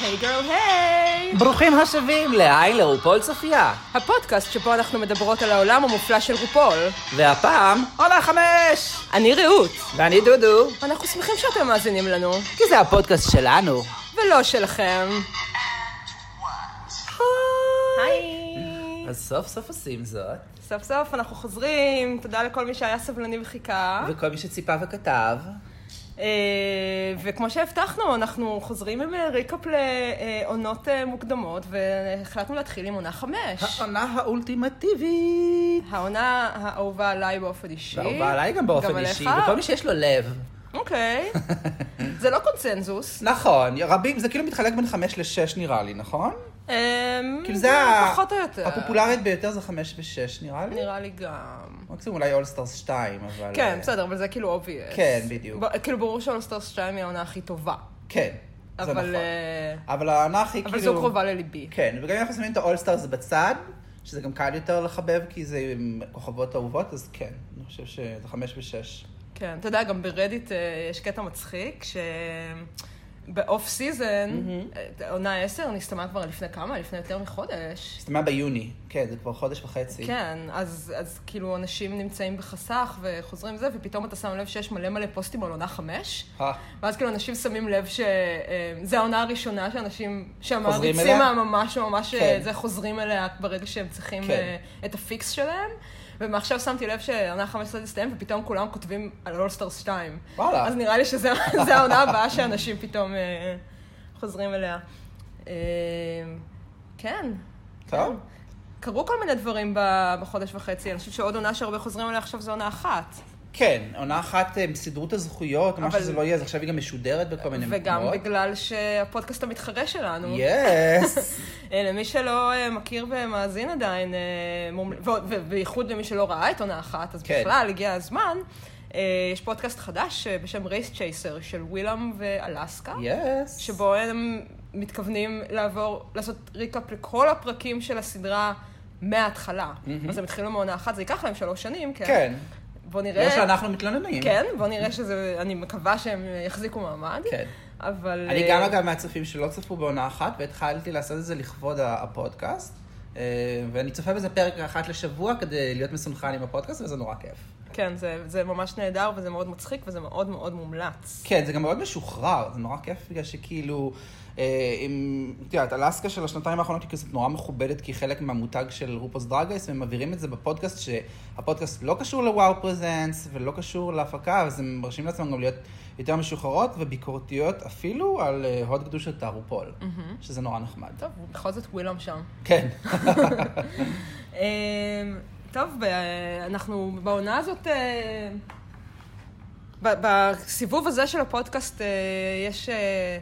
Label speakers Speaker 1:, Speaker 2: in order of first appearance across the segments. Speaker 1: היי גרל היי!
Speaker 2: ברוכים השבים להי לרופול צופיה,
Speaker 1: הפודקאסט שבו אנחנו מדברות על העולם המופלא של רופול.
Speaker 2: והפעם עונה חמש!
Speaker 1: אני רעות.
Speaker 2: ואני דודו,
Speaker 1: אנחנו שמחים שאתם מאזינים לנו,
Speaker 2: כי זה הפודקאסט שלנו.
Speaker 1: ולא שלכם. היי!
Speaker 2: אז סוף סוף עושים זאת,
Speaker 1: סוף סוף אנחנו חוזרים, תודה לכל מי שהיה סבלני וחיכה.
Speaker 2: וכל מי שציפה וכתב,
Speaker 1: אה, וכמו שהבטחנו, אנחנו חוזרים עם אה, ריקאפ לעונות אה, מוקדמות, והחלטנו להתחיל עם עונה חמש.
Speaker 2: העונה האולטימטיבית.
Speaker 1: העונה האהובה עליי באופן אישי.
Speaker 2: ואהובה אה. עליי גם באופן
Speaker 1: עליך?
Speaker 2: אישי, וכל מי שיש לו לב.
Speaker 1: אוקיי. זה לא קונצנזוס.
Speaker 2: נכון, רבים, זה כאילו מתחלק בין חמש לשש נראה לי, נכון?
Speaker 1: אמ,
Speaker 2: כאילו זה ה-
Speaker 1: פחות או יותר.
Speaker 2: הפופולרית ביותר זה חמש ושש נראה לי.
Speaker 1: נראה לי גם.
Speaker 2: מקסימום אולי אולסטארס 2, אבל...
Speaker 1: כן,
Speaker 2: אה,
Speaker 1: בסדר, אבל זה כאילו אובייס.
Speaker 2: כן, בדיוק.
Speaker 1: כאילו, ברור שאולסטרס 2 היא העונה הכי טובה.
Speaker 2: כן, זה נכון.
Speaker 1: אבל אה,
Speaker 2: אבל העונה הכי כאילו...
Speaker 1: אבל זו קרובה לליבי.
Speaker 2: כן, וגם אם אנחנו שמים את האולסטארס בצד, שזה גם קל יותר לחבב, כי זה עם כוכבות אהובות, אז כן, אני חושב שזה חמש ושש.
Speaker 1: כן, אתה יודע, גם ברדיט אה, יש קטע מצחיק, שבאוף סיזן, אה, עונה 10 נסתמה כבר לפני כמה? לפני יותר מחודש.
Speaker 2: הסתיימה ביוני, כן, זה כבר חודש וחצי.
Speaker 1: כן, אז, אז כאילו אנשים נמצאים בחסך וחוזרים זה, ופתאום אתה שם לב שיש מלא מלא פוסטים על עונה 5,
Speaker 2: אה,
Speaker 1: ואז כאילו אנשים שמים לב שזו העונה הראשונה שאנשים,
Speaker 2: חוזרים
Speaker 1: שהמעריצים
Speaker 2: אליה?
Speaker 1: הממש ממש
Speaker 2: כן.
Speaker 1: כן. זה חוזרים אליה ברגע שהם צריכים
Speaker 2: כן.
Speaker 1: כן. את הפיקס שלהם. ומעכשיו שמתי לב שהעונה 15 תסתיים, ופתאום כולם כותבים על אולסטארס 2.
Speaker 2: וואלה.
Speaker 1: אז נראה לי שזו העונה הבאה שאנשים פתאום אה, חוזרים אליה. אה, כן.
Speaker 2: טוב.
Speaker 1: קרו כל מיני דברים ב- בחודש וחצי, אני חושבת שעוד עונה שהרבה חוזרים אליה עכשיו זו עונה אחת.
Speaker 2: כן, עונה אחת הם סידרו את הזכויות, מה
Speaker 1: אבל-
Speaker 2: שזה לא יהיה, אז עכשיו היא גם משודרת בכל מיני מקומות.
Speaker 1: וגם בגלל שהפודקאסט המתחרה שלנו.
Speaker 2: יס.
Speaker 1: אה, למי שלא אה, מכיר ומאזין עדיין, אה, מומל- ו- ובייחוד למי שלא ראה את עונה אחת, אז
Speaker 2: כן.
Speaker 1: בכלל הגיע הזמן. אה, יש פודקאסט חדש אה, בשם רייס צ'ייסר של ווילאם ואלסקה.
Speaker 2: יס.
Speaker 1: שבו הם מתכוונים לעבור, לעשות ריקאפ לכל הפרקים של הסדרה מההתחלה.
Speaker 2: מהמם.
Speaker 1: אז הם התחילו מעונה אחת, זה ייקח להם שלוש שנים, כן.
Speaker 2: כן.
Speaker 1: בוא נראה.
Speaker 2: לא שאנחנו מתלוננים.
Speaker 1: כן, בוא נראה שזה, אני מקווה שהם יחזיקו מעמד.
Speaker 2: כן.
Speaker 1: אבל...
Speaker 2: אני
Speaker 1: אה,
Speaker 2: גם לא אגב מהצופים שלא צפו בעונה אחת, והתחלתי לעשות את זה לכבוד ה- הפודקאסט. אה, ואני צופה בזה פרק אחת לשבוע כדי להיות מסונכן עם הפודקאסט, וזה נורא כיף.
Speaker 1: כן, זה, זה ממש נהדר וזה מאוד מצחיק וזה מאוד מאוד מומלץ.
Speaker 2: כן, זה גם מאוד משוחרר, זה נורא כיף בגלל שכאילו, אה, אם, את יודעת, אלסקה של השנתיים האחרונות היא כזאת נורא מכובדת, כי היא חלק מהמותג של רופוס דרגייס, והם מעבירים את זה בפודקאסט, שהפודקאסט לא קשור לוואו פרזנס, ולא קשור להפקה, אז הם מרשים לעצמם גם להיות יותר משוחררות וביקורתיות אפילו על אה, הוד קדושת הרופול, שזה נורא נחמד.
Speaker 1: טוב, בכל זאת ווילם שם.
Speaker 2: כן.
Speaker 1: אמ, טוב, ב- אנחנו בעונה הזאת, אה, ב- בסיבוב הזה של הפודקאסט אה, יש, אה,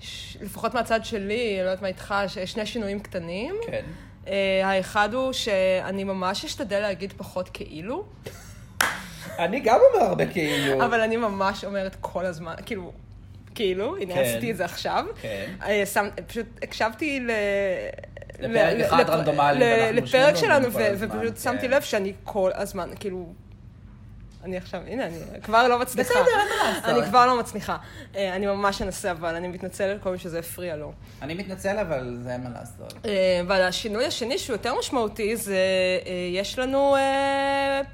Speaker 1: ש- לפחות מהצד שלי, לא יודעת מה איתך, ש- שני שינויים קטנים.
Speaker 2: כן.
Speaker 1: אה, האחד הוא שאני ממש אשתדל להגיד פחות כאילו,
Speaker 2: אני גם אומר הרבה כאילו.
Speaker 1: אבל אני ממש אומרת כל הזמן, כאילו, כאילו, הנה
Speaker 2: כן.
Speaker 1: עשיתי את זה עכשיו.
Speaker 2: כן.
Speaker 1: אה, שם, פשוט הקשבתי ל...
Speaker 2: לפרק
Speaker 1: ל-
Speaker 2: אחד
Speaker 1: לפ-
Speaker 2: רנדומלי,
Speaker 1: ל-
Speaker 2: ואנחנו
Speaker 1: לפרק
Speaker 2: שנינו
Speaker 1: שלנו,
Speaker 2: אומרים
Speaker 1: ו-
Speaker 2: כל הזמן,
Speaker 1: ופשוט
Speaker 2: כן.
Speaker 1: שמתי לב שאני כל הזמן, כאילו... אני עכשיו, הנה, אני כבר לא מצליחה.
Speaker 2: בסדר, אין מה לעשות.
Speaker 1: אני כבר לא מצליחה. אה, אני ממש אנסה, אבל אני מתנצלת כל מי שזה הפריע לו.
Speaker 2: אני מתנצל, אבל זה אין מה לעשות.
Speaker 1: אה, אבל השינוי השני שהוא יותר משמעותי זה, אה, יש לנו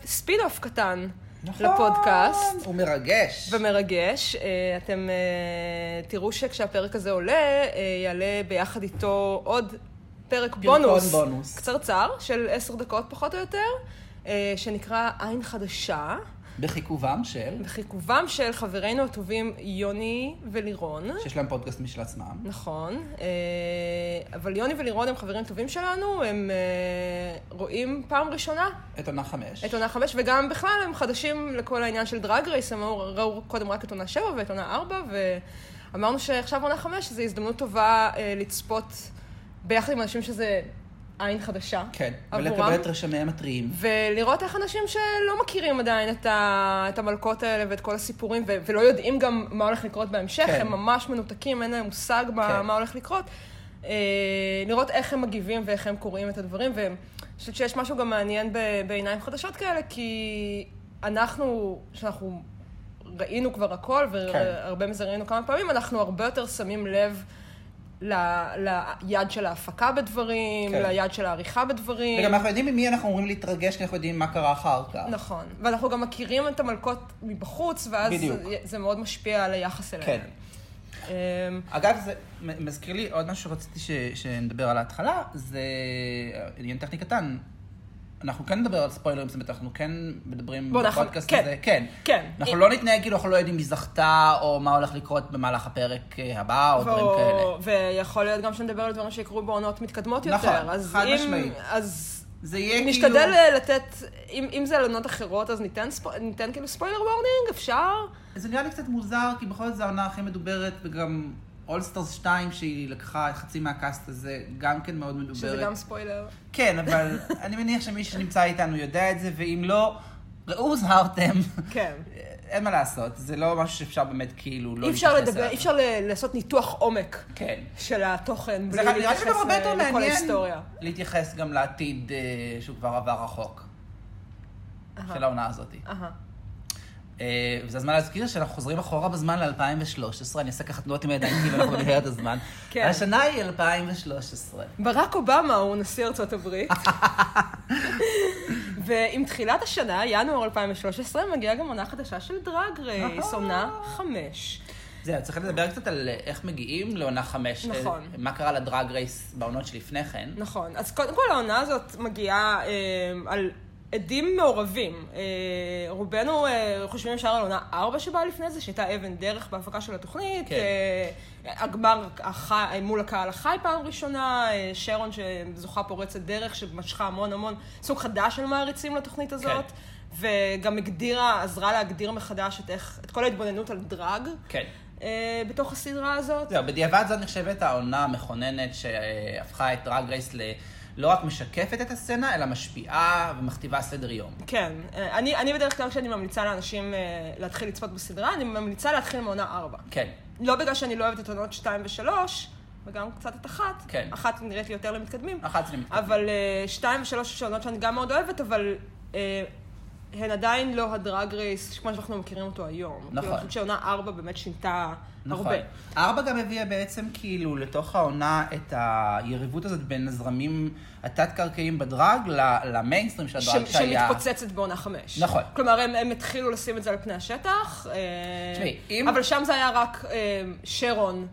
Speaker 1: ספיד-אוף קטן
Speaker 2: נכון.
Speaker 1: נכון. לפודקאסט.
Speaker 2: הוא מרגש.
Speaker 1: ומרגש. אה, אתם אה, תראו שכשהפרק הזה עולה, אה, יעלה ביחד איתו עוד פרק
Speaker 2: פרקון
Speaker 1: בונוס,
Speaker 2: בונוס.
Speaker 1: קצרצר, של עשר דקות פחות או יותר, אה, שנקרא עין חדשה,
Speaker 2: בחיכובם של,
Speaker 1: בחיכובם של חברינו הטובים יוני ולירון.
Speaker 2: שיש להם פודקאסט משל עצמם.
Speaker 1: נכון, אה, אבל יוני ולירון הם חברים טובים שלנו, הם אה, רואים פעם ראשונה
Speaker 2: את עונה חמש.
Speaker 1: את עונה חמש, וגם בכלל הם חדשים לכל העניין של דרג רייס, הם ראו- ראו קודם רק את עונה שבע ואת עונה ארבע, ואמרנו שעכשיו עונה חמש, זו הזדמנות טובה אה, לצפות ביחד עם אנשים שזה עין חדשה.
Speaker 2: כן.
Speaker 1: עבורם.
Speaker 2: ולקבל את רשמיהם הטריים.
Speaker 1: ולראות איך אנשים שלא מכירים עדיין את, ה, את המלכות האלה ואת כל הסיפורים, ו, ולא יודעים גם מה הולך לקרות בהמשך,
Speaker 2: כן.
Speaker 1: כן. הם ממש מנותקים, אין להם מושג מה,
Speaker 2: כן.
Speaker 1: מה הולך לקרות. אה, לראות איך הם מגיבים ואיך הם קוראים את הדברים, ואני חושבת שיש משהו גם מעניין ב, בעיניים חדשות כאלה, כי אנחנו, שאנחנו ראינו כבר הכל, והרבה כן. מזה ראינו כמה פעמים, אנחנו הרבה יותר שמים לב ל- ליד של ההפקה בדברים,
Speaker 2: כן.
Speaker 1: ליד של העריכה בדברים.
Speaker 2: וגם אנחנו יודעים ממי אנחנו אמורים להתרגש, כי אנחנו יודעים מה קרה אחר כך.
Speaker 1: נכון. ואנחנו גם מכירים את המלכות מבחוץ, ואז
Speaker 2: בדיוק.
Speaker 1: זה- זה מאוד משפיע על היחס אליהן.
Speaker 2: כן.
Speaker 1: אמ,
Speaker 2: אגב, זה מ- מזכיר לי עוד משהו שרציתי ש... שנדבר על ההתחלה, זה עניין טכני קטן. אנחנו כן נדבר על ספוילרים, זאת אומרת, אנחנו כן מדברים
Speaker 1: בוא, אנחנו-
Speaker 2: בפודקאסט
Speaker 1: כן.
Speaker 2: הזה, כן.
Speaker 1: כן.
Speaker 2: אנחנו לא נתנהג כאילו אנחנו לא יודעים מי זכתה, או מה הולך לקרות במהלך הפרק אה, הבא, או דברים
Speaker 1: ו-
Speaker 2: כאלה.
Speaker 1: ויכול להיות גם שנדבר על דברים שיקרו בעונות מתקדמות יותר.
Speaker 2: נכון,
Speaker 1: אז
Speaker 2: חד
Speaker 1: אם-
Speaker 2: משמעית.
Speaker 1: אז
Speaker 2: זה יהיה כאילו...
Speaker 1: נשתדל אה, לתת, אם אם זה על עונות אחרות, אז ניתן ספו- ניתן כאילו ספוילר וורנינג, אפשר?
Speaker 2: זה נראה לי קצת מוזר, כי בכל זאת זו העונה הכי מדוברת, וגם אולסטרס 2, שהיא לקחה חצי מהקאסט הזה, גם כן מאוד מדוברת.
Speaker 1: שזה גם ספוילר.
Speaker 2: כן, אבל אני מניח שמי שנמצא איתנו יודע את זה, ואם לא, ראו הוזהרתם.
Speaker 1: כן.
Speaker 2: אין מה לעשות, זה לא משהו שאפשר באמת כאילו לא
Speaker 1: אי אפשר
Speaker 2: להתייחס
Speaker 1: לדבר,
Speaker 2: אליו.
Speaker 1: אי אפשר ל- לעשות ניתוח עומק
Speaker 2: כן.
Speaker 1: של התוכן,
Speaker 2: זה
Speaker 1: בלי
Speaker 2: נראה לי
Speaker 1: להתייחס
Speaker 2: גם הרבה יותר
Speaker 1: אה, לכל
Speaker 2: מעניין
Speaker 1: ההיסטוריה.
Speaker 2: להתייחס גם לעתיד אה, שהוא כבר עבר רחוק,
Speaker 1: אהה.
Speaker 2: של העונה הזאת.
Speaker 1: אהה.
Speaker 2: אה, וזה הזמן להזכיר שאנחנו חוזרים אחורה בזמן ל-2013, אני אעשה ככה תנועות עם הידיים כי אנחנו נראה את הזמן.
Speaker 1: כן.
Speaker 2: השנה היא 2013.
Speaker 1: ברק אובמה הוא נשיא ארצות הברית. ועם תחילת השנה, ינואר 2013, מגיעה גם עונה חדשה של דרג רייס, עונה חמש.
Speaker 2: זהו, צריך לדבר קצת על אה, איך מגיעים לעונה חמש.
Speaker 1: נכון.
Speaker 2: אה, מה קרה לדרג רייס בעונות שלפני כן.
Speaker 1: נכון. אז קודם כל העונה הזאת מגיעה אה, על עדים מעורבים. אה, רובנו אה, חושבים ישר על עונה 4 שבאה לפני זה, שהייתה אבן דרך בהפקה של התוכנית.
Speaker 2: כן.
Speaker 1: אה, הגמר החי, אה, מול הקהל החי פעם ראשונה, אה, שרון שזוכה פורצת דרך, שמשכה המון המון, סוג חדש של מעריצים לתוכנית הזאת.
Speaker 2: כן.
Speaker 1: וגם הגדירה, עזרה להגדיר מחדש את, איך, את כל ההתבוננות על דרג
Speaker 2: כן.
Speaker 1: אה, בתוך הסדרה הזאת.
Speaker 2: זהו, בדיעבד זאת נחשבת העונה המכוננת שהפכה את דרג רייס ל... לא רק משקפת את הסצנה, אלא משפיעה ומכתיבה סדר יום.
Speaker 1: כן, אה, אני, אני בדרך כלל כשאני ממליצה לאנשים אה, להתחיל לצפות בסדרה, אני ממליצה להתחיל מעונה 4.
Speaker 2: כן.
Speaker 1: לא בגלל שאני לא אוהבת את עונות 2 ו-3, וגם קצת את אחת.
Speaker 2: כן.
Speaker 1: אחת נראית לי יותר למתקדמים.
Speaker 2: אחת זה מתקדם.
Speaker 1: אבל 2 ו-3 יש עונות שאני גם מאוד אוהבת, אבל אה, הן עדיין לא הדרג רייס, כמו שאנחנו מכירים אותו היום. כאילו,
Speaker 2: נכון.
Speaker 1: אני חושבת שעונה 4 באמת שינתה
Speaker 2: נכון.
Speaker 1: הרבה.
Speaker 2: ארבע גם הביאה בעצם כאילו לתוך העונה את היריבות הזאת בין הזרמים התת-קרקעיים בדרג ל- למיינסטרים של הדרג
Speaker 1: ש-
Speaker 2: שהיה.
Speaker 1: שמתפוצצת בעונה חמש.
Speaker 2: נכון.
Speaker 1: כלומר, הם, הם התחילו לשים את זה על פני השטח, אה,
Speaker 2: תשמעי, אם-
Speaker 1: אבל שם זה היה רק אה, שרון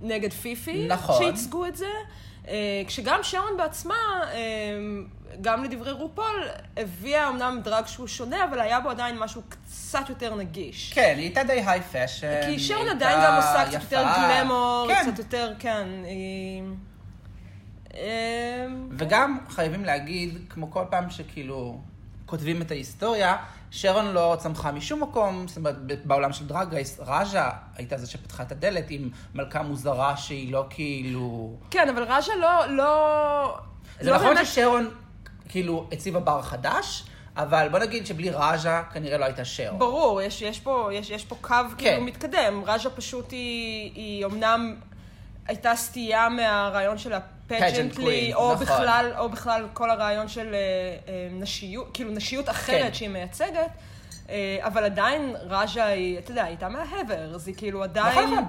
Speaker 1: נגד פיפי,
Speaker 2: נכון.
Speaker 1: שייצגו את זה, אה, כשגם שרון בעצמה, אה, גם לדברי רופול, הביאה אמנם דרג שהוא שונה, אבל היה בו עדיין משהו קצת יותר נגיש.
Speaker 2: כן, היא הייתה די היי פאשן.
Speaker 1: כי שרון עדיין גם עושה קצת יותר גלמור, קצת יותר, כן. היא- אה,
Speaker 2: וגם חייבים להגיד, כמו כל פעם שכאילו כותבים את ההיסטוריה, שרון לא צמחה משום מקום, זאת אומרת, ב- בעולם של דרג רייס, רג'ה הייתה זו שפתחה את הדלת עם מלכה מוזרה שהיא לא כאילו...
Speaker 1: כן, אבל רג'ה לא, לא...
Speaker 2: זה
Speaker 1: לא
Speaker 2: נכון
Speaker 1: באמת-
Speaker 2: ששרון כאילו הציבה בר חדש, אבל בוא נגיד שבלי רג'ה כנראה לא הייתה שרון.
Speaker 1: ברור, יש, יש, פה, יש, יש פה קו
Speaker 2: כן.
Speaker 1: כאילו מתקדם. רג'ה פשוט היא, היא אמנם הייתה סטייה מהרעיון של
Speaker 2: Pageant
Speaker 1: הפג'נטלי,
Speaker 2: queen,
Speaker 1: או,
Speaker 2: נכון.
Speaker 1: בכלל, או בכלל כל הרעיון של אה, אה, נשיות, כאילו נשיות אחרת
Speaker 2: כן.
Speaker 1: שהיא מייצגת, אה, אבל עדיין רג'ה היא, אתה יודע, היא הייתה מההבר, אז היא כאילו עדיין
Speaker 2: נכון, נכון.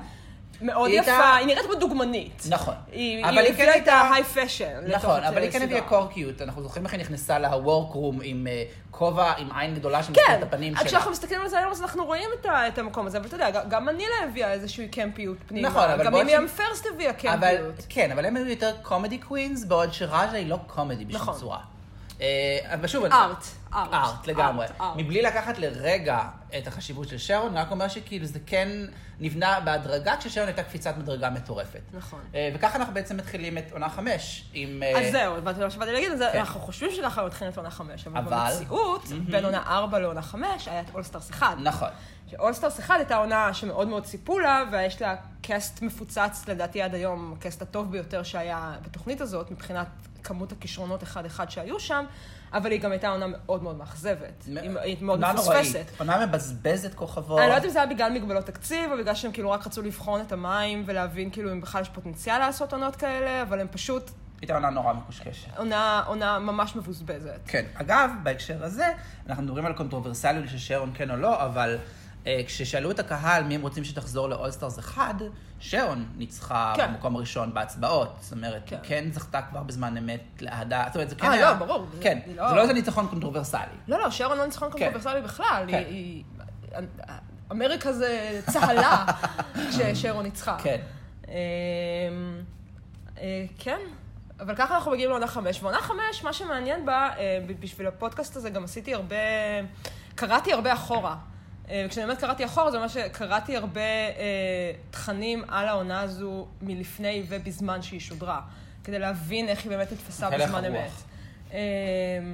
Speaker 1: מאוד
Speaker 2: היא
Speaker 1: יפה,
Speaker 2: הייתה-
Speaker 1: היא נראית כמו דוגמנית.
Speaker 2: נכון.
Speaker 1: היא,
Speaker 2: אבל
Speaker 1: היא
Speaker 2: היא כן
Speaker 1: הביאה את
Speaker 2: הייתה-
Speaker 1: ההיי פאשן.
Speaker 2: נכון, אבל היא כן הביאה קורקיות, אנחנו זוכרים איך היא נכנסה ל-workroom עם אה, כובע, עם עין גדולה שמסתכלת
Speaker 1: כן,
Speaker 2: את הפנים
Speaker 1: אז
Speaker 2: שלה.
Speaker 1: כשאנחנו מסתכלים על זה היום, אז אנחנו רואים את, ה, את המקום הזה, אבל אתה יודע, ג- גם מנילה הביאה איזושהי קמפיות פנימה.
Speaker 2: נכון, אבל
Speaker 1: גם
Speaker 2: בוא
Speaker 1: אם
Speaker 2: נ-
Speaker 1: ים פרסט הביאה
Speaker 2: אבל,
Speaker 1: קמפיות.
Speaker 2: כן, אבל הם היו יותר קומדי קווינס, בעוד שראז'ה היא לא קומדי בשום
Speaker 1: נכון.
Speaker 2: צורה. אה, אבל שוב, אני-
Speaker 1: ארט, ארט.
Speaker 2: ארט לגמרי.
Speaker 1: ארט, ארט.
Speaker 2: מבלי לקחת לרגע את החשיבות של שרון, רק אומר שכאילו זה כן נבנה בהדרגה, כששרון הייתה קפיצת מדרגה מטורפת.
Speaker 1: נכון.
Speaker 2: אה, וככה אנחנו בעצם מתחילים את עונה חמש, עם... אה,
Speaker 1: אז זהו, הבנתי מה שבאתי להגיד, אז
Speaker 2: כן.
Speaker 1: אנחנו חושבים שככה מתחילים את עונה 5, אבל
Speaker 2: אבל-
Speaker 1: במציאות, בין עונה 4 לעונה 5, היה את אולסטארס 1.
Speaker 2: נכון.
Speaker 1: שאולסטארס 1 הייתה עונה שמאוד מאוד ציפו לה, ויש לה קאסט מפוצץ, לדעתי עד היום, הקאסט הטוב ביותר שהיה בתוכנית הזאת, מבחינת כמות הכישרונות אחד-אחד שהיו שם, אבל היא גם הייתה עונה מאוד מאוד מאכזבת. היא היא מאוד
Speaker 2: עונה נוראית.
Speaker 1: מפוספסת.
Speaker 2: עונה מבזבזת כוכבות.
Speaker 1: אני לא יודעת אם זה היה בגלל מגבלות תקציב, או בגלל שהם כאילו רק רצו לבחון את המים ולהבין כאילו אם בכלל יש פוטנציאל לעשות עונות כאלה, אבל הם פשוט
Speaker 2: הייתה עונה נורא מקושקשת.
Speaker 1: עונה, עונה ממש מבוזבזת.
Speaker 2: כן. אגב, בהקשר הזה, אנחנו מדברים על קונטרוברסליות של שרון כן או לא, אבל אה, כששאלו את הקהל מי הם רוצים שתחזור לאולסטארס 1, שרון ניצחה
Speaker 1: כן.
Speaker 2: במקום הראשון בהצבעות. זאת אומרת,
Speaker 1: כן.
Speaker 2: כן. כן זכתה כבר בזמן אמת לאהדה. זאת אומרת, זה כן
Speaker 1: אה,
Speaker 2: היה...
Speaker 1: לא, ברור. זה-
Speaker 2: כן,
Speaker 1: זה
Speaker 2: זה
Speaker 1: לא-
Speaker 2: לא איזה ניצחון קונטרוברסלי.
Speaker 1: לא, לא, שרון לא ניצחון
Speaker 2: כן.
Speaker 1: קונטרוברסלי בכלל.
Speaker 2: כן.
Speaker 1: היא- היא... אמ- אמריקה זה צהלה כששרון ניצחה.
Speaker 2: כן.
Speaker 1: אמ, אה, כן, אבל ככה אנחנו מגיעים לעונה חמש. ועונה חמש, מה שמעניין בה, אה, ב- בשביל הפודקאסט הזה גם עשיתי הרבה, קראתי הרבה אחורה. אה, כשאני אומרת קראתי אחורה, זה ממש שקראתי הרבה אה, תכנים על העונה הזו מלפני ובזמן שהיא שודרה, כדי להבין איך היא באמת נתפסה
Speaker 2: הלך
Speaker 1: בזמן
Speaker 2: הרוח.
Speaker 1: אמת. אמ,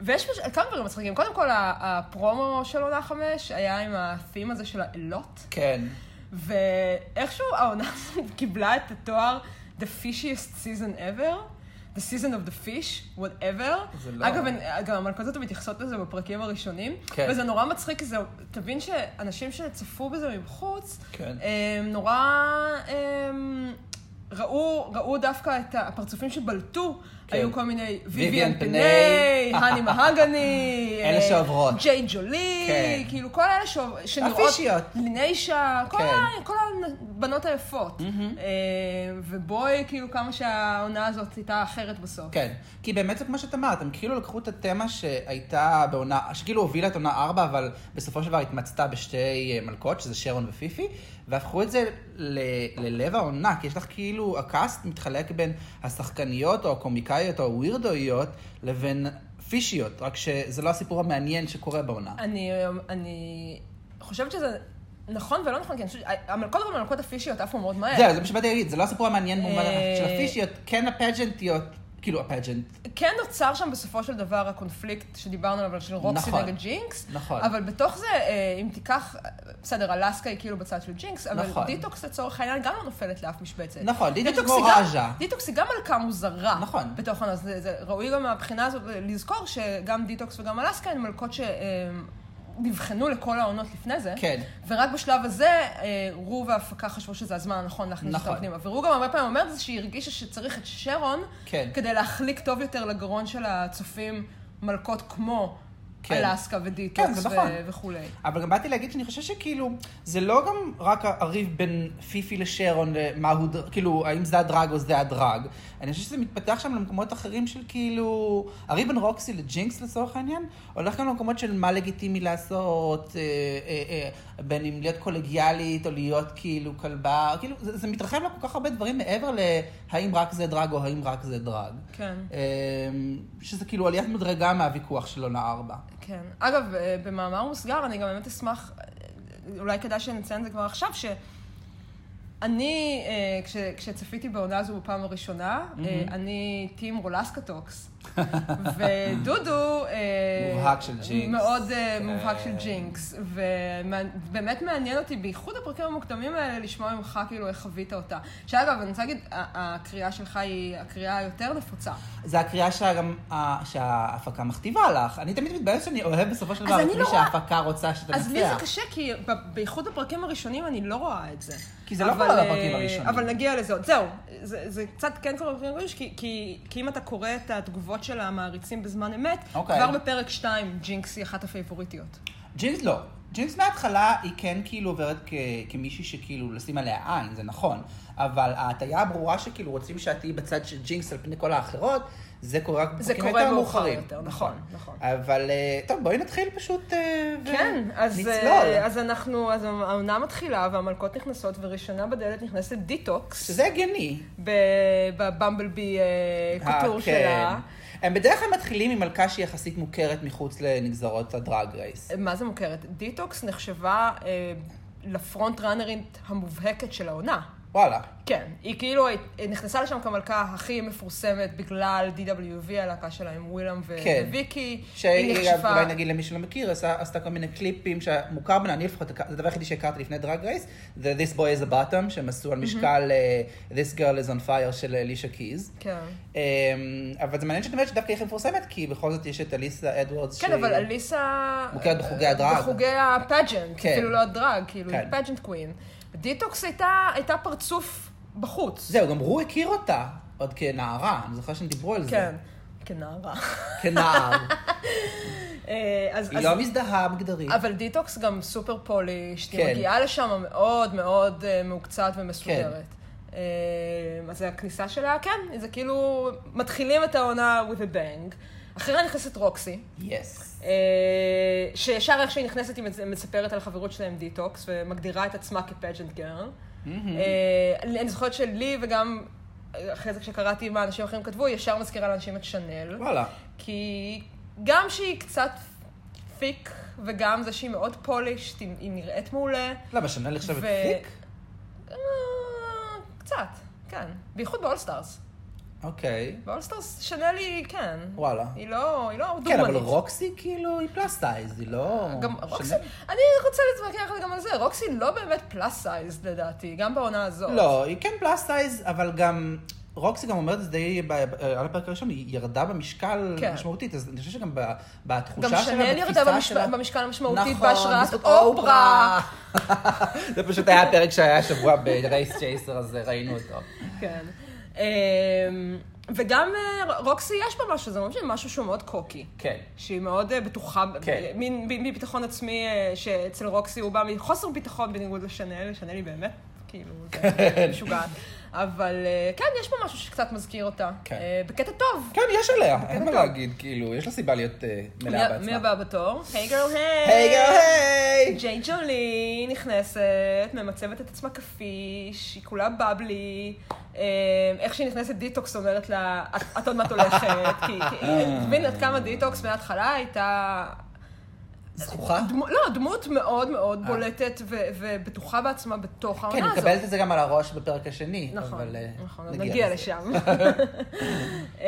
Speaker 1: ויש מש- כמה דברים מצחיקים. קודם כל, ה- הפרומו של עונה חמש היה עם ה-theme הזה של האלות.
Speaker 2: כן.
Speaker 1: ואיכשהו העונה הזאת קיבלה את התואר The Fishiest Season Ever. The season of the fish, whatever.
Speaker 2: זה לא-
Speaker 1: אגב, הן- גם המלכודות מתייחסות לזה בפרקים הראשונים.
Speaker 2: כן.
Speaker 1: וזה נורא מצחיק, כי זה, תבין שאנשים שצפו בזה מבחוץ,
Speaker 2: כן.
Speaker 1: הם נורא הם, ראו, ראו דווקא את הפרצופים שבלטו.
Speaker 2: כן.
Speaker 1: היו כל מיני
Speaker 2: ויויאן
Speaker 1: ויויאן
Speaker 2: פני,
Speaker 1: פני, האני מהגני,
Speaker 2: אלה שעוברות.
Speaker 1: ג'יי ג'ולי,
Speaker 2: כן.
Speaker 1: כאילו כל אלה שעוב- שנראות,
Speaker 2: הפישיות.
Speaker 1: לינישה, כל,
Speaker 2: כן.
Speaker 1: ה- כל הבנות היפות. Mm-hmm. ובואי, כאילו, כמה שהעונה הזאת הייתה אחרת בסוף.
Speaker 2: כן, כי באמת זה כמו שאת אמרת, הם כאילו לקחו את התמה שהייתה בעונה, שכאילו הובילה את עונה 4, אבל בסופו של דבר התמצתה בשתי אה, מלכות, שזה שרון ופיפי, והפכו את זה ל- ללב העונה, כי יש לך כאילו, הקאסט מתחלק בין השחקניות או הקומיקאיות או הווירדואיות לבין פישיות, רק שזה לא הסיפור המעניין שקורה בעונה.
Speaker 1: אני, אני חושבת שזה נכון ולא נכון, כי אני חושבת שהמלכודות והמלכודות הפישיות עפו מאוד מהר.
Speaker 2: זהו, זה מה שבאתי להגיד, זה לא הסיפור המעניין במובן
Speaker 1: אה,
Speaker 2: של הפישיות, כן הפג'נטיות, כאילו הפג'נט,
Speaker 1: כן נוצר שם בסופו של דבר הקונפליקט שדיברנו עליו, של רוקסי
Speaker 2: נכון.
Speaker 1: נגד ג'ינקס.
Speaker 2: נכון.
Speaker 1: אבל בתוך זה, אה, אם תיקח, בסדר, אלסקה היא כאילו בצד של ג'ינקס, אבל
Speaker 2: נכון.
Speaker 1: דיטוקס לצורך העניין גם לא נופלת לאף משבצת.
Speaker 2: נכון, דיטוקס
Speaker 1: דיטוקס
Speaker 2: כמו
Speaker 1: היא גם-
Speaker 2: רג'ה.
Speaker 1: דיטוקס היא גם מלכה מוזרה.
Speaker 2: נכון.
Speaker 1: בתוך הנושא. זה- זה ראוי גם מהבחינה הזאת לזכור שגם דיטוקס וגם אלסקה הן מלכות ש... אה, נבחנו לכל העונות לפני זה.
Speaker 2: כן.
Speaker 1: ורק בשלב הזה, אה, רו וההפקה חשבו שזה הזמן הנכון להכניס אותה
Speaker 2: נכון.
Speaker 1: פנימה. ורו גם הרבה פעמים אומרת זה שהיא הרגישה שצריך את שרון,
Speaker 2: כן.
Speaker 1: כדי להחליק טוב יותר לגרון של הצופים מלכות כמו
Speaker 2: כן.
Speaker 1: אלסקה
Speaker 2: כן,
Speaker 1: ודיטוקס
Speaker 2: זה
Speaker 1: ו-
Speaker 2: נכון.
Speaker 1: וכולי.
Speaker 2: אבל גם באתי להגיד שאני חושב שכאילו, זה לא גם רק הריב בין פיפי לשרון, למה הוא, דר- כאילו, האם זה הדרג או זה הדרג. אני חושב שזה מתפתח שם למקומות אחרים של כאילו, הריב בין רוקסי לג'ינקס לצורך העניין, הולך גם למקומות של מה לגיטימי לעשות, אה, אה, אה, בין אם להיות קולגיאלית או להיות כאילו כלבה, כאילו, זה, זה מתרחב לכל כך הרבה דברים מעבר להאם רק זה דרג או האם רק זה דרג.
Speaker 1: כן.
Speaker 2: אה, שזה כאילו עליית מדרגה מהוויכוח של עונה ארבע.
Speaker 1: כן. אגב, אה, במאמר מוסגר, אני גם באמת אשמח, אה, אולי כדאי שנציין את זה כבר עכשיו, שאני, אה, כש, כשצפיתי בעונה הזו בפעם הראשונה, אה, אני טים רולסקה טוקס. ודודו... אה,
Speaker 2: מובהק של ג'ינקס.
Speaker 1: מאוד אה,
Speaker 2: כן.
Speaker 1: מובהק של ג'ינקס. ובאמת מעניין אותי, בייחוד הפרקים המוקדמים האלה, לשמוע ממך כאילו איך חווית אותה. שאגב, אני רוצה להגיד, ה- הקריאה שלך היא הקריאה היותר נפוצה.
Speaker 2: זה הקריאה שגם, ה- שההפקה מכתיבה לך. אני תמיד מתבאסת שאני אוהב בסופו של
Speaker 1: אז
Speaker 2: דבר את
Speaker 1: אני
Speaker 2: מי
Speaker 1: לא רואה-
Speaker 2: שההפקה רוצה שאתה
Speaker 1: אז לי זה
Speaker 2: נוסע.
Speaker 1: קשה, כי ב- בייחוד בפרקים הראשונים אני לא רואה את זה.
Speaker 2: כי זה לא
Speaker 1: אבל,
Speaker 2: קורה
Speaker 1: אה,
Speaker 2: בפרקים הראשונים.
Speaker 1: אבל נגיע לזה עוד. זהו, זה, זה קצת כן קורה בפרקים הראשונים, כי, כי, כי אם אתה קורא את התגובות של המעריצים בזמן אמת,
Speaker 2: אוקיי.
Speaker 1: כבר בפרק 2 ג'ינקס היא אחת הפייבוריטיות.
Speaker 2: ג'ינס לא. ג'ינס מההתחלה היא כן כאילו עוברת כ- כמישהי שכאילו לשים עליה עין, זה נכון. אבל ההטייה הברורה שכאילו רוצים שאת תהיי בצד של ג'ינקס על פני כל האחרות, זה קורה רק
Speaker 1: זה
Speaker 2: בפרקים
Speaker 1: קורה
Speaker 2: יותר
Speaker 1: מאוחר
Speaker 2: מאוחרים.
Speaker 1: יותר, נכון, נכון.
Speaker 2: אבל אה, טוב, בואי נתחיל פשוט אה, ו-
Speaker 1: כן, אז, אה,
Speaker 2: נצלול.
Speaker 1: אז אנחנו, אז העונה מתחילה והמלכות נכנסות, וראשונה בדלת נכנסת דיטוקס,
Speaker 2: שזה הגיוני.
Speaker 1: ב- בבמבלבי אה, קוטור
Speaker 2: אה,
Speaker 1: שלה.
Speaker 2: כן. הם בדרך כלל מתחילים עם מלכה שהיא יחסית מוכרת מחוץ לנגזרות הדרג רייס.
Speaker 1: מה זה מוכרת? דיטוקס נחשבה אה, לפרונט ראנרית המובהקת של העונה.
Speaker 2: וואלה.
Speaker 1: כן, היא כאילו הי- היא נכנסה לשם כמלכה הכי מפורסמת בגלל DWV, הלהקה שלה עם ווילם ו-
Speaker 2: כן.
Speaker 1: וויקי.
Speaker 2: שהיא,
Speaker 1: היא נחשבה...
Speaker 2: אולי נגיד למי שלא מכיר, עשה- עשתה כל מיני קליפים שמוכר בין, אני לפחות, זה הדבר היחידי שהכרתי לפני דרג רייס, זה This Boy is a Bottom, שהם עשו על משקל אה, This Girl is on Fire של אלישה קיז.
Speaker 1: כן.
Speaker 2: אמ, אבל זה מעניין שאת אומרת שדווקא היא הכי מפורסמת, כי בכל זאת יש את אליסה אדוורדס.
Speaker 1: כן,
Speaker 2: שהיא-
Speaker 1: אבל אליסה...
Speaker 2: מוכרת בחוגי הדרג.
Speaker 1: בחוגי הפאג'נט,
Speaker 2: כן.
Speaker 1: אפילו לא הדרג, כאילו,
Speaker 2: כן.
Speaker 1: היא פאג'נט קווין. דיטוקס הייתה, הייתה פרצוף בחוץ.
Speaker 2: זהו, גם הוא הכיר אותה עוד כנערה, אני זוכר שהם דיברו על זה.
Speaker 1: כן, כנערה.
Speaker 2: כנער.
Speaker 1: אה, אז...
Speaker 2: היא
Speaker 1: אז-
Speaker 2: לא מזדהה מגדרית.
Speaker 1: אבל דיטוקס גם סופר פולישט, היא
Speaker 2: כן.
Speaker 1: מגיעה לשם מאוד מאוד אה, מהוקצעת ומסודרת. אה, אז הכניסה שלה, כן, זה כאילו, מתחילים את העונה with a bang. אחריה נכנסת רוקסי,
Speaker 2: יס.
Speaker 1: אה, שישר איך שהיא נכנסת היא מצ- מספרת על החברות שלה עם דיטוקס, ומגדירה את עצמה כפג'נט גרל. אה, אני זוכרת שלי וגם, אחרי זה כשקראתי מה אנשים אחרים כתבו, היא ישר מזכירה לאנשים את שאנל.
Speaker 2: וואלה.
Speaker 1: כי גם שהיא קצת פיק, וגם זה שהיא מאוד פולישט, היא, היא נראית מעולה.
Speaker 2: למה, שנל נחשבת
Speaker 1: ו-
Speaker 2: פיק?
Speaker 1: אה, קצת, כן. בייחוד באולסטארס.
Speaker 2: אוקיי.
Speaker 1: באולסטארס שנל היא, כן.
Speaker 2: וואלה.
Speaker 1: היא לא, היא לא דוגמנית.
Speaker 2: כן, אבל רוקסי כאילו היא פלסטייז, היא לא...
Speaker 1: גם
Speaker 2: שנל.
Speaker 1: רוקסי, אני רוצה להתווכח גם על זה, רוקסי לא באמת פלאס סייז לדעתי, גם בעונה הזאת.
Speaker 2: לא, היא כן פלסטייז, אבל גם... רוקסי גם אומרת את זה די ב- על הפרק הראשון, היא ירדה במשקל
Speaker 1: כן.
Speaker 2: משמעותית, אז אני חושב שגם ב-
Speaker 1: גם
Speaker 2: בתחושה שלה,
Speaker 1: שנל ירדה
Speaker 2: בתפיסה
Speaker 1: במש-
Speaker 2: שלה...
Speaker 1: במשקל המשמעותי
Speaker 2: נכון,
Speaker 1: בהשראת
Speaker 2: בזכות
Speaker 1: אופרה.
Speaker 2: זה פשוט היה הפרק שהיה השבוע ברייס צ'ייסר, אז ראינו אותו.
Speaker 1: כן. אמ, וגם אה, רוקסי יש בה משהו, זה ממש משהו שהוא מאוד קוקי.
Speaker 2: כן.
Speaker 1: שהיא מאוד אה, בטוחה,
Speaker 2: כן.
Speaker 1: כן. מין מין ביטחון עצמי אה, שאצל רוקסי הוא בא מחוסר ביטחון בניגוד לשנל, שנל היא באמת, כאילו,
Speaker 2: כן.
Speaker 1: זה משוגעת. אבל אה, כן, יש פה משהו שקצת מזכיר אותה.
Speaker 2: כן.
Speaker 1: אה, בקטע טוב.
Speaker 2: כן, יש עליה, אין מה
Speaker 1: טוב.
Speaker 2: להגיד, כאילו, יש לה סיבה להיות אה, מלאה
Speaker 1: מי- מי
Speaker 2: בעצמה.
Speaker 1: הבא בתור? היי גרל היי!
Speaker 2: היי גאו היי!
Speaker 1: ג'יי ג'ולי נכנסת, ממצבת את עצמה כפיש, היא כולה בבלי. אמ, איך שהיא נכנסת דיטוקס אומרת לה, "את- את עוד מעט הולכת. כי, כי היא- את מבין עד כמה דיטוקס מההתחלה הייתה...
Speaker 2: זכוכה?
Speaker 1: דמו, לא, דמות מאוד מאוד בולטת ו, ובטוחה בעצמה בתוך
Speaker 2: אה. כן,
Speaker 1: העונה
Speaker 2: היא
Speaker 1: הזאת.
Speaker 2: מקבלת את זה גם על הראש בפרק השני.
Speaker 1: נכון,
Speaker 2: אבל, אה,
Speaker 1: נכון, אז נגיע
Speaker 2: לזה.
Speaker 1: לשם. אה,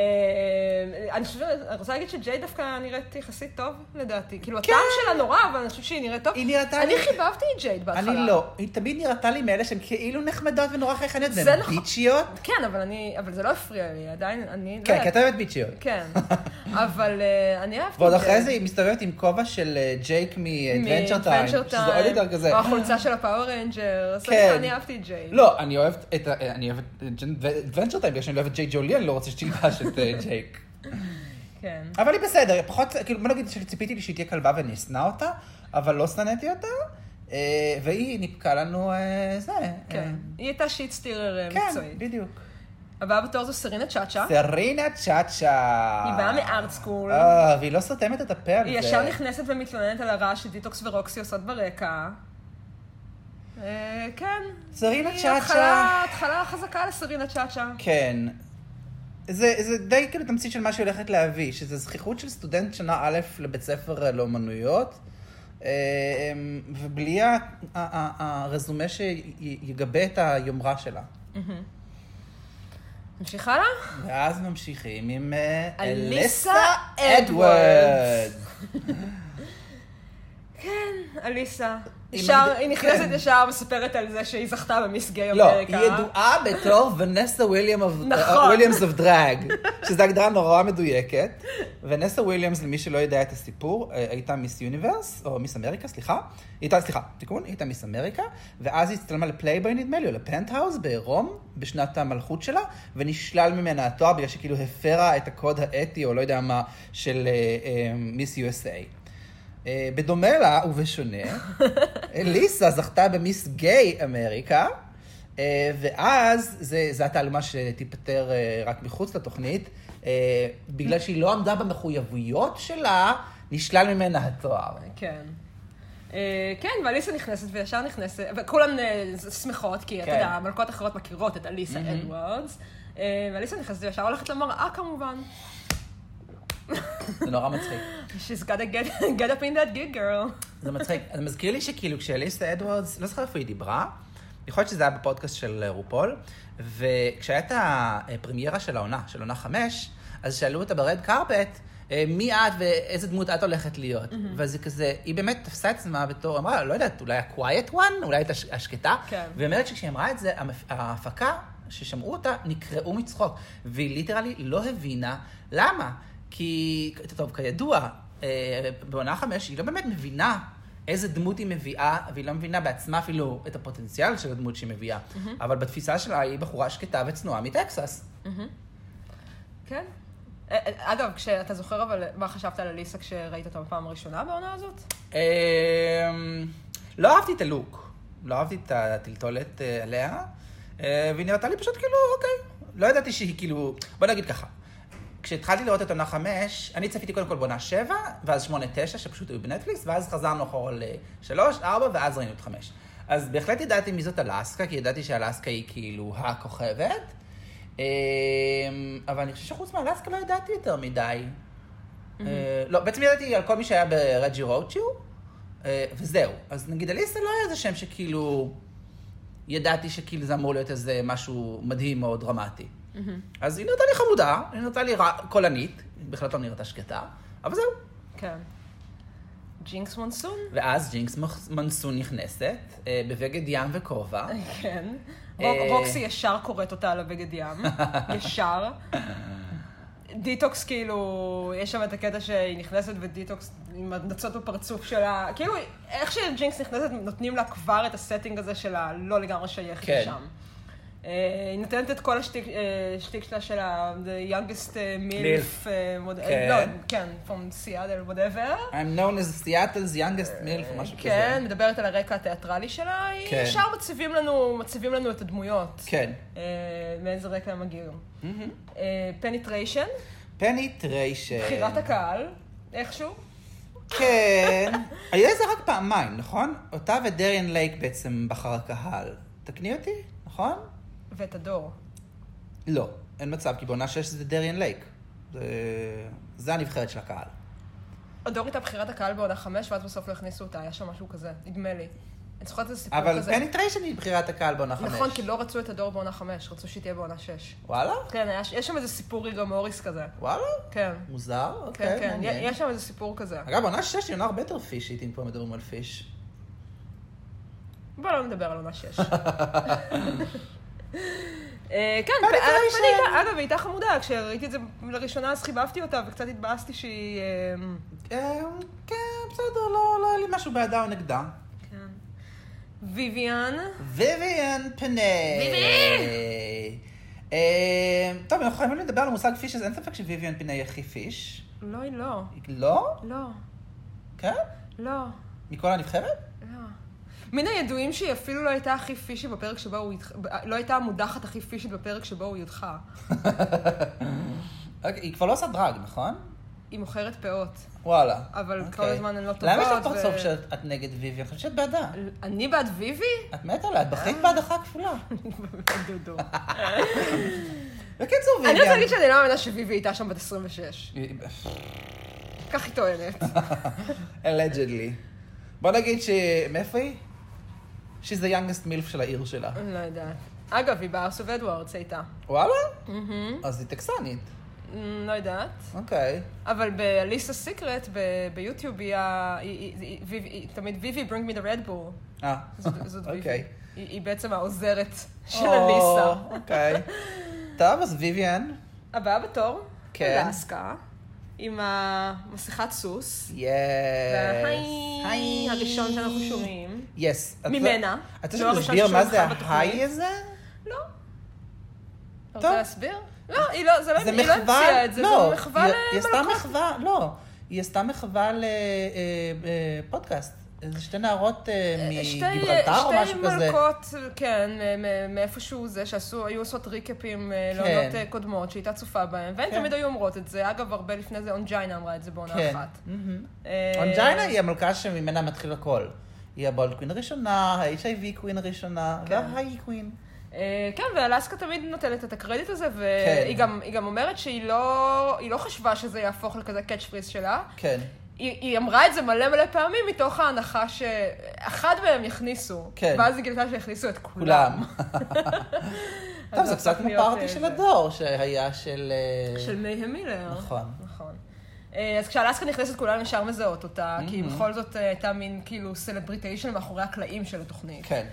Speaker 1: אני חושבת, אני רוצה להגיד שג'יי דווקא נראית יחסית טוב, לדעתי. כאילו, הטעם שלה נורא, אבל אני חושבת שהיא נראית טוב.
Speaker 2: כן. היא נראתה
Speaker 1: אני
Speaker 2: לי-
Speaker 1: חיבבתי את ג'ייד בהתחלה.
Speaker 2: אני לא, היא תמיד נראתה לי מאלה שהן כאילו נחמדות ונורא חייכניות,
Speaker 1: זה
Speaker 2: והן
Speaker 1: נכון.
Speaker 2: ביצ'יות.
Speaker 1: כן, אבל אני, אבל זה לא הפריע לי, עדיין, אני... לא
Speaker 2: כן, כי
Speaker 1: יודעת.
Speaker 2: את אוהבת ביצ'יות.
Speaker 1: כן, אבל אה, אני אהבתי
Speaker 2: ועוד
Speaker 1: את
Speaker 2: אחרי זה היא מסתובבת עם כובע של אה, ג'ייק מ-Adventure Time,
Speaker 1: מ-Adventure
Speaker 2: שזה עוד
Speaker 1: Time, אוקיי.
Speaker 2: יותר כזה.
Speaker 1: או החולצה של הפאוור רנג'רס.
Speaker 2: כן.
Speaker 1: אני אהבתי את ג'ייד.
Speaker 2: לא, אני אוהבת את ה- אני אוהבת Adventure Time, בגלל שאני לא אוהבת ג'יי ג'ולי, אני לא רוצה שתלבש את אה, ג'ייק.
Speaker 1: כן.
Speaker 2: אבל היא בסדר, פחות, כאילו, בוא נגיד שציפיתי לי שהיא תהיה כלבה ואני אשנא אותה, אבל לא שנאתי אותה, אה, והיא ניפקה לנו אה, זה. אה,
Speaker 1: כן. היא הייתה שיטסטירר אה,
Speaker 2: כן,
Speaker 1: מקצועית.
Speaker 2: בדיוק.
Speaker 1: הבאה בתור זו סרינה צ'אצ'ה.
Speaker 2: סרינה צ'אצ'ה.
Speaker 1: היא באה מארט סקול.
Speaker 2: אה, והיא לא סותמת את הפה על זה.
Speaker 1: היא ישר נכנסת ומתלוננת על הרעש שדיטוקס ורוקסי עושות ברקע. אה, כן.
Speaker 2: סרינה
Speaker 1: היא
Speaker 2: צ'אצ'ה.
Speaker 1: התחלה- התחלה חזקה לסרינה צ'אצ'ה.
Speaker 2: כן. זה, זה די כאילו תמצית של מה שהיא הולכת להביא, שזה זכיחות של סטודנט שנה א' לבית ספר אה, לאומנויות, אה, אמ, ובלי ה- ה- ה- הרזומה שיגבה את היומרה שלה.
Speaker 1: נמשיך הלאה?
Speaker 2: ואז ממשיכים עם אה,
Speaker 1: אליסה כן, אליסה.
Speaker 2: היא
Speaker 1: ישר,
Speaker 2: מגד-
Speaker 1: היא נכנסת
Speaker 2: כן.
Speaker 1: ישר, מספרת על זה שהיא זכתה במיס גיי
Speaker 2: לא,
Speaker 1: אמריקה.
Speaker 2: היא ידועה בתור ונסה
Speaker 1: אה,
Speaker 2: אה,
Speaker 1: נכון.
Speaker 2: וויליאמס אוף דרג, שזו הגדרה נורא מדויקת. ונסה וויליאמס, למי שלא יודע את הסיפור, אה, הייתה מיס יוניברס, או מיס אמריקה, סליחה. היא הייתה, סליחה, תיקון, היא הייתה מיס אמריקה, ואז היא הצטלמה לפלייבוי, נדמה לי, או לפנטהאוז בעירום, בשנת המלכות שלה, ונשלל ממנה התואר בגלל שכאילו הפרה את הקוד האתי, או לא יודע מה, של אה, אה, מיס USA. אה, בדומה לה ובשונה, אה, ליסה זכתה במיס גיי אמריקה, אה, ואז זה- זו התעלומה שתיפתר אה, רק מחוץ לתוכנית, אה, בגלל שהיא לא עמדה במחויבויות שלה, נשלל ממנה התואר.
Speaker 1: כן. אה, כן, ואליסה נכנסת וישר נכנסת, וכולן אה, שמחות, כי אתה
Speaker 2: כן.
Speaker 1: יודע, מלכות אחרות מכירות את אליסה אדוורדס. אה, ואליסה נכנסת וישר הולכת למראה כמובן.
Speaker 2: זה נורא מצחיק.
Speaker 1: She's gotta get, get up in that gig girl.
Speaker 2: זה מצחיק. זה מזכיר לי שכאילו כשאליסה אדוורדס, לא זוכר איפה היא דיברה, יכול להיות שזה היה בפודקאסט של אה, רופול, וכשהייתה הפרמיירה של העונה, של עונה חמש, אז שאלו אותה ברד קרפט, אה, מי את ואיזה דמות את הולכת להיות. ואז היא כזה, היא באמת תפסה את עצמה בתור, אמרה, לא יודעת, אולי ה-quiet one, אולי את הש- השקטה.
Speaker 1: כן.
Speaker 2: והיא אומרת שכשהיא אמרה את זה, המפ- ההפקה ששמעו אותה נקרעו מצחוק. והיא ליטרלי לא הבינה למה. כי, טוב, כידוע, אה, בעונה חמש היא לא באמת מבינה איזה דמות היא מביאה, והיא לא מבינה בעצמה אפילו את הפוטנציאל של הדמות שהיא מביאה. אבל בתפיסה שלה היא בחורה שקטה וצנועה מטקסס.
Speaker 1: כן. אה, אה, אגב, כשאתה זוכר אבל מה חשבת על אליסה כשראית אותה בפעם הראשונה בעונה הזאת?
Speaker 2: אמ, לא אהבתי את הלוק, לא אהבתי את הטלטולת אה, עליה, אה, והיא נראתה לי פשוט כאילו, אוקיי. לא ידעתי שהיא כאילו, בוא נגיד ככה. כשהתחלתי לראות את עונה חמש, אני צפיתי קודם כל בעונה שבע, ואז שמונה תשע, שפשוט היו בנטפליקס, ואז חזרנו אחורה לשלוש, ארבע, ואז ראינו את חמש. אז בהחלט ידעתי מי זאת אלסקה, כי ידעתי שאלסקה היא כאילו הכוכבת. אמ, אבל אני חושב שחוץ מאלסקה לא ידעתי יותר מדי. אה, לא, בעצם ידעתי על כל מי שהיה ברג'י רוצ'יו, אה, וזהו. אז נגיד אליסה לא היה איזה שם שכאילו... ידעתי שכאילו זה אמור להיות איזה משהו מדהים או דרמטי. אז היא נראתה לי חמודה, היא נראתה לי רע- קולנית, היא בהחלט לא נראתה שקטה, אבל זהו.
Speaker 1: כן. ג'ינקס מונסון?
Speaker 2: ואז ג'ינקס מח- מנסון נכנסת, אה, בבגד ים וכובע.
Speaker 1: כן.
Speaker 2: אה.
Speaker 1: רוק- רוקסי ישר קוראת אותה על הבגד ים. ישר. דיטוקס כאילו, יש שם את הקטע שהיא נכנסת ודיטוקס עם הנצות בפרצוף שלה, כאילו איך שג'ינקס נכנסת נותנים לה כבר את הסטינג הזה של הלא לגמרי שייך
Speaker 2: כן.
Speaker 1: כן. לשם. אה, היא נותנת את כל השטיק אה, שטיק שלה של ה-The youngest אה,
Speaker 2: Milf.
Speaker 1: מילף,
Speaker 2: כן.
Speaker 1: לא, כן, from Seattle, whatever.
Speaker 2: I'm known as Seattle's youngest milf, או משהו כזה.
Speaker 1: כן, מדברת על הרקע התיאטרלי שלה, היא
Speaker 2: כן.
Speaker 1: ישר מציבים לנו, מציבים לנו את הדמויות.
Speaker 2: כן.
Speaker 1: אה, מאיזה רקע הם מגיעים. פניטריישן,
Speaker 2: אה. פניטריישן.
Speaker 1: בחירת הקהל, איכשהו.
Speaker 2: כן. היה זה רק פעמיים, נכון? אותה ודריאן לייק בעצם בחר הקהל. תקני אותי, נכון?
Speaker 1: ואת הדור.
Speaker 2: לא, אין מצב, כי בעונה 6 זה דריאן לייק. זה, זה הנבחרת של הקהל.
Speaker 1: הדור הייתה בחירת הקהל בעונה חמש, ואז בסוף לא הכניסו אותה, היה שם משהו כזה, נדמה לי. אני זוכרת איזה סיפור
Speaker 2: אבל
Speaker 1: כזה.
Speaker 2: פניטריישן היא בחירת הקהל בעונה 5.
Speaker 1: נכון, כי לא רצו את הדור בעונה חמש, רצו שהיא תהיה בעונה שש.
Speaker 2: וואלה?
Speaker 1: כן, היה ש- יש שם איזה סיפור ריגה מוריס כזה.
Speaker 2: וואלה?
Speaker 1: כן,
Speaker 2: מוזר?
Speaker 1: כן,
Speaker 2: אוקיי,
Speaker 1: כן,
Speaker 2: מעניין.
Speaker 1: יש שם איזה סיפור כזה.
Speaker 2: אגב, עונה 6 היא עונה הרבה יותר פישית, אם פה מדברים על פיש.
Speaker 1: בוא לא נדבר על עונה שש. אה, כן,
Speaker 2: פנית
Speaker 1: אה,
Speaker 2: ראשון.
Speaker 1: פנית, אגב, היא הייתה חמודה, כשראיתי את זה לראשונה אז חיבבתי אותה וקצת התבאסתי שהיא... אה,
Speaker 2: אה, כן, בסדר, לא לא היה לי משהו בעדה או נגדה.
Speaker 1: כן. ויויאן,
Speaker 2: ויויאן פני. אה, טוב, אנחנו חייבים לדבר על המושג פיש, אז אין ספק שוויויאן פני היא הכי פיש.
Speaker 1: לא, היא לא.
Speaker 2: לא?
Speaker 1: לא,
Speaker 2: כן?
Speaker 1: לא,
Speaker 2: מכל הנבחרת?
Speaker 1: לא. מן הידועים שהיא אפילו לא הייתה הכי פישית בפרק שבו הוא איתך... לא הייתה המודחת הכי פישית בפרק שבו הוא יודחה.
Speaker 2: אוקיי, היא כבר לא עושה דרג, נכון?
Speaker 1: היא מוכרת פאות.
Speaker 2: וואלה.
Speaker 1: אבל
Speaker 2: אוקיי.
Speaker 1: כל הזמן הן לא
Speaker 2: למה יש לך
Speaker 1: טובות,
Speaker 2: פרצוף
Speaker 1: ו- אה.
Speaker 2: שאת נגד ויויאן? אני חושבת שאת בעדה.
Speaker 1: אני בעד ויבי?
Speaker 2: את מתה עליה, את בחית בהדחה כפולה.
Speaker 1: דודו.
Speaker 2: בקיצור,
Speaker 1: אני רוצה
Speaker 2: ויויאן...
Speaker 1: להגיד שאני לא מאמינה שוויבי הייתה שם בת 26. כך היא טוענת.
Speaker 2: אלג'דלי. בוא נגיד ש... מאיפה היא? She's the youngest milf של העיר שלה.
Speaker 1: אני לא יודעת. אגב, היא בארס אוף אדוארדס הייתה.
Speaker 2: וואלה? אז היא טקסנית.
Speaker 1: אמ, לא יודעת.
Speaker 2: אוקיי.
Speaker 1: אבל בליסה סיקרט ביוטיוב היא ה- היא- היא- היא- ויבי- היא- תמיד ויבי brings me the red bull.
Speaker 2: אה,
Speaker 1: זאת זאת ויבי.
Speaker 2: אוקיי.
Speaker 1: היא היא בעצם העוזרת של
Speaker 2: או,
Speaker 1: ליסה.
Speaker 2: אוקיי. טוב, אז ויויאן.
Speaker 1: הבאה בתור,
Speaker 2: כן.
Speaker 1: אלסקה, עם המסכת סוס. וההיי
Speaker 2: יאי.
Speaker 1: הראשון שאנחנו שומעים.
Speaker 2: יס.
Speaker 1: ממנה.
Speaker 2: את
Speaker 1: לא
Speaker 2: רוצה
Speaker 1: הראשון
Speaker 2: שתסביר מה זה
Speaker 1: שהולכה בתוכנית.
Speaker 2: ההיי הזה?
Speaker 1: לא. אתה
Speaker 2: טוב.
Speaker 1: רוצה להסביר? לא, היא לא, זה לא,
Speaker 2: זה
Speaker 1: היא לא המציאה
Speaker 2: מחווה,
Speaker 1: את זה,
Speaker 2: לא,
Speaker 1: זו מחווה
Speaker 2: היא-
Speaker 1: ל...
Speaker 2: היא עשתה מחווה, לא, היא עשתה מחווה לפודקאסט. איזה שתי נערות אה,
Speaker 1: שתי-
Speaker 2: מגיברלטר או משהו
Speaker 1: שתי
Speaker 2: כזה.
Speaker 1: מלכות, כן, מ- מ- מאיפשהו זה, שעשו, היו עושות ריקאפים אה,
Speaker 2: כן.
Speaker 1: לעונות אה, קודמות, שהייתה צופה בהם, והן
Speaker 2: כן.
Speaker 1: תמיד היו אומרות את זה. אגב, הרבה לפני זה אונג'יינה אמרה את זה בעונה
Speaker 2: כן.
Speaker 1: אחת.
Speaker 2: מהמם.
Speaker 1: אה,
Speaker 2: אונג'יינה היא המלכה שממנה מתחיל הכל. היא הבולד קווין הראשונה, ה-HIV קווין הראשונה,
Speaker 1: כן.
Speaker 2: וההיי קווין.
Speaker 1: אה, כן, ואלסקה תמיד נותנת את הקרדיט הזה,
Speaker 2: כן.
Speaker 1: והיא גם- היא גם אומרת שהיא לא היא לא חשבה שזה יהפוך לכזה קאץ' פריז שלה.
Speaker 2: כן,
Speaker 1: היא, היא אמרה את זה מלא מלא פעמים מתוך ההנחה שאחד מהם יכניסו.
Speaker 2: כן.
Speaker 1: ואז היא גילתה שהכניסו את כולם.
Speaker 2: כולם.
Speaker 1: אז
Speaker 2: טוב, זה
Speaker 1: הפך
Speaker 2: קצת כמו
Speaker 1: להיות, אה,
Speaker 2: פארטי של
Speaker 1: זה.
Speaker 2: הדור שהיה של... אה,
Speaker 1: של מייהם מילר.
Speaker 2: נכון.
Speaker 1: נכון. אה, אז כשאלסקה נכנסת כולן ישר מזהות אותה, כי היא
Speaker 2: Mhm.
Speaker 1: בכל זאת אה, הייתה מין כאילו סלבריטיישן מאחורי הקלעים של התוכנית.
Speaker 2: כן.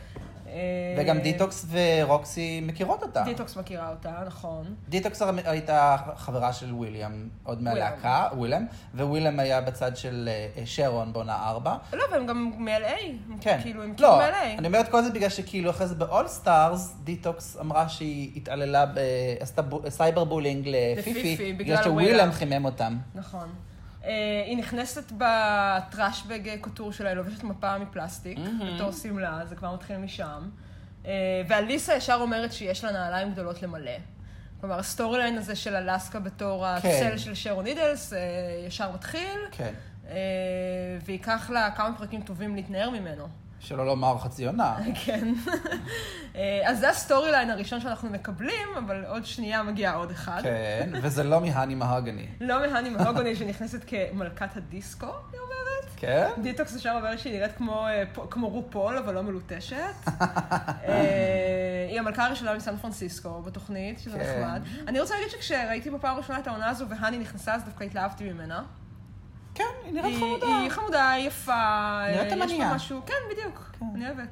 Speaker 1: אה, אה,
Speaker 2: וגם דיטוקס ורוקסי מכירות אותה.
Speaker 1: דיטוקס מכירה אותה, נכון.
Speaker 2: דיטוקס הר- הייתה חברה של וויליאם, עוד מהלהקה, וויליאם, וויליאם היה בצד של אה, שרון בעונה 4.
Speaker 1: לא, והם גם מ-LA.
Speaker 2: כן.
Speaker 1: כאילו, הם כאילו
Speaker 2: לא,
Speaker 1: מ-LA.
Speaker 2: אני אומרת כל זה בגלל שכאילו אחרי זה באול סטארס, דיטוקס אמרה שהיא התעללה, ב... עשתה בו- סייבר בולינג
Speaker 1: לפיפי,
Speaker 2: לפיפי,
Speaker 1: בגלל
Speaker 2: בגלל
Speaker 1: וויליאם.
Speaker 2: שוויליאם חימם אותם.
Speaker 1: נכון. אה, היא נכנסת בטראשבג אה, קוטור שלה, היא לובשת מפה מפלסטיק, בתור שמלה, זה כבר מתחיל משם. אה, ואליסה ישר אומרת שיש לה נעליים גדולות למלא. כלומר, הסטורי ליין הזה של אלסקה בתור הצל של שרון נידלס אה, ישר מתחיל,
Speaker 2: כן.
Speaker 1: אה, וייקח לה כמה פרקים טובים להתנער ממנו.
Speaker 2: שלא לומר חצי עונה.
Speaker 1: כן. אה, אז זה הסטורי ליין הראשון שאנחנו מקבלים, אבל עוד שנייה מגיע עוד אחד.
Speaker 2: כן, וזה לא מהני מהגני.
Speaker 1: לא מהני מהוגוני שנכנסת כמלכת הדיסקו, היא אומרת.
Speaker 2: כן?
Speaker 1: דיטוקס ישר אומר שהיא נראית כמו, אה, פ- כמו רופול, אבל לא מלוטשת. אה, היא המלכה הראשונה מסן פרנסיסקו בתוכנית, שזה
Speaker 2: כן.
Speaker 1: נחמד. אני רוצה להגיד שכשראיתי בפעם הראשונה את העונה הזו והני נכנסה, אז דווקא התלהבתי ממנה.
Speaker 2: כן, היא נראית
Speaker 1: היא-
Speaker 2: חמודה.
Speaker 1: היא חמודה, היא יפה.
Speaker 2: נראית
Speaker 1: אה, יש
Speaker 2: אמניה.
Speaker 1: בה משהו, כן, בדיוק. אני אוהבת.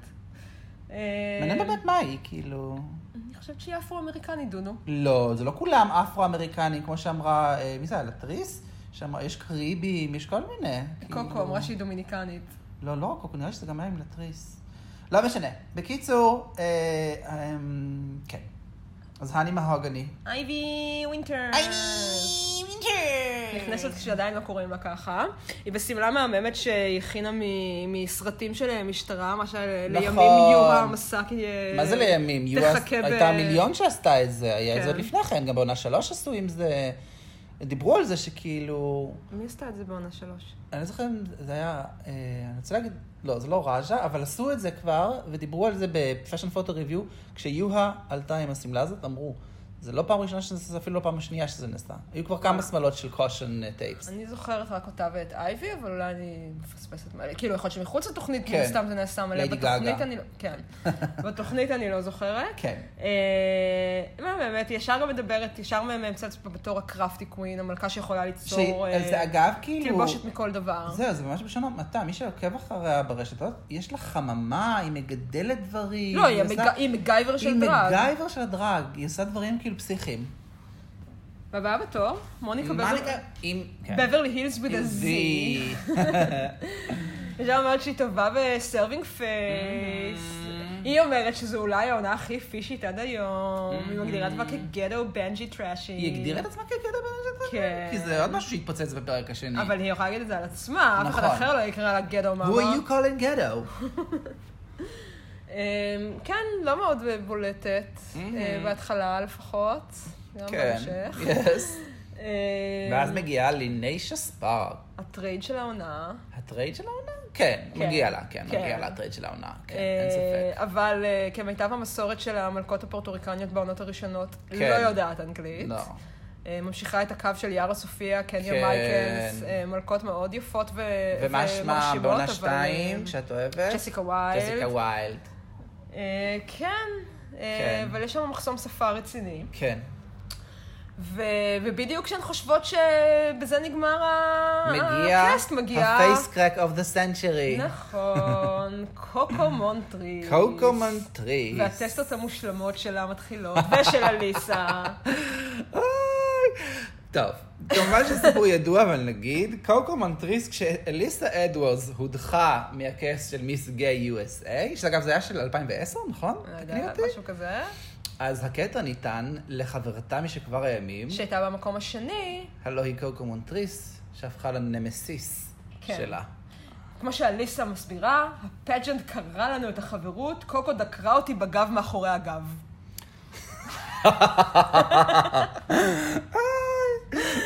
Speaker 1: אה,
Speaker 2: מעניין באמת מה היא, כאילו...
Speaker 1: אני חושבת שהיא אפרו-אמריקנית, דודו.
Speaker 2: לא, זה לא כולם אפרו-אמריקנים, כמו שאמרה, אה, מי זה היה? לטריס? שאמרה, יש קריבים, יש כל מיני.
Speaker 1: קוקו
Speaker 2: כאילו.
Speaker 1: אמרה שהיא דומיניקנית.
Speaker 2: לא, לא רק קוקו, נראה שזה גם היה עם לטריס. לא משנה. בקיצור, אה, אה, כן. אז האני מהוגני.
Speaker 1: אייבי ווינטר. אה.
Speaker 2: כן.
Speaker 1: נכנסת כשעדיין לא קוראים לה ככה. היא בשמלה מהממת שהיא הכינה מ- מסרטים של אה, משטרה, מה שלימים
Speaker 2: נכון.
Speaker 1: יורה המסק...
Speaker 2: מה זה לימים? יו
Speaker 1: אה, תחכה ב-
Speaker 2: הייתה מיליון שעשתה את זה, היה את זה עוד
Speaker 1: כן.
Speaker 2: לפני כן, גם בעונה שלוש עשו עם זה. דיברו על זה שכאילו,
Speaker 1: מי עשתה את זה בעונה שלוש?
Speaker 2: אני לא זוכר אם זה היה, אה, אני רוצה להגיד, לא, זה לא רג'ה, אבל עשו את זה כבר, ודיברו על זה בפאשן פוטו ריוויו, כשיוהה עלתה עם השמלה הזאת, אמרו, זה לא פעם ראשונה שזה נעשה, אפילו לא פעם השנייה שזה נעשה. היו כבר כמה שמלות של קושן אה, טייפס.
Speaker 1: אני זוכרת רק אותה ואת אייבי, אבל אולי אני מפספסת מלא. כאילו, יכול להיות שמחוץ לתוכנית,
Speaker 2: כן.
Speaker 1: מן סתם זה נעשה מלא.
Speaker 2: ליידי
Speaker 1: בתוכנית
Speaker 2: גאגה.
Speaker 1: אני לא- כן. בתוכנית אני לא זוכרת.
Speaker 2: כן.
Speaker 1: אה, מה באמת, היא ישר גם מדברת, ישר מאמצת בתור הקראפטי קווין, המלכה שיכולה ליצור
Speaker 2: ש- אז זה
Speaker 1: אה,
Speaker 2: אגב, כאילו...
Speaker 1: תלבושת מכל דבר.
Speaker 2: זהו, זה ממש בלשון המעטה. מי שעוקב אחריה ברשתות, יש לה חממה, היא מגדלת דברים.
Speaker 1: לא, היא
Speaker 2: עושה-
Speaker 1: המג- היא מגייבר של דרג.
Speaker 2: היא מגייבר של הדרג, היא עושה דברים כאילו פסיכיים.
Speaker 1: והבאה בתור, מוניקה
Speaker 2: מה
Speaker 1: בבר-
Speaker 2: נקרא- אם... כן.
Speaker 1: בברלי הילס with
Speaker 2: עם
Speaker 1: a Z.
Speaker 2: Z.
Speaker 1: היא אומרת שהיא טובה בסרווינג פייס.
Speaker 2: Mm-hmm.
Speaker 1: היא אומרת שזו אולי העונה הכי פישית עד היום. היא מגדירה את עצמה כגטו בנג'י טראשי.
Speaker 2: Mm-hmm. היא הגדירה את עצמה כגדע בן אדם.
Speaker 1: כן.
Speaker 2: כי זה עוד משהו שהתפוצץ בפרק השני.
Speaker 1: אבל היא יכולה להגיד את זה על עצמה, אף אחד
Speaker 2: נכון.
Speaker 1: אחר לא יקרא לה גטו
Speaker 2: Who
Speaker 1: מאמה.
Speaker 2: are you calling ghetto?
Speaker 1: אמ, כן, לא מאוד בולטת, אה,
Speaker 2: Mm-hmm.
Speaker 1: בהתחלה לפחות. גם בהמשך.
Speaker 2: כן. Yes.
Speaker 1: אמ,
Speaker 2: ואז מגיעה ליניישה ספארק.
Speaker 1: הטרייד של העונה.
Speaker 2: הטרייד של העונה? כן,
Speaker 1: כן.
Speaker 2: מגיע לה, כן,
Speaker 1: כן.
Speaker 2: מגיע לה הטרייד של העונה, כן,
Speaker 1: אה,
Speaker 2: אין ספק.
Speaker 1: אבל אה, כמיטב המסורת של המלכות הפורטוריקניות בעונות הראשונות,
Speaker 2: כן.
Speaker 1: לא יודעת אנגלית.
Speaker 2: לא.
Speaker 1: אה, ממשיכה את הקו של יארה סופיה, קניה
Speaker 2: כן.
Speaker 1: מייקלס, אה, מלכות מאוד יפות ו-
Speaker 2: ומה שמה
Speaker 1: ומרשימות,
Speaker 2: בעונה
Speaker 1: אבל, אה,
Speaker 2: שתיים, שאת אוהבת?
Speaker 1: ג'סיקה ויילד.
Speaker 2: ג'סיקה ויילד.
Speaker 1: אה, כן, אה,
Speaker 2: כן.
Speaker 1: אבל יש שם מחסום שפה רציני.
Speaker 2: כן.
Speaker 1: ו- ובדיוק כשהן חושבות שבזה נגמר ה-
Speaker 2: מגיע,
Speaker 1: הקאסט, מגיע...
Speaker 2: הפייס קרק אוף דה סנצ'רי.
Speaker 1: נכון, קוקו מונטריס.
Speaker 2: קוקו מנטריס.
Speaker 1: והטסטות המושלמות שלה מתחילות, ושל אליסה.
Speaker 2: אוי. טוב, כמובן שהסיפור ידוע, אבל נגיד, קוקו מנטריס, כשאליסה אדוורס הודחה מהכס של מיס גיי USA, שאגב זה היה של 2010, נכון?
Speaker 1: לא
Speaker 2: תקני
Speaker 1: יודעת,
Speaker 2: אותי. Mm.
Speaker 1: משהו כזה.
Speaker 2: אז הקטע ניתן לחברתה משכבר הימים,
Speaker 1: שהייתה במקום השני,
Speaker 2: הלוא היא קוקו מונטריס, שהפכה לנמסיס
Speaker 1: כן.
Speaker 2: שלה.
Speaker 1: כמו שאליסה מסבירה, הפג'נט קרא לנו את החברות, קוקו דקרה אותי בגב מאחורי הגב.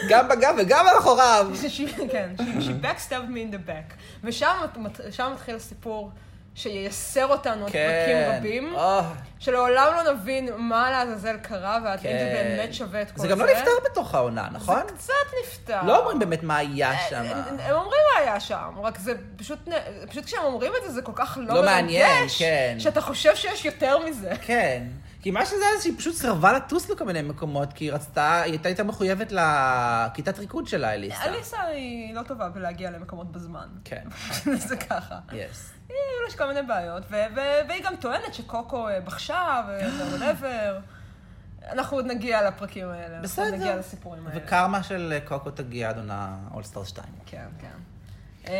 Speaker 2: גם בגב וגם מאחוריו.
Speaker 1: She- כן, she- she backstabbed me in the back. ושם מת- שם מתחיל הסיפור שייסר אותנו עוד פרקים
Speaker 2: כן.
Speaker 1: רבים,
Speaker 2: אה,
Speaker 1: שלעולם לא נבין מה לעזאזל קרה ועד
Speaker 2: כן.
Speaker 1: אם זה באמת שווה את כל זה.
Speaker 2: זה גם לא נפתר בתוך העונה, נכון?
Speaker 1: זה קצת אה, נפתר.
Speaker 2: לא אומרים באמת מה היה שם.
Speaker 1: הם אומרים מה היה שם, רק זה פשוט, נ- פשוט כשהם אומרים את זה, זה כל כך לא,
Speaker 2: לא מעניין,
Speaker 1: מרגש,
Speaker 2: כן.
Speaker 1: שאתה חושב שיש יותר מזה.
Speaker 2: כן. כי מה שזה היה, זה שהיא פשוט סירבה לטוס לכל מיני מקומות, כי היא רצתה, היא הייתה הייתה מחויבת לכיתת ריקוד שלה, אליסה.
Speaker 1: אליסה היא לא טובה בלהגיע למקומות בזמן.
Speaker 2: כן.
Speaker 1: זה ככה.
Speaker 2: יס.
Speaker 1: היא כאילו יש כל מיני בעיות, ו- ו- והיא גם טוענת שקוקו אה, בחשה ווואטאבר. אנחנו עוד נגיע לפרקים האלה. אנחנו עוד נגיע
Speaker 2: בסדר.
Speaker 1: לסיפורים האלה.
Speaker 2: וקרמה של קוקו תגיע עד עונה אולסטאר 2.
Speaker 1: כן, כן. אה,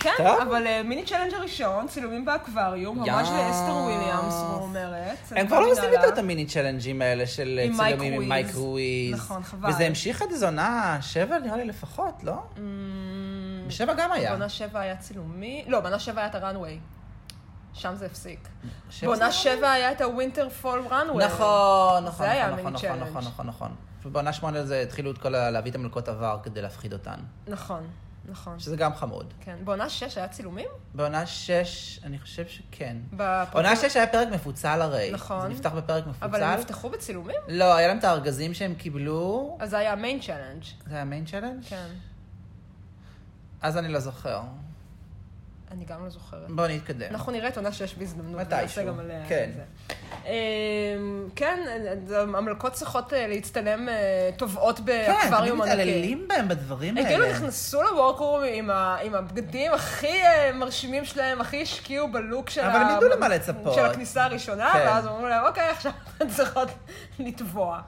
Speaker 1: כן,
Speaker 2: טוב.
Speaker 1: אבל אה, מיני צ'לנג' הראשון, צילומים באקווריום, ממש
Speaker 2: יאס.
Speaker 1: לאסתר וויליאמס, הוא אומרת.
Speaker 2: הם כבר לא עושים יותר את המיני צ'לנג'ים האלה של
Speaker 1: עם מייק
Speaker 2: צילומים עם
Speaker 1: וויז.
Speaker 2: מייק וויז.
Speaker 1: נכון, חבל.
Speaker 2: וזה המשיך עד איזו עונה שבע נראה לי לפחות, לא?
Speaker 1: המ-
Speaker 2: בשבע גם היה.
Speaker 1: Mm. בעונה Mm, שבע היה צילומי, לא, בעונה שבע היה את הראנוויי. שם זה הפסיק.
Speaker 2: שבע
Speaker 1: בעונה
Speaker 2: זה-
Speaker 1: שבע היה את הווינטרפול ראנוויי.
Speaker 2: נכון, נכון,
Speaker 1: היה
Speaker 2: נכון,
Speaker 1: המיני
Speaker 2: נכון,
Speaker 1: צ'לנג'.
Speaker 2: נכון, נכון, נכון. ובעונה שמונה זה התחילו את כל ה... להביא את המלכות עבר כדי להפחיד אותן.
Speaker 1: נכון, נכון.
Speaker 2: שזה גם חמוד.
Speaker 1: כן, בעונה שש היה צילומים?
Speaker 2: בעונה שש, אני חושב שכן.
Speaker 1: בפרקים-
Speaker 2: עונה שש היה פרק מפוצל הרי.
Speaker 1: אוקיי. נכון.
Speaker 2: זה נפתח בפרק מפוצל.
Speaker 1: אבל הם נפתחו בצילומים?
Speaker 2: לא, היה להם את הארגזים שהם קיבלו.
Speaker 1: אז זה היה המיין צ'אלנג'.
Speaker 2: זה היה מיין צ'לנג'?
Speaker 1: כן.
Speaker 2: אז אני לא זוכר.
Speaker 1: אני גם לא זוכרת.
Speaker 2: בואו נתקדם.
Speaker 1: אנחנו נראה את עונה שש בהזדמנות.
Speaker 2: כן. מתישהו,
Speaker 1: נעשה גם עליה
Speaker 2: כן.
Speaker 1: את זה. אמ, כן, המלכות צריכות אה, להצטלם אה, טובעות
Speaker 2: כן,
Speaker 1: באקווריום
Speaker 2: תמיד
Speaker 1: ענקי.
Speaker 2: מתעללים בהם בדברים
Speaker 1: הם
Speaker 2: האלה.
Speaker 1: כאילו נכנסו לוורקרום עם, ה... עם הבגדים הכי אה, מרשימים שלהם, הכי השקיעו בלוק של,
Speaker 2: אבל הם ידעו למה לצפות.
Speaker 1: של הכניסה הראשונה,
Speaker 2: כן.
Speaker 1: ואז אמרו להם, אוקיי, עכשיו אתן צריכות לטבוע.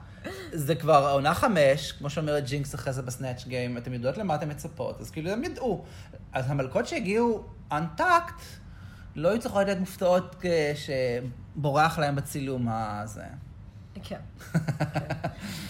Speaker 2: זה כבר עונה חמש, כמו שאומרת ג'ינקס אחרי זה בסנאצ' גיים, אתם יודעות למה אתם מצפות, אז כאילו הם ידעו. אז המלכות שהגיעו אנטקט, לא היו צריכות להיות מופתעות כ- שבורח להם בצילום הזה.
Speaker 1: כן.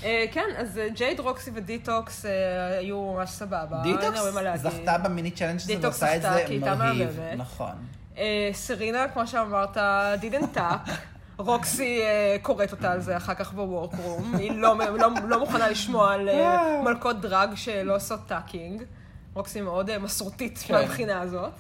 Speaker 1: אה, כן, אז אה, ג'ייד, רוקסי ודיטוקס אה, היו ממש סבבה. אין
Speaker 2: דיטוקס
Speaker 1: הרבה מה להגיד.
Speaker 2: זכתה במיני צ'אלנג' הזה
Speaker 1: דיטוקס
Speaker 2: ועושה את
Speaker 1: זכתה,
Speaker 2: זה
Speaker 1: כי היא הייתה
Speaker 2: מרהיב.
Speaker 1: מהממת.
Speaker 2: נכון.
Speaker 1: אה, סרינה, כמו שאמרת, didn't tap. רוקסי אה, קוראת אותה על זה אחר כך בוורקרום. היא לא, לא, לא מוכנה לשמוע על אה, מלכות דרג שלא עושות טאקינג. רוקסי מאוד אה, מסורתית
Speaker 2: כן.
Speaker 1: מהבחינה הזאת.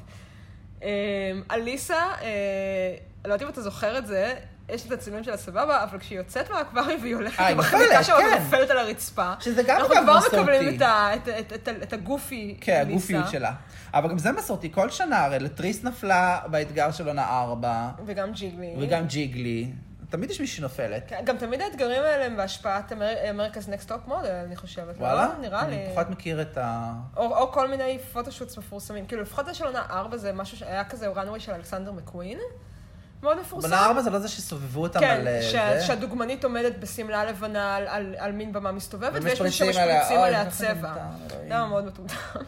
Speaker 1: אה, אליסה, אה, לא יודעת אם אתה זוכר את זה, יש את הצילומים שלה סבבה, אבל כשהיא יוצאת מהאקווריום והיא הולכת
Speaker 2: אה,
Speaker 1: עם
Speaker 2: היא
Speaker 1: החלקה
Speaker 2: נופלת,
Speaker 1: שלה
Speaker 2: כן.
Speaker 1: ונופלת על הרצפה.
Speaker 2: שזה גם
Speaker 1: אנחנו
Speaker 2: אגב
Speaker 1: כבר
Speaker 2: מסורתי.
Speaker 1: מקבלים את, ה, את, את, את, את הגופי
Speaker 2: כן,
Speaker 1: אליסה.
Speaker 2: הגופיות שלה. אבל גם זה מסורתי, כל שנה הרי לטריס נפלה באתגר של עונה ארבע,
Speaker 1: וגם ג'יגלי.
Speaker 2: וגם ג'יגלי. תמיד יש מישהי שנופלת.
Speaker 1: כן, גם תמיד האתגרים האלה הם בהשפעת אמר- אמריקה's Next Top Model, אני חושבת.
Speaker 2: וואלה?
Speaker 1: לא? נראה לי.
Speaker 2: אני פחות מכיר את ה...
Speaker 1: או, או כל מיני פוטושוטס מפורסמים. כאילו, לפחות זה של עונה 4 זה משהו שהיה כזה ראנווי של אלכסנדר מקווין. מאוד מפורסם.
Speaker 2: בנה ארבע זה לא זה שסובבו אותם על
Speaker 1: כן,
Speaker 2: אה,
Speaker 1: ש...
Speaker 2: זה?
Speaker 1: שהדוגמנית עומדת בשמלה לבנה על, על, על מין במה מסתובבת, ויש מי
Speaker 2: ומשפריצים עליה,
Speaker 1: שמשפריצים
Speaker 2: אוי,
Speaker 1: עליה
Speaker 2: ככה
Speaker 1: צבע. לא,
Speaker 2: מטומטם, אלוהים.
Speaker 1: למה מאוד מטומטם.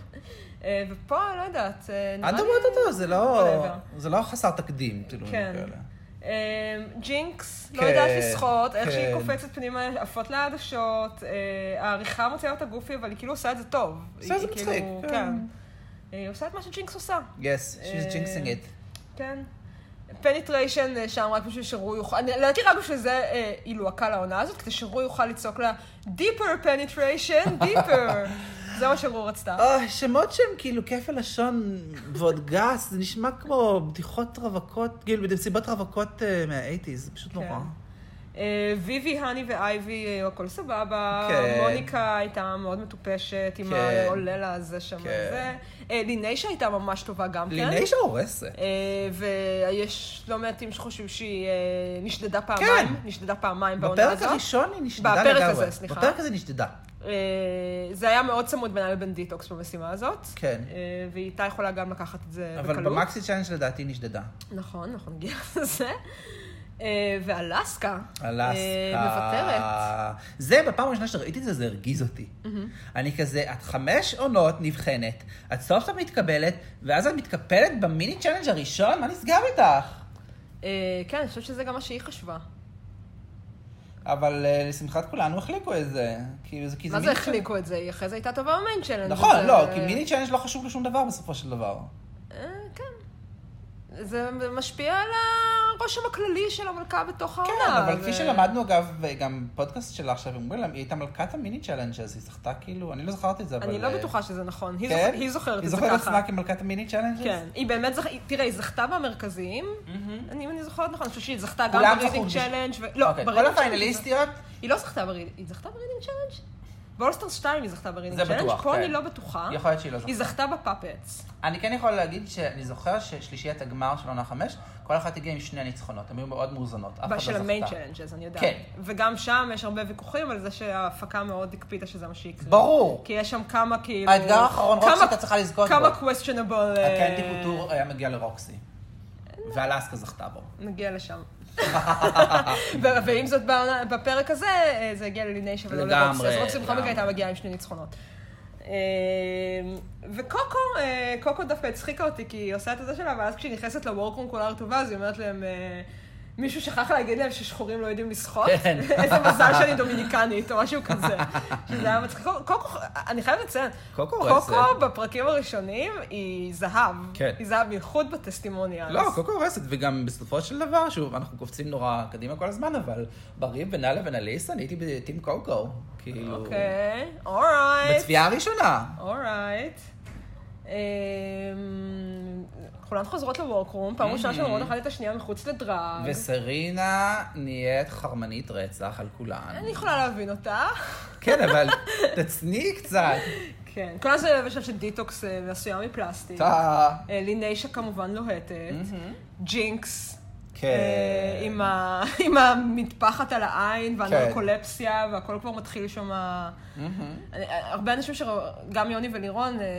Speaker 1: אה, ופה, לא יודעת, אה, נראה
Speaker 2: אל
Speaker 1: לי...
Speaker 2: תמות אותו, זה לא...
Speaker 1: whatever.
Speaker 2: זה לא חסר תקדים, כאילו.
Speaker 1: כן.
Speaker 2: כאלה.
Speaker 1: אה, ג'ינקס, לא
Speaker 2: כן,
Speaker 1: יודעת לשחות, איך שהיא
Speaker 2: כן.
Speaker 1: קופצת פנימה, עפות לה עדשות, אה, העריכה מוציאה אותה גופי, אבל היא כאילו עושה את זה טוב.
Speaker 2: עושה את זה
Speaker 1: היא כאילו-
Speaker 2: מצחיק, כן.
Speaker 1: אה, היא עושה את מה שג'ינקס עושה,
Speaker 2: Yes,
Speaker 1: אה,
Speaker 2: she's jinxing it.
Speaker 1: כן. פניטריישן אה, שם רק בשביל שרוי יוכל, אני- לדעתי רק בשביל זה אה, היא לוהקה לעונה הזאת, כדי שרוי יוכל לצעוק לה, דיפר פניטריישן, דיפר. זה מה שרוי רצתה.
Speaker 2: אוי, שמות שהם כאילו כפל לשון ועוד גס, זה נשמע כמו בדיחות רווקות, כאילו בנסיבות רווקות אה, מהאייטיז, זה פשוט נורא.
Speaker 1: אה, ויבי, הני ואייבי, אה, הכל סבבה.
Speaker 2: כן.
Speaker 1: מוניקה הייתה מאוד מטופשת עם
Speaker 2: כן.
Speaker 1: העולה לה הזה שם.
Speaker 2: כן.
Speaker 1: זה. אה, ליניישה הייתה ממש טובה גם כן.
Speaker 2: ליניישה הורסת.
Speaker 1: אה, ויש לא מעטים שחושבים שהיא אה, נשדדה פעמיים.
Speaker 2: כן.
Speaker 1: נשדדה פעמיים בעונה הזאת.
Speaker 2: בפרק הראשון היא נשדדה לגמרי.
Speaker 1: בפרק הזה, סליחה.
Speaker 2: בפרק הזה נשדדה.
Speaker 1: אה, זה היה מאוד צמוד בינה לבין דיטוקס במשימה הזאת.
Speaker 2: כן.
Speaker 1: אה, והיא הייתה יכולה גם לקחת את זה
Speaker 2: אבל
Speaker 1: בקלות.
Speaker 2: במקסי צ'אלנג' לדעתי היא נשדדה.
Speaker 1: נכון, אנחנו נגיע לזה. אה, ואלסקה. אה,
Speaker 2: אלסקה.
Speaker 1: מוותרת.
Speaker 2: זה, בפעם הראשונה שראיתי את זה, זה הרגיז אותי. אני כזה, את חמש עונות נבחנת, את סוף סוף מתקבלת, ואז את מתקפלת במיני צ'אלנג' הראשון? מה נסגר איתך?
Speaker 1: אה, כן, אני חושבת שזה גם מה שהיא חשבה.
Speaker 2: אבל אה, לשמחת כולנו החליקו את זה. כאילו, זה כי
Speaker 1: מה זה
Speaker 2: מיני
Speaker 1: החליקו את זה? היא אחרי זה הייתה טובה במיין צ'לנג'.
Speaker 2: צ'אלנג'. נכון,
Speaker 1: זה-
Speaker 2: לא, כי מיני צ'אלנג' לא חשוב לשום דבר בסופו של דבר.
Speaker 1: אה, כן. זה משפיע על הרושם הכללי של המלכה בתוך העונה.
Speaker 2: כן, אבל כפי
Speaker 1: ו-
Speaker 2: שלמדנו, אגב, גם פודקאסט שלה עכשיו, הם אומרים להם, היא הייתה מלכת המיני צ'אלנג' אז היא זכתה כאילו, אני לא זכרתי את זה, אבל...
Speaker 1: אני לא
Speaker 2: אה,
Speaker 1: בטוחה שזה נכון. היא
Speaker 2: כן?
Speaker 1: זוכ- היא זוכרת את זה
Speaker 2: היא זוכרת
Speaker 1: ככה.
Speaker 2: עצמה כמלכת המיני צ'אלנג'?
Speaker 1: כן, היא באמת זכתה, תראה, היא זכתה במרכזיים, אני אם אני זוכרת נכון, אני חושבת שהיא זכתה גם
Speaker 2: כולם
Speaker 1: ברידינג
Speaker 2: זכו.
Speaker 1: צ'לנג' ו... לא,
Speaker 2: אוקיי, כל
Speaker 1: ברידינג צ'לנג'
Speaker 2: הפיינליסטיות,
Speaker 1: היא לא זכתה ברידינג, היא זכתה ברידינג צ'לנג'? באולסטר 2 היא זכתה ברידינג
Speaker 2: זה
Speaker 1: צ'לנג',
Speaker 2: בטוח,
Speaker 1: פה
Speaker 2: כן.
Speaker 1: אני לא בטוחה.
Speaker 2: יכול להיות שהיא לא
Speaker 1: היא
Speaker 2: זכתה.
Speaker 1: זכתה בפאפץ.
Speaker 2: אני כן יכול להגיד שאני זוכר ששלישיית הגמר של עונה חמש, כל אחת הגיעה עם שני ניצחונות, הן היו מאוד מאוזנות. אף אחת לא
Speaker 1: של
Speaker 2: זכתה.
Speaker 1: המיין צ'לנג'ז, אני יודעת.
Speaker 2: כן.
Speaker 1: וגם שם יש הרבה ויכוחים על זה שההפקה מאוד הקפידה שזה מה שיקרה.
Speaker 2: ברור.
Speaker 1: כי יש שם כמה כאילו...
Speaker 2: האתגר האחרון, רוקסי,
Speaker 1: כמה-
Speaker 2: אתה צריכה לזכות
Speaker 1: כמה
Speaker 2: בו.
Speaker 1: questionable... אה,
Speaker 2: הקנטי קוטור היה מגיע לרוקסי. ואלסקה זכתה בו.
Speaker 1: נגיע לשם. ו- ואם זאת בעונה- בפרק הזה, אה, זה הגיע לליניישה ולא
Speaker 2: לגמרי,
Speaker 1: לרוקסי, אז רוקסי בכל מקרה
Speaker 2: לגמרי.
Speaker 1: הייתה מגיעה עם שני ניצחונות. אה, וקוקו, אה, קוקו דווקא הצחיקה אותי, כי היא עושה את הזה שלה, ואז כשהיא נכנסת לוורקרום כולה רטובה, אז היא אומרת להם, אה, מישהו שכח להגיד להם ששחורים לא יודעים לשחות?
Speaker 2: כן.
Speaker 1: איזה מזל שאני דומיניקנית, או משהו כזה. שזה היה מצחיק. קוקו- קוקו, אני חייבת לציין,
Speaker 2: קוקו הורסת.
Speaker 1: קוקו בפרקים הראשונים היא זהב.
Speaker 2: כן.
Speaker 1: היא זהב, בייחוד בטסטימוניאלס.
Speaker 2: לא, קוקו הורסת, וגם בסופו של דבר, שוב, אנחנו קופצים נורא קדימה כל הזמן, אבל בריב בינה לבין אליסה, אני הייתי בטים קוקו. כאילו...
Speaker 1: אוקיי, אורייט.
Speaker 2: בצפייה הראשונה.
Speaker 1: אורייט. אמ, כולן חוזרות לוורקרום, פעם ראשונה שהן רואות אחת את השנייה מחוץ לדרג.
Speaker 2: וסרינה נהיית חרמנית רצח על כולן.
Speaker 1: אני יכולה להבין אותה.
Speaker 2: כן, אבל תצניעי קצת.
Speaker 1: כן. כולן זה בשלב של דיטוקס אה, ועשויה מפלסטיק.
Speaker 2: טה.
Speaker 1: אה, ליניישה כמובן לוהטת. ג'ינקס.
Speaker 2: כן.
Speaker 1: אה, עם ה- עם המטפחת על העין, והנרקולפסיה, והכל כבר מתחיל שם... אני- אה, הרבה אנשים ש... גם יוני ולירון אה, אה,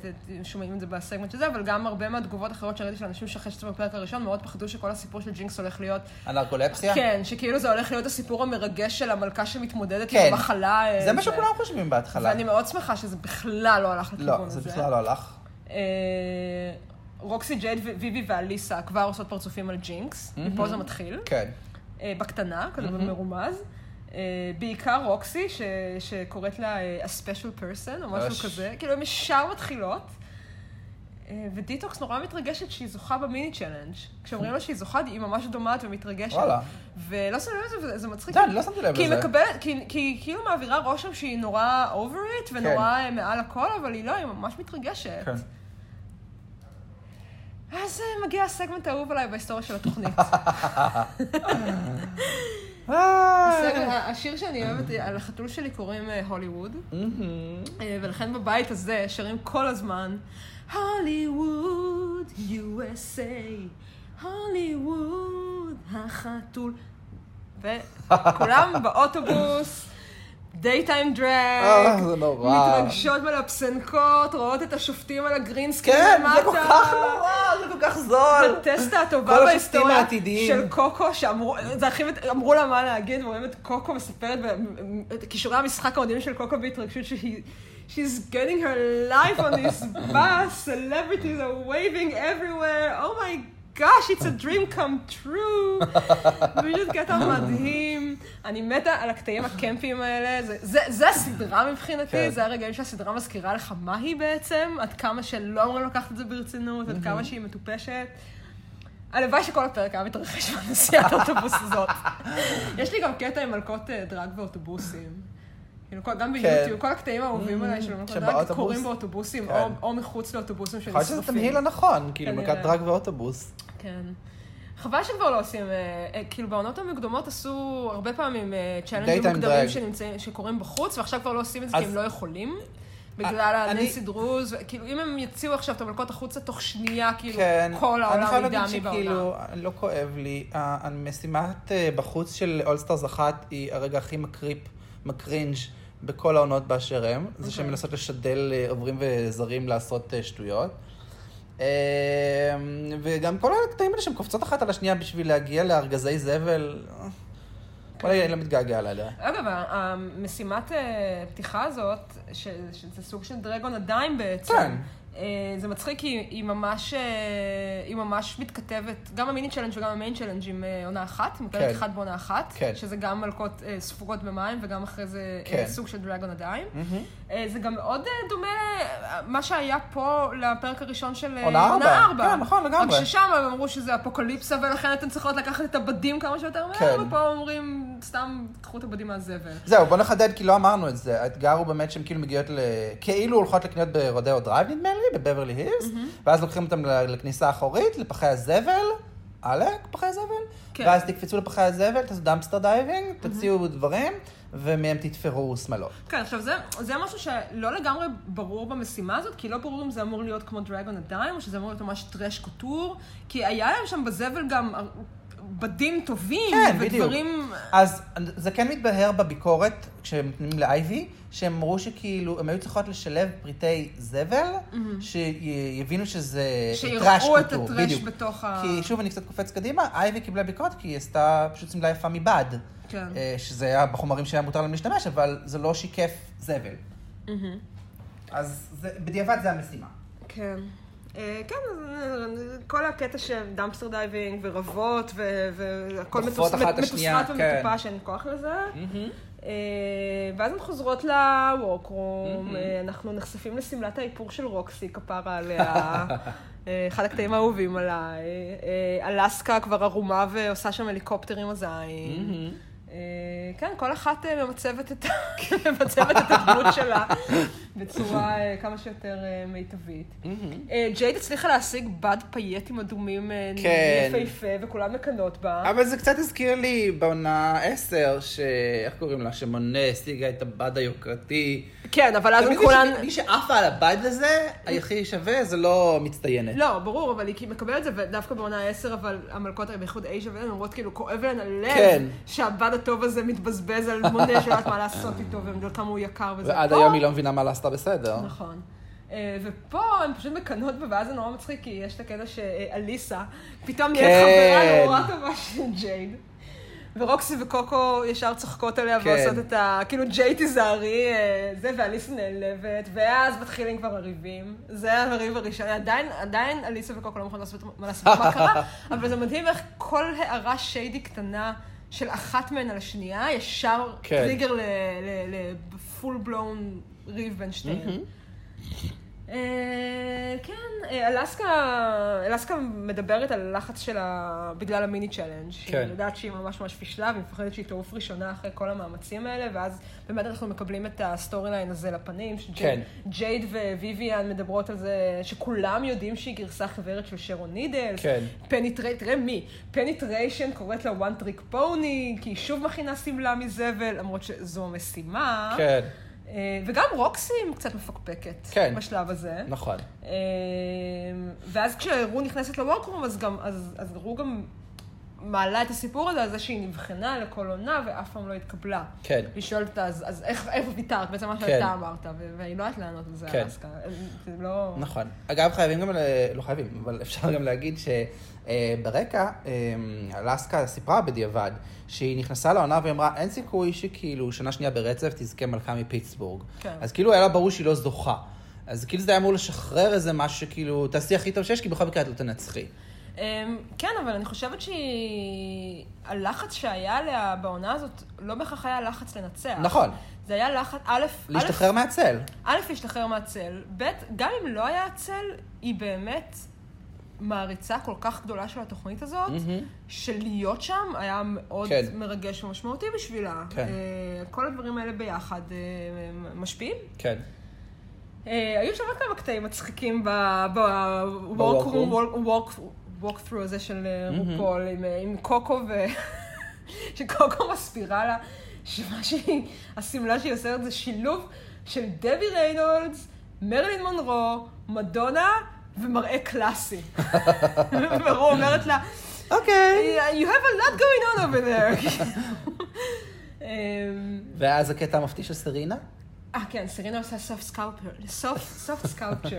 Speaker 1: ת- ת- שומעים את זה בסגמנט של זה, אבל גם הרבה מהתגובות האחרות שראיתי של אנשים שאחרי שזה בפרק הראשון, מאוד פחדו שכל הסיפור של ג'ינקס הולך להיות...
Speaker 2: הנרקולפסיה?
Speaker 1: כן, שכאילו זה הולך להיות הסיפור המרגש של המלכה שמתמודדת
Speaker 2: כן.
Speaker 1: עם המחלה. אה,
Speaker 2: זה מה
Speaker 1: ו-
Speaker 2: שכולם חושבים בהתחלה.
Speaker 1: ואני מאוד שמחה שזה בכלל לא הלך לכיוון הזה.
Speaker 2: לא, זה בכלל לא הלך.
Speaker 1: אה, רוקסי ג'ייד וויבי ואליסה כבר עושות פרצופים על ג'ינקס, מפה זה מתחיל,
Speaker 2: כן.
Speaker 1: אה, בקטנה, כזה במרומז. אה, בעיקר רוקסי, ש- שקוראת לה אה, a special person או משהו
Speaker 2: אש.
Speaker 1: כזה, כאילו הן ישר מתחילות. אה, ודיטוקס נורא מתרגשת שהיא זוכה במיני צ'לנג'. כשאומרים לה שהיא זוכה, היא ממש דומעת ומתרגשת.
Speaker 2: וואלה.
Speaker 1: ולא שמים לב לזה, וזה מצחיק.
Speaker 2: אתה יודע, אני לא שמתי לב
Speaker 1: כי היא
Speaker 2: לזה.
Speaker 1: מקבלת, כי כי היא כאילו מעבירה רושם שהיא נורא over it ונורא אה, מעל הכל, אבל היא לא, היא ממש מתרגשת.
Speaker 2: כן.
Speaker 1: אז אה, מגיע הסגמנט האהוב עליי בהיסטוריה של התוכנית. הסגמנט- השיר שאני אוהבת, אה, על החתול שלי קוראים אה, הוליווד,
Speaker 2: מהמם.
Speaker 1: אה, ולכן בבית הזה שרים כל הזמן, הוליווד, USA, הוליווד, החתול. וכולם באוטובוס, דייטיים דרג,
Speaker 2: אה, זה נורא.
Speaker 1: מתרגשות מלפסנקות, רואות את השופטים על הגרינסקין
Speaker 2: כן,
Speaker 1: למטה.
Speaker 2: זה כל כך נורא, זה כל כך זול.
Speaker 1: הטסטה
Speaker 2: כל
Speaker 1: הטובה
Speaker 2: השופטים
Speaker 1: בהיסטוריה
Speaker 2: העתידיים.
Speaker 1: של קוקו, שאמרו, זה הכי, מת- אמרו לה מה להגיד, ורואים את קוקו מספרת ב- את כישורי המשחק המדהים של קוקו בהתרגשות שהיא... She's getting her life on this bus, celebrities are waving everywhere, oh my gosh, it's a dream come true. פשוט קטע מדהים. אני מתה על הקטעים הקמפיים האלה, זה- זה- זה הסדרה מבחינתי,
Speaker 2: כן.
Speaker 1: זה הרגעים שהסדרה מזכירה לך מה היא בעצם, עד כמה שלא אמורים לקחת את זה ברצינות, עד כמה שהיא מטופשת. הלוואי שכל הפרק היה מתרחש בנסיעת האוטובוס הזאת. יש לי גם קטע עם מלכות אה, דרג באוטובוסים. כאילו, כל-
Speaker 2: כן.
Speaker 1: גם ביוטיוב, כל הקטעים האהובים עליי של מלכות דרג
Speaker 2: שבאוטובוס?
Speaker 1: קורים באוטובוסים,
Speaker 2: כן.
Speaker 1: או- או מחוץ לאוטובוסים
Speaker 2: יכול להיות שזה
Speaker 1: שנשרפים.
Speaker 2: תמהיל הנכון, כאילו
Speaker 1: כנראה.
Speaker 2: מלכת דרג ואוטובוס.
Speaker 1: כן. חבל שכבר לא עושים, אה, אה, כאילו בעונות המוקדמות עשו הרבה פעמים אה,
Speaker 2: Daytime
Speaker 1: צ'אלנג'ים מוקדמים
Speaker 2: drag.
Speaker 1: שנמצאים, שקורים בחוץ, ועכשיו כבר לא עושים את זה כי
Speaker 2: אז- אה,
Speaker 1: הם לא יכולים, בגלל
Speaker 2: אני-
Speaker 1: הננסי דרוז, ו- כאילו אם הם יציעו עכשיו את המלכות החוצה תוך שנייה, כאילו
Speaker 2: כן.
Speaker 1: כל
Speaker 2: אני חייב
Speaker 1: העולם ידע
Speaker 2: להגיד
Speaker 1: מי בעולם.
Speaker 2: שכאילו, לא כואב לי. ה- המשימת אה, בחוץ של אולסטארס אחת היא הרגע הכי מקריפ, מקרינג' בכל העונות באשר הם.
Speaker 1: אוקיי.
Speaker 2: זה שהן מנסות לשדל אה, עוברים וזרים לעשות אה, שטויות. אה, וגם כל הקטעים האלה שהן קופצות אחת על השנייה בשביל להגיע לארגזי זבל. אה,
Speaker 1: כן.
Speaker 2: וואלה, אני לא מתגעגע אליה.
Speaker 1: אגב, ה- המשימת אה, פתיחה הזאת, ש- שזה סוג של דרגון עדיין בעצם.
Speaker 2: כן.
Speaker 1: אה, זה מצחיק, כי היא ממש, אה, היא ממש מתכתבת, גם המיני צ'לנג' וגם המיין צ'לנג' עם אה, עונה אחת,
Speaker 2: כן.
Speaker 1: מוקלט אחת בעונה אחת,
Speaker 2: כן.
Speaker 1: שזה גם מלכות אה, ספוגות במים וגם אחרי זה אה,
Speaker 2: כן.
Speaker 1: סוג של דרגון עדיין. אה, זה גם מאוד אה, דומה למה שהיה פה לפרק הראשון של אה,
Speaker 2: עונה ארבע.
Speaker 1: עונה ארבע.
Speaker 2: כן, נכון, לגמרי.
Speaker 1: רק ששם הם אמרו שזה אפוקליפסה ולכן אתן צריכות לקחת את הבדים כמה שיותר מהר,
Speaker 2: כן.
Speaker 1: ופה אומרים, סתם קחו את הבדים מהזבל.
Speaker 2: זהו, בוא נחדד, כי לא אמרנו את זה. האתגר הוא באמת שהן כאילו מגיעות ל... כאילו הולכות לקניות ברודאו דרייב, נדמה לי, בבברלי הילס, ואז לוקחים אותן ל- לכניסה האחורית, לפחי הזבל, עלק, פחי הזבל,
Speaker 1: כן.
Speaker 2: ואז תקפצו לפחי הזבל, תעשו דמפסטר דייבינג, תוציאו דברים, ומהם תתפרו שמאלות.
Speaker 1: כן, עכשיו זה, זה משהו שלא לגמרי ברור במשימה הזאת, כי לא ברור אם זה אמור להיות כמו דרגון עדיין, או שזה אמור להיות ממש טרש קוטור, כי היה להם שם בזבל גם הר- בדים טובים,
Speaker 2: כן, בדיוק.
Speaker 1: ודברים...
Speaker 2: אז זה כן מתבהר בביקורת, כשהם נותנים לאייבי, שהם אמרו שכאילו, הם היו צריכות לשלב פריטי זבל, שיבינו שזה טראש
Speaker 1: שיראו את
Speaker 2: כתוב.
Speaker 1: הטרש
Speaker 2: אה, בדיוק.
Speaker 1: בתוך ה...
Speaker 2: כי שוב, אני קצת קופץ קדימה, אייבי קיבלה ביקורת כי היא עשתה פשוט שמלה יפה מבד.
Speaker 1: כן.
Speaker 2: אה, שזה היה בחומרים שהיה מותר להם להשתמש, אבל זה לא שיקף זבל.
Speaker 1: מהמם.
Speaker 2: אז זה, בדיעבד זה המשימה.
Speaker 1: כן. אה, כן, אז, אה, כל הקטע של דמפסטר דייבינג ורבות ו- והכל מתוס-
Speaker 2: דוחפות אחת את השנייה,
Speaker 1: מתוסרט
Speaker 2: כן.
Speaker 1: ומטופש, אין כוח לזה. אה, ואז הן חוזרות לוורקרום, אה, אנחנו נחשפים לשמלת האיפור של רוקסי, כפרה עליה. אה, אחד הקטעים האהובים עליי. אה, אלסקה כבר ערומה ועושה שם הליקופטר עם הזין.
Speaker 2: Mm-hmm,
Speaker 1: אה, כן, כל אחת אה, ממצבת את ה- ממצבת את הדמות שלה בצורה אה, כמה שיותר אה, מיטבית.
Speaker 2: mm-hmm.
Speaker 1: אה, ג'ייד הצליחה להשיג בד פייטים אדומים אה,
Speaker 2: כן.
Speaker 1: יפהפה, וכולם מקנאות בה.
Speaker 2: אבל זה קצת הזכיר לי בעונה 10, ש... איך קוראים לה? שמונה השיגה את הבד היוקרתי.
Speaker 1: כן, אבל אז
Speaker 2: תמיד
Speaker 1: הם
Speaker 2: מי
Speaker 1: כולן...
Speaker 2: ש- מי שעפה על הבד הזה, הכי שווה, זה לא מצטיינת.
Speaker 1: לא, ברור, אבל היא כאילו מקבלת את זה, ודווקא בעונה 10, אבל המלכות, בייחוד אייג'ה ואלן, אומרות כאילו, כואב להן הלב,
Speaker 2: כן.
Speaker 1: שהבד הטוב הזה מתבזבז על מונה שלא יודעת מה לעשות איתו, ועד כמה הוא יקר וזה.
Speaker 2: ועד
Speaker 1: פה-
Speaker 2: היום היא לא מבינה מה לעשתה בסדר.
Speaker 1: נכון. אה, ופה הן פשוט מקנאות בה, ואז זה נורא מצחיק, כי יש את הקטע שאליסה, פתאום נהיית
Speaker 2: כן.
Speaker 1: חברה נורא טובה של ג'ייד. ורוקסי וקוקו ישר צוחקות עליה
Speaker 2: כן.
Speaker 1: ועושות את ה... כאילו, ג'יי תיזהרי, אה, זה, ואליסה נעלבת, ואז מתחילים כבר הריבים. זה הריב הראשון. עדיין, עדיין אליסה וקוקו לא מוכנות לעשות מה לעשות, מה קרה, אבל זה מדהים איך כל הערה שיידי קטנה של אחת מהן על השנייה, ישר
Speaker 2: כן.
Speaker 1: טריגר לפול בלון ריב בין שתיהן. אה, כן, אה, אלסקה, אלסקה מדברת על הלחץ שלה בגלל המיני צ'אלנג'. כן.
Speaker 2: כן.
Speaker 1: היא יודעת שהיא ממש ממש פישלה, והיא מפחדת שהיא תעוף ראשונה אחרי כל המאמצים האלה, ואז באמת אנחנו מקבלים את הסטורי ליין הזה לפנים.
Speaker 2: כן.
Speaker 1: ג'ייד וויביאן מדברות על זה שכולם יודעים שהיא גרסה חברת של שרון נידלס.
Speaker 2: כן.
Speaker 1: פניטרי, תראה מי, פניטריישן קוראת לה one trick pony, כי היא שוב מכינה שמלה מזבל, למרות שזו המשימה.
Speaker 2: כן,
Speaker 1: אה, וגם רוקסי היא קצת מפקפקת
Speaker 2: כן.
Speaker 1: בשלב הזה.
Speaker 2: נכון.
Speaker 1: אה, ואז כשרו נכנסת לוורקרום, אז, גם- אז, אז רו גם מעלה את הסיפור הזה, על זה שהיא נבחנה לכל עונה ואף פעם לא התקבלה.
Speaker 2: כן.
Speaker 1: היא שואלת אותה, אז, אז איך, איך ויתרת? בעצם מה שאתה אמרת, ו- והיא לא יודעת לענות על זה,
Speaker 2: כן.
Speaker 1: אלסקה. זה לא...
Speaker 2: נכון. אגב, חייבים גם, ל... לא חייבים, אבל אפשר גם להגיד שברקע, אה, אלסקה סיפרה בדיעבד שהיא נכנסה לעונה והיא אמרה, אין סיכוי שכאילו שנה שנייה ברצף תזכה מלכה מפיטסבורג.
Speaker 1: כן.
Speaker 2: אז כאילו היה לה ברור שהיא לא זוכה. אז כאילו זה היה אמור לשחרר איזה משהו שכאילו, תעשי הכי טוב שיש, כי בכל מקרה את לא תנצחי.
Speaker 1: אמ, כן, אבל אני חושבת שהיא... הלחץ שהיה עליה בעונה הזאת לא בהכרח היה לחץ לנצח.
Speaker 2: נכון.
Speaker 1: זה היה לחץ, א', א',
Speaker 2: להשתחרר מהצל.
Speaker 1: א', להשתחרר מהצל, ב', גם אם לא היה הצל, היא באמת מעריצה כל כך גדולה של התוכנית הזאת,
Speaker 2: מהמם.
Speaker 1: שלהיות שם היה מאוד
Speaker 2: כן.
Speaker 1: מרגש ומשמעותי בשבילה.
Speaker 2: כן.
Speaker 1: אה, כל הדברים האלה ביחד אה, הם משפיעים.
Speaker 2: כן.
Speaker 1: אה, היו שם עוד כמה קטעים מצחיקים בוורקרום, וורקפרו הזה של אה, רופול, עם, אה, עם קוקו, ו... שקוקו מסבירה לה שמה שהיא, השמלה שהיא עושה זה שילוב של דבי ריינולדס, מרלין מונרו, מדונה ומראה קלאסי. ורו אומרת לה,
Speaker 2: אוקיי.
Speaker 1: You have a lot going on over there. אמ,
Speaker 2: ואז הקטע המפתיע של סרינה?
Speaker 1: אה, כן, סרינה עושה סוף סקלפר, סוף, סוף סקלפצ'ר,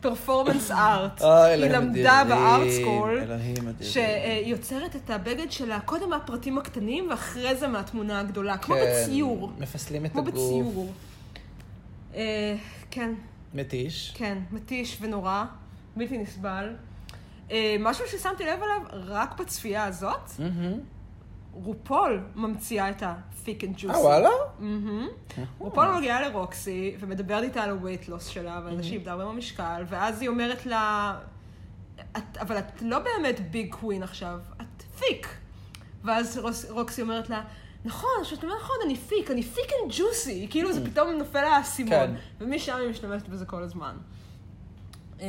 Speaker 1: פרפורמנס ארט.
Speaker 2: אוי,
Speaker 1: היא
Speaker 2: אה, אלוהים
Speaker 1: למדה
Speaker 2: אדירים,
Speaker 1: בארט סקול, אה,
Speaker 2: אלוהים אדירים.
Speaker 1: שהיא יוצרת את הבגד שלה קודם מהפרטים הקטנים ואחרי זה מהתמונה הגדולה, כמו
Speaker 2: כן.
Speaker 1: בציור,
Speaker 2: מפסלים את
Speaker 1: כמו
Speaker 2: הגוף.
Speaker 1: בציור. אה, כן,
Speaker 2: מתיש.
Speaker 1: כן, מתיש ונורא, בלתי נסבל. אה, משהו ששמתי לב עליו רק בצפייה הזאת,
Speaker 2: מהמם.
Speaker 1: רופול ממציאה את ה-thick and juicy.
Speaker 2: אה, וואלה?
Speaker 1: מהמם. רופול מגיעה לרוקסי ומדברת איתה על ה-weight loss שלה ועל זה שהיא איבדה הרבה במשקל, ואז היא אומרת לה, "את- אבל את לא באמת ביג קווין עכשיו, את פיק. ואז רוס- רוקסי אומרת לה, נכון, שאת אומרת נכון, אני פיק, אני פיק אנד ג'וסי. כאילו זה פתאום נופל לה
Speaker 2: כן.
Speaker 1: האסימון. ומשם היא משתמשת בזה כל הזמן. אמ,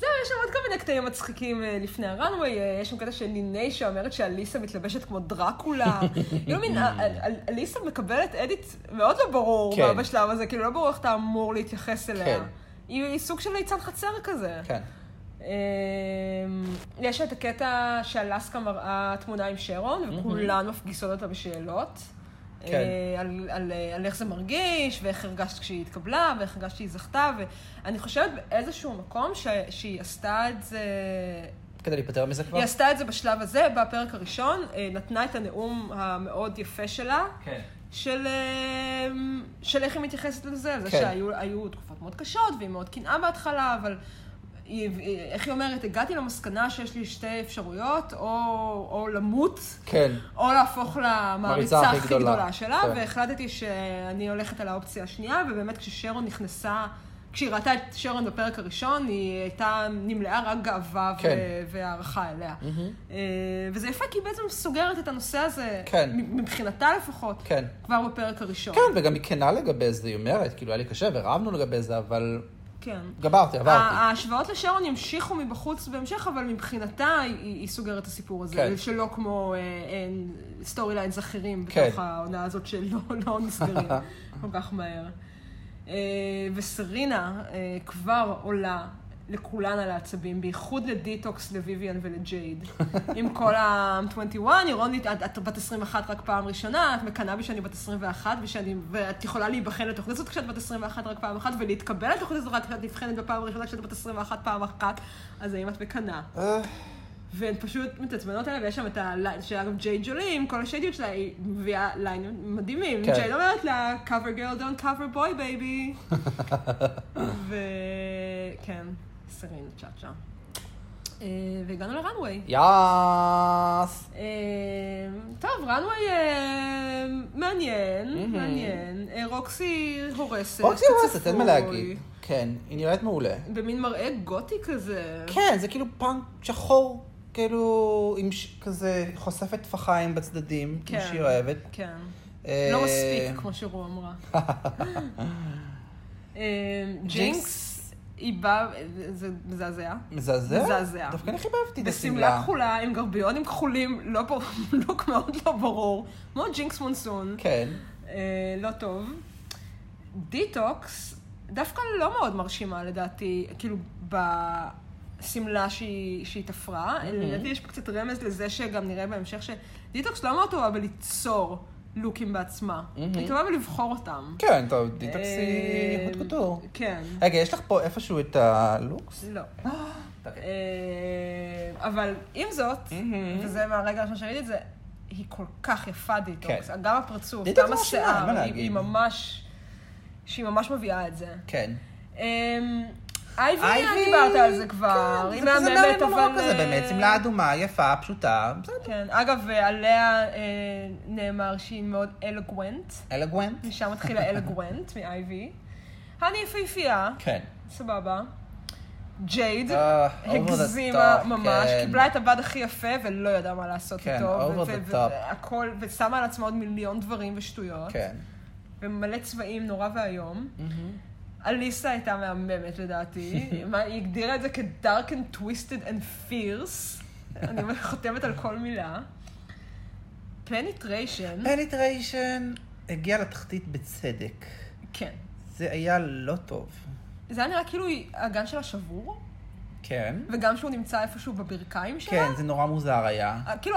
Speaker 1: זהו, יש שם עוד כל מיני קטעים מצחיקים אה, לפני הראנווי, אה, יש שם קטע של ניני שאומרת שאליסה מתלבשת כמו דרקולה. כאילו מין, אה, אל- אל- אליסה מקבלת אדיט מאוד לא ברור
Speaker 2: כן.
Speaker 1: בשלב הזה, כאילו לא ברור איך אתה אמור להתייחס אליה.
Speaker 2: כן.
Speaker 1: היא היא סוג של ליצן חצר כזה.
Speaker 2: כן.
Speaker 1: אמ, יש את הקטע שאלסקה מראה תמונה עם שרון, וכולן מפגיסות אותה בשאלות.
Speaker 2: כן.
Speaker 1: אה, על, על, אה, על איך זה מרגיש, ואיך הרגשת כשהיא התקבלה, ואיך הרגשת שהיא זכתה, ואני חושבת באיזשהו מקום ש, שהיא עשתה את זה,
Speaker 2: כדי להיפטר מזה כבר?
Speaker 1: היא עשתה את זה בשלב הזה, בפרק הראשון, אה, נתנה את הנאום המאוד יפה שלה,
Speaker 2: כן.
Speaker 1: של, אה, של איך היא מתייחסת לזה, על זה
Speaker 2: כן.
Speaker 1: שהיו היו תקופות מאוד קשות, והיא מאוד קנאה בהתחלה, אבל היא, היא- איך היא אומרת, הגעתי למסקנה שיש לי שתי אפשרויות, או, או למות,
Speaker 2: כן.
Speaker 1: או להפוך למעריצה
Speaker 2: הכי
Speaker 1: הכי
Speaker 2: גדולה.
Speaker 1: גדולה, שלה,
Speaker 2: כן.
Speaker 1: והחלטתי שאני הולכת על האופציה השנייה, ובאמת כששרון נכנסה... כשהיא ראתה את שרון בפרק הראשון, היא הייתה נמלאה רק גאווה
Speaker 2: כן.
Speaker 1: ו- והערכה אליה. אה, וזה יפה, כי היא בעצם סוגרת את הנושא הזה,
Speaker 2: כן.
Speaker 1: מבחינתה לפחות.
Speaker 2: כן.
Speaker 1: כבר בפרק הראשון.
Speaker 2: כן, וגם היא כנה לגבי זה, היא אומרת, כאילו, היה לי קשה ורבנו לגבי זה, אבל
Speaker 1: כן.
Speaker 2: גברתי, עברתי.
Speaker 1: ה- ההשוואות לשרון ימשיכו מבחוץ בהמשך, אבל מבחינתה היא, היא סוגרת את הסיפור הזה,
Speaker 2: כן.
Speaker 1: שלא כמו אה, סטורי ליינס אחרים
Speaker 2: כן.
Speaker 1: בתוך העונה הזאת שלא לא נסגרים כל כך מהר. אה, וסרינה אה, כבר עולה לכולן על העצבים, בייחוד לדיטוקס, לוויביאן ולג'ייד. עם כל ה-21, אירונית, את, את בת 21 רק פעם ראשונה, את מקנאה בי שאני בת 21, ושאני, ואת יכולה להיבחן לתוכנית הזאת כשאת בת 21 רק פעם אחת, ולהתקבל לתוכנית הזאת רק כשאת נבחנת בפעם הראשונה כשאת בת 21 פעם אחת, אז האם את מקנאה?
Speaker 2: אה,
Speaker 1: והן פשוט מתעצבנות עליה, ויש שם את הליין, שאגב ג'יי ג'ולי, עם כל השדיות שלה, היא מביאה ליינים מדהימים.
Speaker 2: כן.
Speaker 1: ג'יי לא אומרת לה, cover girl, don't cover boy, baby. וכן, סרין צ'אצ'ה. אה, והגענו לראנוויי.
Speaker 2: יאס.
Speaker 1: אה, טוב, ראנוויי אה, מעניין,
Speaker 2: Mhm.
Speaker 1: מעניין. אה, רוקסי הורסת.
Speaker 2: רוקסי הורסת, אין מה
Speaker 1: כצפוי.
Speaker 2: להגיד. כן, היא נראית מעולה.
Speaker 1: במין מראה גותי כזה.
Speaker 2: כן, זה כאילו פאנק שחור, כאילו, עם ש- כזה חושפת טפחיים בצדדים, כמו
Speaker 1: כן.
Speaker 2: שהיא אוהבת.
Speaker 1: כן.
Speaker 2: אה,
Speaker 1: לא מספיק, כמו שרו אמרה. אה, ג'ינקס, היא באה, זה מזעזע.
Speaker 2: מזעזע?
Speaker 1: מזעזע.
Speaker 2: דווקא אני חיבבתי את
Speaker 1: בשמלה
Speaker 2: השמלה.
Speaker 1: כחולה, עם גרביונים כחולים, לא ברור- לוק מאוד לא ברור. כמו ג'ינקס מונסון.
Speaker 2: כן.
Speaker 1: אה, לא טוב. דיטוקס, דווקא לא מאוד מרשימה לדעתי, כאילו, בשמלה שהיא שהיא
Speaker 2: Mm-hmm.
Speaker 1: תפרה. לדעתי יש פה קצת רמז לזה שגם נראה בהמשך שדיטוקס לא מאוד טובה בליצור לוקים בעצמה.
Speaker 2: Mm-hmm.
Speaker 1: היא טובה בלבחור אותם.
Speaker 2: כן, טוב, דיטוקסי
Speaker 1: אה,
Speaker 2: קוטקוטור.
Speaker 1: כן.
Speaker 2: רגע, יש לך פה איפשהו את הלוקס?
Speaker 1: לא.
Speaker 2: אוקיי.
Speaker 1: אה, אבל עם זאת,
Speaker 2: מהמם.
Speaker 1: וזה מהרגע הראשון שראיתי את זה, היא כל כך יפה דיטוקס.
Speaker 2: כן.
Speaker 1: גם הפרצוף,
Speaker 2: דיטוקס
Speaker 1: גם
Speaker 2: מרשימה, אין
Speaker 1: השיער,
Speaker 2: מה
Speaker 1: היא-
Speaker 2: להגיד.
Speaker 1: היא ממש... שהיא ממש מביאה את זה.
Speaker 2: כן.
Speaker 1: אמ, אייבי,
Speaker 2: אייבי,
Speaker 1: דיברת על זה כבר.
Speaker 2: כן,
Speaker 1: היא
Speaker 2: זה כזה
Speaker 1: מהממת,
Speaker 2: מהמם
Speaker 1: אבל...
Speaker 2: נורא כזה,
Speaker 1: אה,
Speaker 2: באמת, שמלה אדומה, יפה, פשוטה, בסדר.
Speaker 1: כן. אגב, אה, עליה אה, נאמר שהיא מאוד אלגוונט.
Speaker 2: אלגוונט.
Speaker 1: משם מתחילה אלגוונט, מאייבי. אני יפהפייה.
Speaker 2: כן.
Speaker 1: סבבה. ג'ייד
Speaker 2: אה, over the
Speaker 1: הגזימה
Speaker 2: top,
Speaker 1: ממש,
Speaker 2: כן.
Speaker 1: קיבלה את הבד הכי יפה ולא ידעה מה לעשות
Speaker 2: כן,
Speaker 1: איתו.
Speaker 2: over
Speaker 1: ו-
Speaker 2: the
Speaker 1: ו-
Speaker 2: top.
Speaker 1: והכל, ושמה על עצמה עוד מיליון דברים ושטויות.
Speaker 2: כן.
Speaker 1: ומלא צבעים, נורא ואיום.
Speaker 2: Mm-hmm.
Speaker 1: אליסה הייתה מהממת לדעתי. מה, היא הגדירה את זה כ-dark and twisted and fierce. אני חותמת על כל מילה. פניטריישן,
Speaker 2: אה. פניטריישן הגיע לתחתית בצדק.
Speaker 1: כן.
Speaker 2: זה היה לא טוב.
Speaker 1: זה היה נראה כאילו היא- הגן שלה שבור,
Speaker 2: כן.
Speaker 1: וגם שהוא נמצא איפשהו בברכיים שלה.
Speaker 2: כן, זה נורא מוזר היה.
Speaker 1: כאילו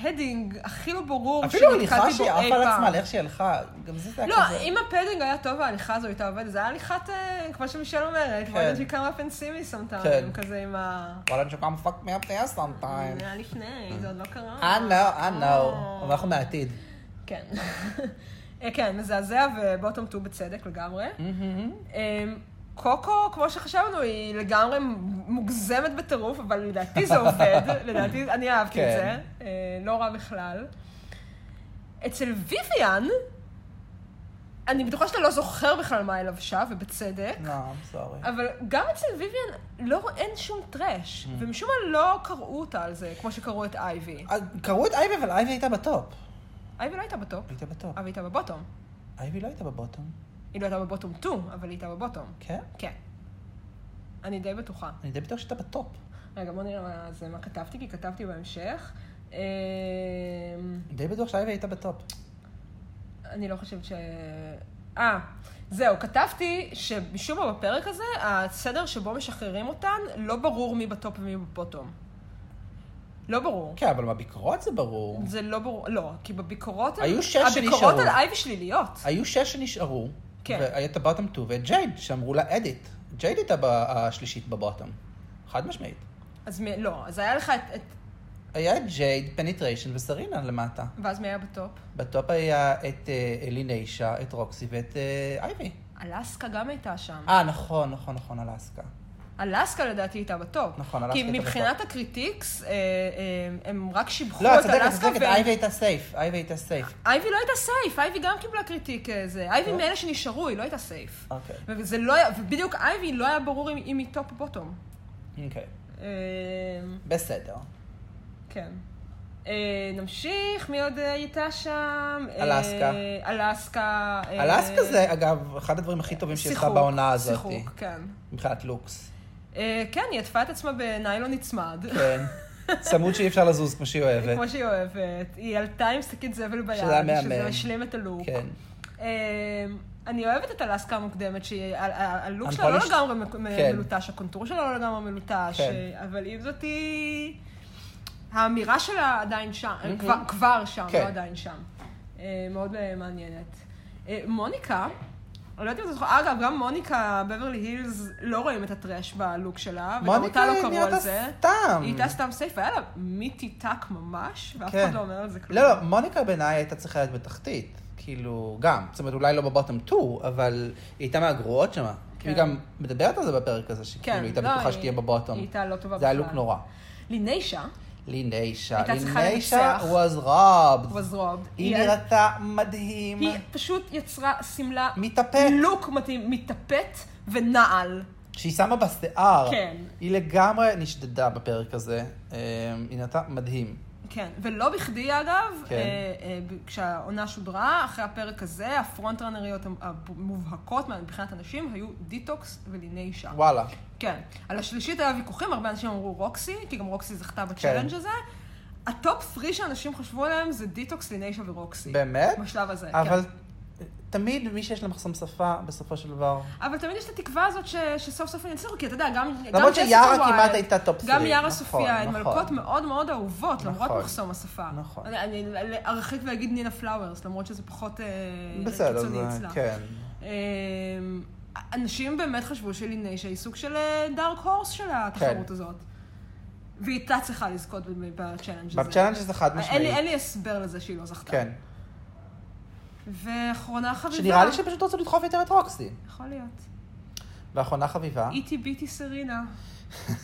Speaker 1: הפדינג הכי לא ברור
Speaker 2: אפילו
Speaker 1: שנתקלתי
Speaker 2: הליכה
Speaker 1: בו
Speaker 2: שהיא
Speaker 1: אי
Speaker 2: עפה על
Speaker 1: פעם.
Speaker 2: עצמה, לאיך שהיא הלכה, גם זה היה
Speaker 1: לא,
Speaker 2: כזה.
Speaker 1: אם הפדינג היה טוב וההליכה הזו הייתה עובדת, זה היה הליכת, אה, כמו שמישל אומרת, why
Speaker 2: כן.
Speaker 1: don't you come up and see me
Speaker 2: כן.
Speaker 1: sometime, כזה עם ה...
Speaker 2: וואלה, אני שוקם פאק מי הפנייה
Speaker 1: זה
Speaker 2: סטנטיים.
Speaker 1: היה לפני,
Speaker 2: Mm.
Speaker 1: זה עוד לא
Speaker 2: I
Speaker 1: קרה.
Speaker 2: know, I know.
Speaker 1: אה.
Speaker 2: אבל אנחנו מהעתיד.
Speaker 1: כן. אה, כן, מזעזע ובוטום טו בצדק לגמרי. אמ, קוקו, כמו שחשבנו, היא לגמרי מוגזמת בטירוף, אבל לדעתי זה עובד, לדעתי, אני אהבתי את
Speaker 2: כן.
Speaker 1: זה, אה, לא רע בכלל. אצל ויויאן, אני בטוחה שאתה לא זוכר בכלל מה היא לבשה, ובצדק,
Speaker 2: לא, I'm sorry.
Speaker 1: אבל גם אצל ויויאן לא, אין שום טרש, ומשום מה לא קראו אותה על זה, כמו שקראו את אייבי.
Speaker 2: אז Uh, קראו את אייבי, אבל אייבי הייתה בטופ.
Speaker 1: אייבי לא הייתה בטופ,
Speaker 2: הייתה בטופ.
Speaker 1: אבל הייתה בבוטום.
Speaker 2: אייבי לא הייתה בבוטום.
Speaker 1: היא לא הייתה בבוטום 2, אבל היא הייתה בבוטום.
Speaker 2: כן?
Speaker 1: כן. אני די בטוחה.
Speaker 2: אני די בטוח שהייתה בטופ.
Speaker 1: רגע, בוא נראה מה זה, מה כתבתי, כי כתבתי בהמשך. אמ,
Speaker 2: אני די בטוח שאייבי הייתה בטופ.
Speaker 1: אני לא חושבת ש... אה, זהו, כתבתי שמשום מה בפרק הזה, הסדר שבו משחררים אותן, לא ברור מי בטופ ומי בבוטום. לא ברור.
Speaker 2: כן, אבל בביקורות זה ברור.
Speaker 1: זה לא ברור, לא, כי בביקורות...
Speaker 2: היו שש
Speaker 1: הביקורות
Speaker 2: שנשארו. אה.
Speaker 1: על אייב שליליות.
Speaker 2: היו שש שנשארו,
Speaker 1: כן.
Speaker 2: והיה את הבוטום 2 ואת ג'ייד, שאמרו לה אדיט. ג'ייד הייתה ב- השלישית בבוטום. חד משמעית.
Speaker 1: אז מ- לא, אז היה לך את... את-
Speaker 2: היה את ג'ייד, פניטריישן וסרינה למטה.
Speaker 1: ואז מי היה בטופ?
Speaker 2: בטופ היה את אה, אליניישה, את רוקסי ואת אה, אייבי.
Speaker 1: אלסקה גם הייתה שם.
Speaker 2: אה, נכון, נכון, נכון, אלסקה.
Speaker 1: אלסקה לדעתי הייתה בטופ.
Speaker 2: נכון, אלסקה הייתה
Speaker 1: כי מבחינת
Speaker 2: בטופ.
Speaker 1: הקריקטיקס, אה, אה, הם רק שיבחו
Speaker 2: לא, את
Speaker 1: את
Speaker 2: צודקת, את
Speaker 1: אלסקה.
Speaker 2: צודקת,
Speaker 1: והם-
Speaker 2: אייבי הייתה סייף, אייבי הייתה סייף.
Speaker 1: אייבי לא הייתה סייף, אייבי גם קיבלה קריטיק אה, זה. אייבי
Speaker 2: לא.
Speaker 1: מאלה שנשארו, היא לא הייתה סייף.
Speaker 2: אוקיי.
Speaker 1: וזה לא היה, ובדיוק אייבי לא היה ברור אם- אם היא טופ או בוטום.
Speaker 2: אוקיי,
Speaker 1: אה,
Speaker 2: בסדר.
Speaker 1: כן. אה, נמשיך, מי עוד אה, הייתה שם? אה,
Speaker 2: אלסקה.
Speaker 1: אלסקה. אה,
Speaker 2: אלסקה זה, אגב, אחד הדברים הכי טובים שהיא עשתה
Speaker 1: שיחוק,
Speaker 2: בעונה הזאת.
Speaker 1: שיחוק, כן.
Speaker 2: מבחינת לוקס.
Speaker 1: אה, כן, היא עטפה את עצמה בניילון נצמד.
Speaker 2: כן. צמוד שאי אפשר לזוז כמו שהיא אוהבת.
Speaker 1: כמו שהיא אוהבת. היא עלתה עם שקית זבל ביד,
Speaker 2: שזה היה
Speaker 1: שזה
Speaker 2: מהמם.
Speaker 1: משלים את הלוק.
Speaker 2: כן.
Speaker 1: אה, אני אוהבת את אלסקה המוקדמת, שהיא- ה- ה- הלוק שלה לא
Speaker 2: Unpolished?
Speaker 1: לגמרי מק- מ-
Speaker 2: כן.
Speaker 1: מלוטש, הקונטור שלה לא לגמרי מלוטש,
Speaker 2: כן.
Speaker 1: אה, אבל עם זאת היא... האמירה שלה עדיין שם, אה, כבר- כבר שם, לא
Speaker 2: Mm-hmm. כן.
Speaker 1: עדיין שם. אה, מאוד אה, מעניינת. אה, מוניקה, אני לא יודעת אם אתה זוכר, אגב, גם מוניקה בברלי הילס לא רואים את הטרש בלוק שלה, וגם אותה
Speaker 2: מוניקה
Speaker 1: לא קראו על
Speaker 2: נראתה
Speaker 1: זה.
Speaker 2: סתם.
Speaker 1: היא הייתה סתם סייף, היה לה מיטי טאק ממש, ואף
Speaker 2: כן.
Speaker 1: אחד לא אומר על זה כלום.
Speaker 2: לא, לא, מוניקה בעיניי הייתה צריכה להיות בתחתית. כאילו, גם. זאת אומרת, אולי לא בבוטום 2, אבל היא הייתה מהגרועות שמה.
Speaker 1: כן.
Speaker 2: היא גם מדברת על זה בפרק הזה, שכאילו
Speaker 1: כן,
Speaker 2: היא הייתה
Speaker 1: לא,
Speaker 2: בטוחה
Speaker 1: היא-
Speaker 2: שתהיה
Speaker 1: היא
Speaker 2: בבוטום.
Speaker 1: הייתה לא טובה
Speaker 2: זה היה
Speaker 1: בכלל.
Speaker 2: לוק נורא.
Speaker 1: ליניישה
Speaker 2: ליניישה.
Speaker 1: הייתה צריכה
Speaker 2: ליניישה
Speaker 1: לנצח.
Speaker 2: was robbed.
Speaker 1: was robbed.
Speaker 2: היא נראתה מדהים.
Speaker 1: היא פשוט יצרה שמלה...
Speaker 2: מתאפק.
Speaker 1: לוק מתאים, מטפט ונעל.
Speaker 2: שהיא שמה בשיער.
Speaker 1: כן.
Speaker 2: היא לגמרי נשדדה בפרק הזה. אה, היא נראתה מדהים.
Speaker 1: כן, ולא בכדי אגב,
Speaker 2: כן.
Speaker 1: אה, אה, ב- כשהעונה שודרה, אחרי הפרק הזה, הפרונטרנריות המובהקות מבחינת הנשים היו דיטוקס וליניישה.
Speaker 2: וואלה.
Speaker 1: כן. על השלישית היה ויכוחים, הרבה אנשים אמרו רוקסי, כי גם רוקסי
Speaker 2: כן.
Speaker 1: זכתה בצ'אלנג' הזה. הטופ 3 שאנשים חשבו עליהם זה דיטוקס, ליניישה ורוקסי.
Speaker 2: באמת?
Speaker 1: בשלב הזה,
Speaker 2: אבל
Speaker 1: כן.
Speaker 2: תמיד מי שיש לה מחסום שפה, בסופו של דבר.
Speaker 1: כן. אבל תמיד יש את התקווה הזאת ש... שסוף סוף הם יצליחו, כי אתה יודע, גם... גם
Speaker 2: למרות שיארה
Speaker 1: ג'סיקה
Speaker 2: כמעט
Speaker 1: ויילד,
Speaker 2: הייתה טופ
Speaker 1: גם
Speaker 2: three,
Speaker 1: יארה
Speaker 2: נכון,
Speaker 1: סופיה, הן
Speaker 2: נכון.
Speaker 1: מלכות מאוד מאוד אהובות, למרות
Speaker 2: נכון.
Speaker 1: מחסום השפה.
Speaker 2: נכון.
Speaker 1: אני- אני אני ארחיק ואגיד נינה פלאוורס, למרות שזה פחות אה,
Speaker 2: בסדר,
Speaker 1: קיצוני
Speaker 2: זה-
Speaker 1: אצלה.
Speaker 2: כן.
Speaker 1: אמ, אנשים באמת חשבו שליניישה היא סוג של אה, דארק הורס של התחרות
Speaker 2: כן.
Speaker 1: הזאת. והיא הייתה צריכה לזכות ב- בצ'אלנג' הזה.
Speaker 2: בצ'אלנג' הזה חד
Speaker 1: אה, אין לי- אין
Speaker 2: משמעית.
Speaker 1: לי הסבר לזה שהיא לא זכתה.
Speaker 2: כן.
Speaker 1: ואחרונה חביבה.
Speaker 2: שנראה לי שפשוט רצו לדחוף יותר את רוקסי.
Speaker 1: יכול להיות. E
Speaker 2: ואחרונה חביבה.
Speaker 1: איטי ביטי סרינה.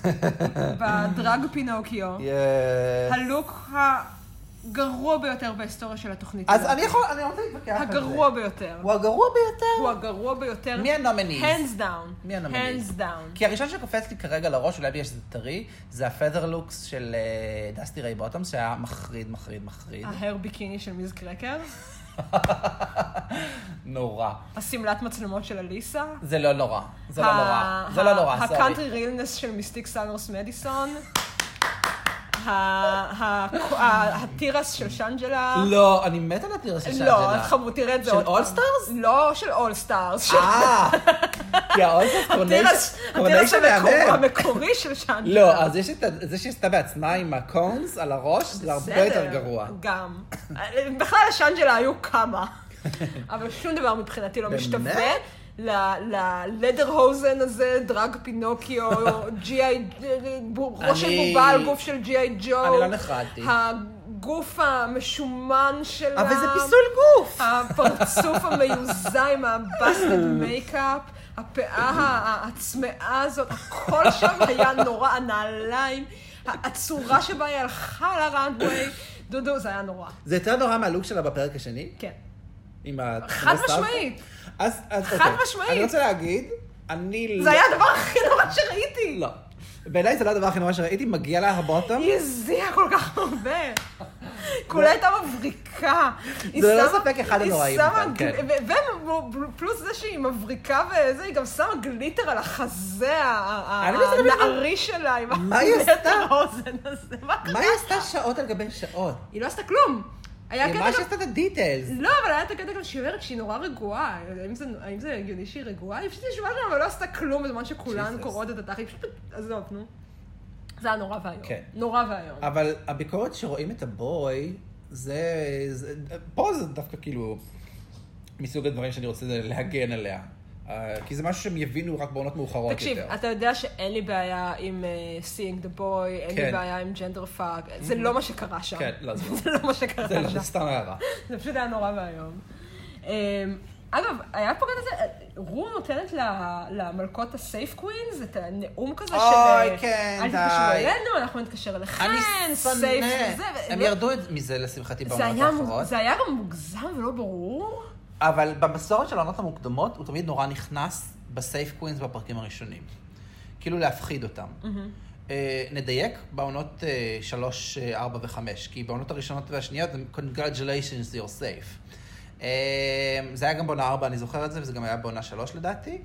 Speaker 1: בדרג פינוקיו.
Speaker 2: יס.
Speaker 1: הלוק הגרוע ביותר בהיסטוריה של התוכנית
Speaker 2: אז אני יכול, אני רוצה להתווכח על זה.
Speaker 1: הגרוע ביותר.
Speaker 2: הוא הגרוע ביותר.
Speaker 1: הוא הגרוע ביותר.
Speaker 2: מי הנומיניז?
Speaker 1: hands down.
Speaker 2: מי כן. הנומיניז?
Speaker 1: hands down.
Speaker 2: כי הראשון שקופץ לי כרגע לראש, אולי בגלל שזה טרי, זה הפדר לוקס של אה, דסטי ריי בוטום, שהיה מחריד, מחריד, מחריד.
Speaker 1: ההר ביקיני של מיז קרקר.
Speaker 2: נורא.
Speaker 1: השמלת מצלמות של אליסה.
Speaker 2: זה לא נורא. זה לא
Speaker 1: ה-
Speaker 2: נורא. זה
Speaker 1: ה-
Speaker 2: לא נורא, סורי.
Speaker 1: הקאנטרי רילנס של מיסטיק סאנרס מדיסון. ה- ה- ה- התירס של שנג'לה.
Speaker 2: לא, אני מת על התירס של שאנג'לה.
Speaker 1: לא, את חמוד, תראה את זה
Speaker 2: של
Speaker 1: עוד פעם.
Speaker 2: All Stars?
Speaker 1: לא של אולסטארס.
Speaker 2: אה, כי האולסטרס
Speaker 1: התירס התירס המקור- המקורי של שאנג'לה.
Speaker 2: לא, אז יש את ה- זה שהיא עשתה בעצמה עם הקונס על הראש, זה הרבה
Speaker 1: בסדר,
Speaker 2: יותר גרוע.
Speaker 1: גם. בכלל לשאנג'לה היו כמה. אבל שום דבר מבחינתי לא
Speaker 2: באמת?
Speaker 1: משתווה. ללדר הוזן הזה, דרג פינוקיו, ג'י-איי, ראש של
Speaker 2: אני-
Speaker 1: בובה על גוף של ג'י-איי ג'ו.
Speaker 2: אני לא נחרדתי.
Speaker 1: הגוף המשומן של
Speaker 2: אבל זה פיסול גוף.
Speaker 1: הפרצוף המיוזע עם הבאסטד מייקאפ, הפאה ה- הצמאה הזאת, הכל שם היה נורא, הנעליים, הצורה שבה היא הלכה על הרנדווי, דודו, זה היה נורא.
Speaker 2: זה יותר נורא מהלוק שלה בפרק השני?
Speaker 1: כן.
Speaker 2: עם ה...
Speaker 1: חד משמעית.
Speaker 2: אז, אז
Speaker 1: חד
Speaker 2: אוקיי.
Speaker 1: משמעית.
Speaker 2: אני רוצה להגיד, אני לא...
Speaker 1: זה היה הדבר הכי נורא שראיתי.
Speaker 2: לא. בעיניי זה לא הדבר הכי נורא שראיתי, מגיע לה הבוטום.
Speaker 1: היא הזיעה כל כך הרבה. כולה הייתה מבריקה. היא
Speaker 2: לא
Speaker 1: שמה-
Speaker 2: ספק אחד הנוראים,
Speaker 1: היא שמה,
Speaker 2: אבל,
Speaker 1: גל-
Speaker 2: כן.
Speaker 1: ו- ו- פלוס זה שהיא מבריקה וזה, היא גם שמה גליטר על החזה ה- ה-
Speaker 2: אני לא יודעת בכלל-
Speaker 1: הנערי שלה, עם
Speaker 2: מה היא עשתה?
Speaker 1: הנטר האוזן הזה. מה קרה?
Speaker 2: מה היא עשתה שעות על גבי שעות?
Speaker 1: היא לא עשתה כלום. היה
Speaker 2: היא ממש
Speaker 1: קטע גם...
Speaker 2: עשתה את הדיטלס.
Speaker 1: לא, אבל היה את הקטע גם שהיא אומרת שהיא נורא רגועה. האם זה- האם זה הגיוני שהיא רגועה? היא פשוט ישבה שם, אבל לא עשתה כלום בזמן שכולן
Speaker 2: Jesus.
Speaker 1: קוראות את התחת. היא פשוט... עזוב, נו. זה היה נורא ואיום.
Speaker 2: כן.
Speaker 1: נורא ואיום.
Speaker 2: אבל הביקורת שרואים את הבוי, זה, זה... פה זה דווקא כאילו מסוג הדברים שאני רוצה להגן עליה. אה, כי זה משהו שהם יבינו רק בעונות מאוחרות
Speaker 1: תקשיב,
Speaker 2: יותר.
Speaker 1: אתה יודע שאין לי בעיה עם אה, seeing the boy, אין
Speaker 2: כן. Mm-hmm.
Speaker 1: לי בעיה עם ג'נדר פאק, זה לא מה שקרה שם.
Speaker 2: כן, לא, זה לא.
Speaker 1: זה לא מה שקרה
Speaker 2: זה לא, זה
Speaker 1: שם.
Speaker 2: סתם הערה.
Speaker 1: זה פשוט היה נורא ואיום. אמ, אגב, היה פה כזה, רו נותנת ל- למלכות הסייף קווינס את הנאום כזה של... אה,
Speaker 2: אוי, כן,
Speaker 1: אל
Speaker 2: די."
Speaker 1: תתקשרו אלינו, אנחנו נתקשר אליכם,
Speaker 2: אני
Speaker 1: סייף וזה.
Speaker 2: שונא.
Speaker 1: ו-
Speaker 2: הם
Speaker 1: ו-
Speaker 2: ירדו את- מזה לשמחתי
Speaker 1: זה
Speaker 2: בעונות
Speaker 1: היה מוג-
Speaker 2: האחרות.
Speaker 1: זה היה גם מוגזם ולא ברור.
Speaker 2: אבל במסורת של העונות המוקדמות, הוא תמיד נורא נכנס בסייף קווינס בפרקים הראשונים. כאילו להפחיד אותם.
Speaker 1: Mm.
Speaker 2: אה, נדייק בעונות אה, 3, 4 ו-5, כי בעונות הראשונות והשניות, הם congratulations, you're safe. אה, זה היה גם בעונה 4, אני זוכר את זה, וזה גם היה בעונה 3 לדעתי.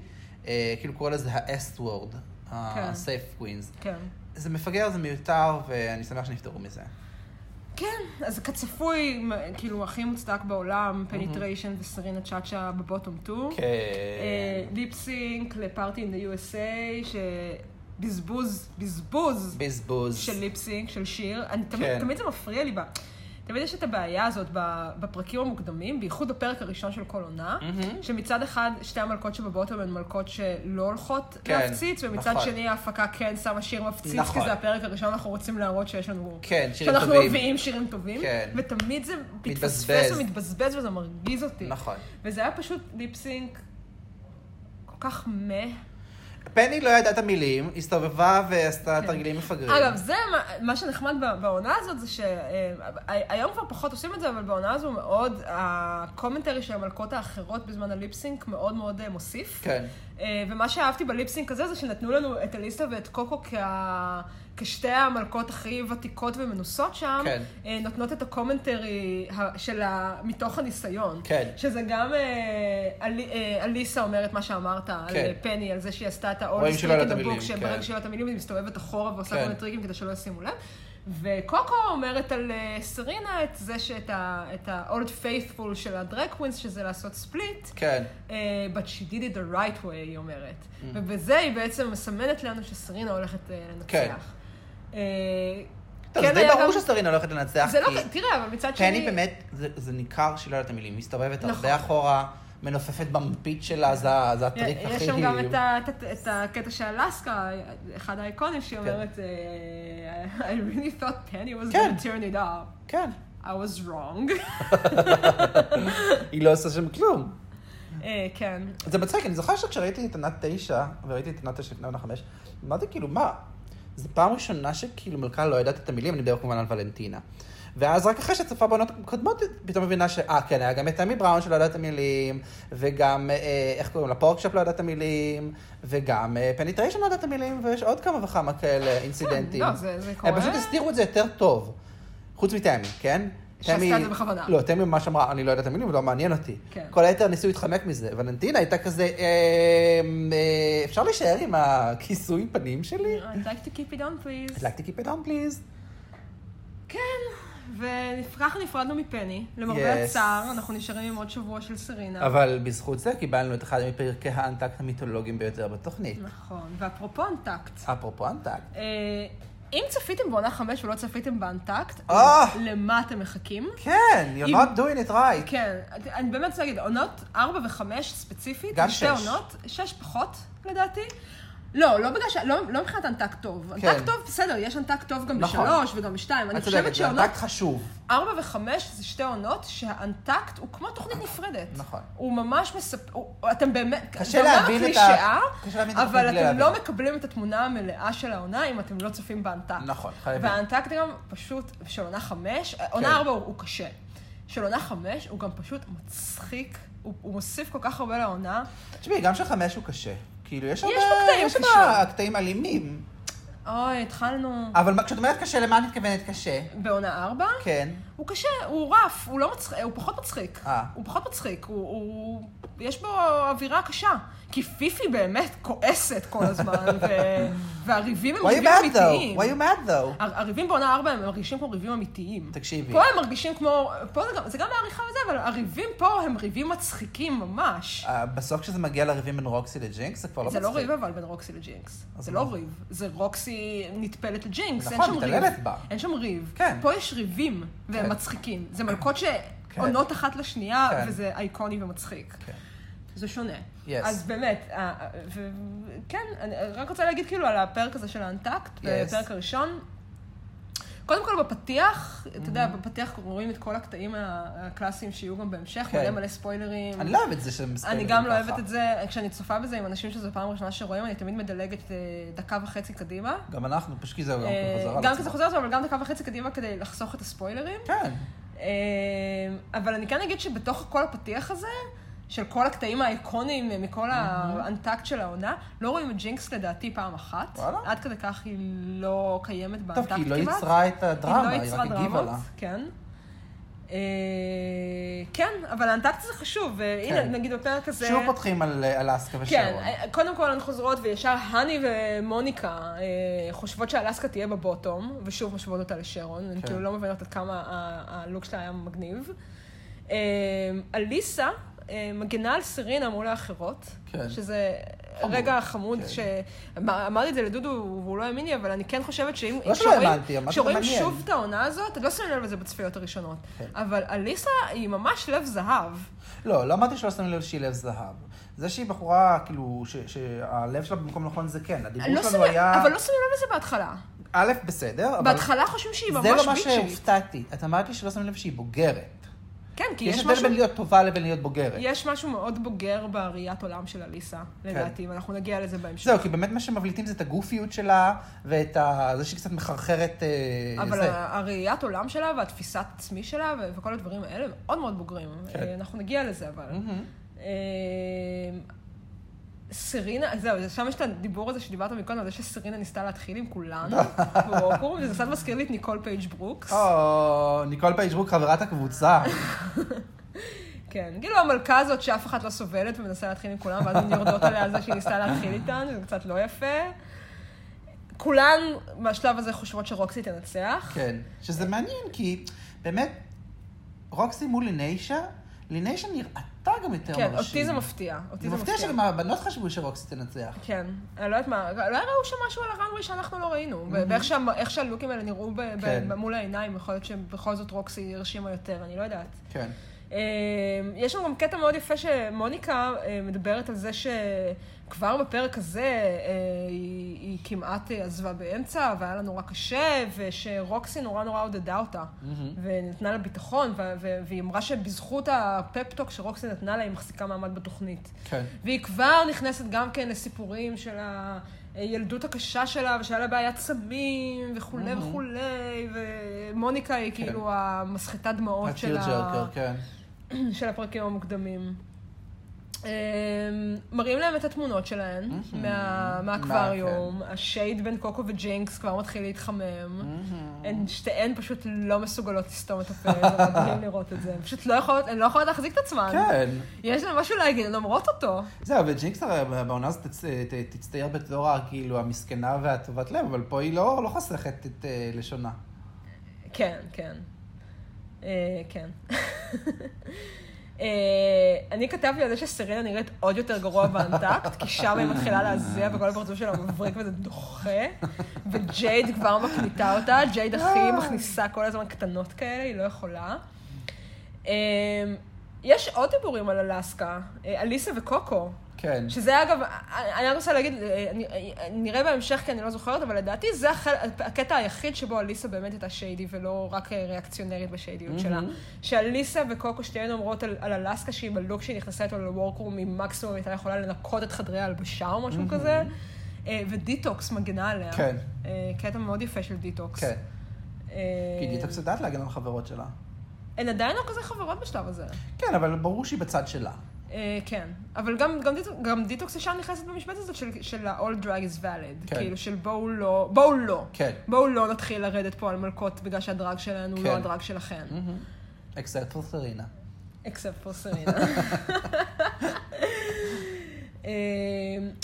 Speaker 2: אה, כאילו קורא לזה ה-S word, ה-safe queens.
Speaker 1: כן.
Speaker 2: זה מפגר, זה מיותר, ואני שמח שנפטרו מזה.
Speaker 1: כן, אז כצפוי, מ- כאילו, הכי מוצדק בעולם, פניטריישן וסרינה צ'אצ'ה בבוטום טו.
Speaker 2: כן.
Speaker 1: ליפסינק לפארטי אין דה USA, שבזבוז, בזבוז
Speaker 2: בזבוז.
Speaker 1: של ליפסינק, של שיר. אני תמיד,
Speaker 2: כן.
Speaker 1: כן. תמיד זה מפריע לי. ב... תמיד יש את הבעיה הזאת ב- בפרקים המוקדמים, בייחוד בפרק הראשון של כל עונה,
Speaker 2: מהמם.
Speaker 1: שמצד אחד שתי המלכות שבבוטום הן מלכות שלא הולכות
Speaker 2: כן,
Speaker 1: להפציץ, ומצד
Speaker 2: נכון.
Speaker 1: שני ההפקה כן שמה שיר מפציץ,
Speaker 2: נכון.
Speaker 1: כי זה הפרק הראשון, אנחנו רוצים להראות שיש לנו...
Speaker 2: כן, שירים
Speaker 1: שאנחנו
Speaker 2: טובים.
Speaker 1: מביאים שירים טובים,
Speaker 2: כן.
Speaker 1: ותמיד זה מתפספס
Speaker 2: מתבזבז.
Speaker 1: ומתבזבז וזה מרגיז אותי.
Speaker 2: נכון.
Speaker 1: וזה היה פשוט ליפסינק כל כך מה.
Speaker 2: פני לא ידעה את המילים, הסתובבה ועשתה
Speaker 1: כן.
Speaker 2: תרגילים מפגרים.
Speaker 1: אגב, זה מה, מה שנחמד ב- בעונה הזאת, זה שהיום כבר פחות עושים את זה, אבל בעונה הזו מאוד, הקומנטרי של המלכות האחרות בזמן הליפסינק מאוד מאוד אה, מוסיף.
Speaker 2: כן.
Speaker 1: אה, ומה שאהבתי בליפסינק הזה, זה שנתנו לנו את אליסה ואת קוקו כ- כשתי המלכות הכי ותיקות ומנוסות שם,
Speaker 2: כן.
Speaker 1: אה, נותנות את הקומנטרי ה- של ה... מתוך הניסיון.
Speaker 2: כן.
Speaker 1: שזה גם אה, אלי- אה, אליסה אומרת מה שאמרת על
Speaker 2: כן.
Speaker 1: אה, פני, על זה שהיא עשתה את ה-all
Speaker 2: רואים שלא
Speaker 1: streak
Speaker 2: ידעה
Speaker 1: in
Speaker 2: את
Speaker 1: the
Speaker 2: המילים,
Speaker 1: book,
Speaker 2: כן.
Speaker 1: שברגע שלא את המילים, היא מסתובבת אחורה ועושה
Speaker 2: כן.
Speaker 1: כל מיני טריקים כדי שלא ישימו לב. וקוקו אומרת על אה, סרינה את זה שאת ה-old faithful של הדרג קווינס, שזה לעשות ספליט.
Speaker 2: כן.
Speaker 1: אה, but she did it the right way, היא אומרת.
Speaker 2: Mm-hmm.
Speaker 1: ובזה היא בעצם מסמנת לנו שסרינה הולכת אה,
Speaker 2: כן.
Speaker 1: לנצח. אה,
Speaker 2: טוב, זה די
Speaker 1: היה
Speaker 2: ברור
Speaker 1: גם-
Speaker 2: שסטרינה הולכת לנצח,
Speaker 1: זה לא...
Speaker 2: כי
Speaker 1: תראה, אבל מצד שני...
Speaker 2: פני באמת, זה- זה ניכר שהיא לא יודעת את המילים, מסתובבת
Speaker 1: נכון.
Speaker 2: הרבה אחורה, מנופפת במפית שלה, זה זה
Speaker 1: י-
Speaker 2: הטריק הכי...
Speaker 1: אה, יש שם גם את ה- את ה- את הקטע של אלסקה, אחד האיקונים, שהיא
Speaker 2: כן.
Speaker 1: אומרת, אה, I really thought Penny was
Speaker 2: כן.
Speaker 1: going to turn it up.
Speaker 2: כן.
Speaker 1: I was wrong.
Speaker 2: היא לא עושה שם כלום.
Speaker 1: אה, כן.
Speaker 2: זה מצחיק, אני זוכר שכשראיתי את ענת תשע, וראיתי את ענת תשע לפני עונה חמש, אמרתי כאילו, מה? זו פעם ראשונה שכאילו מלכה לא יודעת את המילים, אני מדבר כמובן על ולנטינה. ואז רק אחרי שצפה בעונות קודמות, פתאום מבינה ש... אה, כן, היה גם את עמי בראון שלא יודעת את המילים, וגם, אה, איך קוראים לה? פורקשופ לא יודעת את המילים, וגם אה, פניטריישן לא יודעת את המילים, ויש עוד כמה וכמה כאלה אינסידנטים.
Speaker 1: כן, לא, זה- זה
Speaker 2: הם
Speaker 1: קורה.
Speaker 2: אה, פשוט הסדירו את זה יותר טוב. חוץ מתמי, כן?
Speaker 1: שעשתה
Speaker 2: תמי-
Speaker 1: את זה בכוונה.
Speaker 2: לא, תמי ממש אמרה, אני לא יודעת את המילים, לא מעניין אותי.
Speaker 1: כן.
Speaker 2: כל היתר ניסו להתחמק מזה. ולנטינה הייתה כזה, "אה, אה, אפשר להישאר עם הכיסוי פנים שלי?
Speaker 1: I'd like to keep it on please.
Speaker 2: I'd like to keep it on, please.
Speaker 1: כן, וככה נפרדנו מפני,
Speaker 2: Yes.
Speaker 1: למרבה הצער, אנחנו נשארים עם עוד שבוע של סרינה.
Speaker 2: אבל בזכות זה קיבלנו את אחד מפרקי האנטקט המיתולוגיים ביותר בתוכנית.
Speaker 1: נכון, ואפרופו אנטקט,
Speaker 2: אפרופו אנטקט.
Speaker 1: אה, אם צפיתם בעונה חמש ולא צפיתם באנטקט,
Speaker 2: אה.
Speaker 1: למה אתם מחכים?
Speaker 2: כן, you're
Speaker 1: אם-
Speaker 2: not doing it right.
Speaker 1: כן, אני באמת רוצה להגיד, עונות 4 ו-5 ספציפית,
Speaker 2: גם
Speaker 1: זה שתי
Speaker 2: שש.
Speaker 1: עונות, 6 פחות לדעתי. לא, לא בגלל ש... לא, לא מבחינת אנטק טוב.
Speaker 2: כן.
Speaker 1: אנטק טוב, בסדר, יש אנטק טוב גם
Speaker 2: נכון.
Speaker 1: בשלוש וגם בשתיים. אני
Speaker 2: את צודקת,
Speaker 1: חושבת
Speaker 2: זה
Speaker 1: שעונות
Speaker 2: אנטקט חשוב.
Speaker 1: 4 ו-5 זה שתי עונות שהאנטקט הוא כמו תוכנית נפרדת.
Speaker 2: נכון.
Speaker 1: הוא ממש מספ... הוא... אתם באמת...
Speaker 2: קשה
Speaker 1: זה אומנם
Speaker 2: להבין את ה-
Speaker 1: קלישאה,
Speaker 2: קשה להבין את
Speaker 1: אבל
Speaker 2: התוכנית בלי
Speaker 1: אתם לא
Speaker 2: להבין.
Speaker 1: מקבלים את התמונה המלאה של העונה אם אתם לא צופים באנטקט.
Speaker 2: נכון, חייבים.
Speaker 1: והאנטקט גם פשוט, של עונה 5,
Speaker 2: כן.
Speaker 1: עונה 4 הוא, הוא קשה. של עונה 5 הוא גם פשוט מצחיק, הוא, הוא מוסיף כל כך הרבה לעונה.
Speaker 2: תשמעי, גם של חמש הוא קשה. כאילו, יש הרבה...
Speaker 1: בו קטעים
Speaker 2: יש שם
Speaker 1: קשים.
Speaker 2: קטעים אלימים.
Speaker 1: אוי, התחלנו
Speaker 2: אבל מה- כשאת אומרת קשה, למה את מתכוונת קשה?
Speaker 1: בעונה 4.
Speaker 2: כן.
Speaker 1: הוא קשה, הוא רף, הוא לא מצחיק, הוא פחות מצחיק.
Speaker 2: אה.
Speaker 1: הוא פחות מצחיק, הוא, הוא... יש בו אווירה קשה. כי פיפי באמת כועסת כל הזמן, ו- והריבים הם
Speaker 2: Why you
Speaker 1: ריבים
Speaker 2: mad
Speaker 1: אמיתיים.
Speaker 2: though? Why you mad though?
Speaker 1: הר- הריבים בעונה ארבע הם מרגישים כמו ריבים אמיתיים.
Speaker 2: תקשיבי.
Speaker 1: פה הם מרגישים כמו, פה זה גם, זה גם העריכה וזה, אבל הריבים פה הם ריבים מצחיקים ממש.
Speaker 2: אה, בסוף כשזה מגיע לריבים בין רוקסי לג'ינקס, זה כבר לא
Speaker 1: זה
Speaker 2: מצחיק.
Speaker 1: לא ריב אבל בין רוקסי לג'ינקס.
Speaker 2: אז
Speaker 1: זה
Speaker 2: מה?
Speaker 1: לא ריב. זה רוקסי נטפלת לג'ינקס, אין
Speaker 2: נכון,
Speaker 1: שם ריב.
Speaker 2: מתעללת בה.
Speaker 1: אין שם ריב.
Speaker 2: כן.
Speaker 1: פה יש ריבים, והם
Speaker 2: כן.
Speaker 1: מצחיקים. זה מלכות שעונות אחת לשנייה,
Speaker 2: כן.
Speaker 1: וזה אייקוני ומצחיק.
Speaker 2: כן.
Speaker 1: זה שונה.
Speaker 2: Yes.
Speaker 1: אז באמת, אה, אה, ו- כן, אני רק רוצה להגיד כאילו על הפרק הזה של האנטקט,
Speaker 2: Yes.
Speaker 1: בפרק הראשון. קודם כל בפתיח, אתה יודע,
Speaker 2: Mm-hmm.
Speaker 1: בפתיח רואים את כל הקטעים הקלאסיים שיהיו גם בהמשך,
Speaker 2: כן.
Speaker 1: מלא מלא ספוילרים.
Speaker 2: אני לא אוהבת את זה שהם
Speaker 1: אני
Speaker 2: מספרים
Speaker 1: גם לא
Speaker 2: ככה.
Speaker 1: אוהבת את זה, כשאני צופה בזה עם אנשים שזו פעם ראשונה שרואים, אני תמיד מדלגת אה, דקה וחצי קדימה.
Speaker 2: גם אנחנו, פשוט כי זה גם
Speaker 1: אה,
Speaker 2: חזרה
Speaker 1: גם
Speaker 2: לעצמה.
Speaker 1: כי זה חוזר לעצמו, אבל גם דקה וחצי קדימה כדי לחסוך את הספוילרים.
Speaker 2: כן.
Speaker 1: אה, אבל אני כן אגיד שבתוך כל הפתיח הזה, של כל הקטעים האיקונים אה, מכל האנטקט של העונה, לא רואים את ג'ינקס לדעתי פעם אחת.
Speaker 2: וואלה.
Speaker 1: עד כדי כך היא לא קיימת
Speaker 2: טוב,
Speaker 1: באנטקט
Speaker 2: כי
Speaker 1: כמעט.
Speaker 2: היא לא יצרה את הדרמה,
Speaker 1: היא לא
Speaker 2: היא
Speaker 1: יצרה
Speaker 2: רק הגיבה
Speaker 1: דרמות,
Speaker 2: לה.
Speaker 1: כן. אה, כן, אבל האנטקט זה חשוב, והנה,
Speaker 2: כן.
Speaker 1: נגיד בפרק הזה...
Speaker 2: שוב פותחים על אה, אלסקה
Speaker 1: כן,
Speaker 2: ושרון.
Speaker 1: קודם כל הן חוזרות וישר הני ומוניקה אה, חושבות שאלסקה תהיה בבוטום, ושוב משוות אותה לשרון, הן
Speaker 2: כן.
Speaker 1: כאילו לא מבינות עד כמה ה- הלוק שלה היה מגניב. אה, אליסה אה, מגנה על סרינה מול האחרות,
Speaker 2: כן.
Speaker 1: שזה
Speaker 2: חמוד.
Speaker 1: רגע חמוד,
Speaker 2: כן.
Speaker 1: ש- אמר- אמרתי את זה לדודו והוא לא האמין לי, אבל אני כן חושבת שאם
Speaker 2: לא שלא
Speaker 1: כשרואים-
Speaker 2: האמנתי, אמרתי,
Speaker 1: כשרואים
Speaker 2: מעניין.
Speaker 1: שוב את העונה הזאת, לא שמים לב לזה בצפיות הראשונות,
Speaker 2: כן.
Speaker 1: אבל אליסה היא ממש לב זהב.
Speaker 2: לא, לא אמרתי שלא שמים לב שהיא לב זהב. זה שהיא בחורה, כאילו, ש- שהלב שלה במקום נכון זה כן.
Speaker 1: לא
Speaker 2: הדיבור שלנו
Speaker 1: שמים-
Speaker 2: היה...
Speaker 1: אבל לא שמים לב לזה בהתחלה.
Speaker 2: א', בסדר, אבל...
Speaker 1: בהתחלה חושבים שהיא ממש
Speaker 2: זה
Speaker 1: ביצ'ית.
Speaker 2: לא מה שהופתעתי. את אמרת לי שלא שמים לב שהיא בוגרת.
Speaker 1: כן, כי
Speaker 2: יש
Speaker 1: יש
Speaker 2: הבדל
Speaker 1: משהו...
Speaker 2: בין להיות טובה לבין להיות בוגרת.
Speaker 1: יש משהו מאוד בוגר בראיית עולם של אליסה, לדעתי, ואנחנו נגיע לזה בהמשך.
Speaker 2: כן. זהו, כי באמת מה שמבליטים זה את הגופיות שלה, ואת ה... זה שהיא קצת מחרחרת אה,
Speaker 1: אבל
Speaker 2: זה.
Speaker 1: ה- הראיית עולם שלה והתפיסת עצמי שלה ו- וכל הדברים האלה הם מאוד מאוד בוגרים.
Speaker 2: כן.
Speaker 1: אה, אנחנו נגיע לזה, אבל.
Speaker 2: מהמם.
Speaker 1: אה, סרינה, זהו, שם יש את הדיבור הזה שדיברת מקודם, על זה שסרינה ניסתה להתחיל עם כולנו, בווקום, וזה קצת מזכיר לי את ניקול פייג' ברוקס.
Speaker 2: אה, או, ניקול פייג'בוק, חברת הקבוצה.
Speaker 1: כן, כאילו המלכה הזאת שאף אחת לא סובלת ומנסה להתחיל עם כולם, ואז הן יורדות עליה על זה שהיא ניסתה להתחיל איתן, זה קצת לא יפה. כולן בשלב הזה חושבות שרוקסי תנצח.
Speaker 2: כן. שזה מעניין, כי באמת, רוקסי מול ליניישה, ליניישה נראתה גם יותר
Speaker 1: כן,
Speaker 2: מרשים.
Speaker 1: אותי זה מפתיע. אותי
Speaker 2: זה
Speaker 1: זה
Speaker 2: מפתיע שגם הבנות חשבו שרוקסי תנצח.
Speaker 1: כן, אני לא יודעת מה, לא הראו שם משהו על הרנווי שאנחנו לא ראינו, ו- ואיך שה- איך שהלוקים האלה נראו ב- ב-
Speaker 2: Mm-hmm. כן.
Speaker 1: מול העיניים, יכול להיות שבכל זאת רוקסי הרשימה יותר, אני לא יודעת.
Speaker 2: כן.
Speaker 1: אמ, יש לנו גם קטע מאוד יפה שמוניקה אה, מדברת על זה שכבר בפרק הזה אה, היא, היא כמעט אה, עזבה באמצע, והיה לה נורא קשה, ושרוקסי נורא נורא עודדה אותה, ונתנה לה ביטחון, ו- ו- והיא אמרה שבזכות הפפטוק שרוקסי נתנה לה, היא מחזיקה מעמד בתוכנית.
Speaker 2: כן.
Speaker 1: והיא כבר נכנסת גם כן לסיפורים של הילדות הקשה שלה, ושהיה לה בעיית סמים, וכולי וכולי, ומוניקה היא
Speaker 2: כן.
Speaker 1: כאילו המסחטת דמעות של,
Speaker 2: הטיר
Speaker 1: ה...
Speaker 2: ג'רקר, כן.
Speaker 1: של הפרקים המוקדמים. אמ, מראים להם את התמונות שלהן מה- מהאקווריום, השייד בין קוקו וג'ינקס כבר מתחיל להתחמם. הן שתיהן פשוט לא מסוגלות לסתום את הפה, זה מדהים לראות את זה. הן פשוט לא יכולות, הן לא יכולות להחזיק את עצמן.
Speaker 2: כן.
Speaker 1: יש להן משהו להגיד, הן אומרות אותו.
Speaker 2: זהו, וג'ינקס הרי בעונה הזאת תצ- אה, ת- תצטייר בתור כאילו המסכנה והטובת לב, אבל פה היא לא לא חוסכת את אה, לשונה.
Speaker 1: כן, כן. אה, כן. אה, אני כתבתי על זה שסרינה נראית עוד יותר גרוע באנטקט, כי שם היא מתחילה להזיע וכל הפרצוף שלה מבריק וזה דוחה, וג'ייד כבר מקליטה אותה, ג'ייד הכי מכניסה כל הזמן קטנות כאלה, היא לא יכולה. אה, יש עוד דיבורים על אלסקה, אה, אליסה וקוקו.
Speaker 2: כן.
Speaker 1: שזה אגב, אני רק רוצה להגיד, אה, אני- אה, נראה בהמשך כי אני לא זוכרת, אבל לדעתי זה החל, הקטע היחיד שבו אליסה באמת הייתה שיידי ולא רק אה, ריאקציונרית בשיידיות שלה. שאליסה וקוקו שתיהן אומרות על, על אלסקה שהיא בלוק שהיא נכנסה איתו לוורקרום, היא מקסימום הייתה יכולה לנקות את חדרי ההלבשה או משהו כזה. אה, ודיטוקס מגנה עליה.
Speaker 2: כן.
Speaker 1: אה, קטע מאוד יפה של דיטוקס.
Speaker 2: כן.
Speaker 1: אה,
Speaker 2: כי דיטוקס יודעת להגן על חברות שלה.
Speaker 1: הן עדיין לא כזה חברות בשלב הזה.
Speaker 2: כן, אבל ברור שהיא בצד שלה.
Speaker 1: אה, כן, אבל גם, גם, דיטוק, גם דיטוקס ישר נכנסת במשבצת הזאת של, של ה-all drag is valid.
Speaker 2: כן.
Speaker 1: כאילו של בואו לא, בואו לא.
Speaker 2: כן.
Speaker 1: בואו לא נתחיל לרדת פה על מלכות בגלל שהדרג שלנו הוא
Speaker 2: כן.
Speaker 1: לא הדרג שלכן.
Speaker 2: Mm-hmm. אקספט פוסרינה.
Speaker 1: אקספט פור סרינה. אה,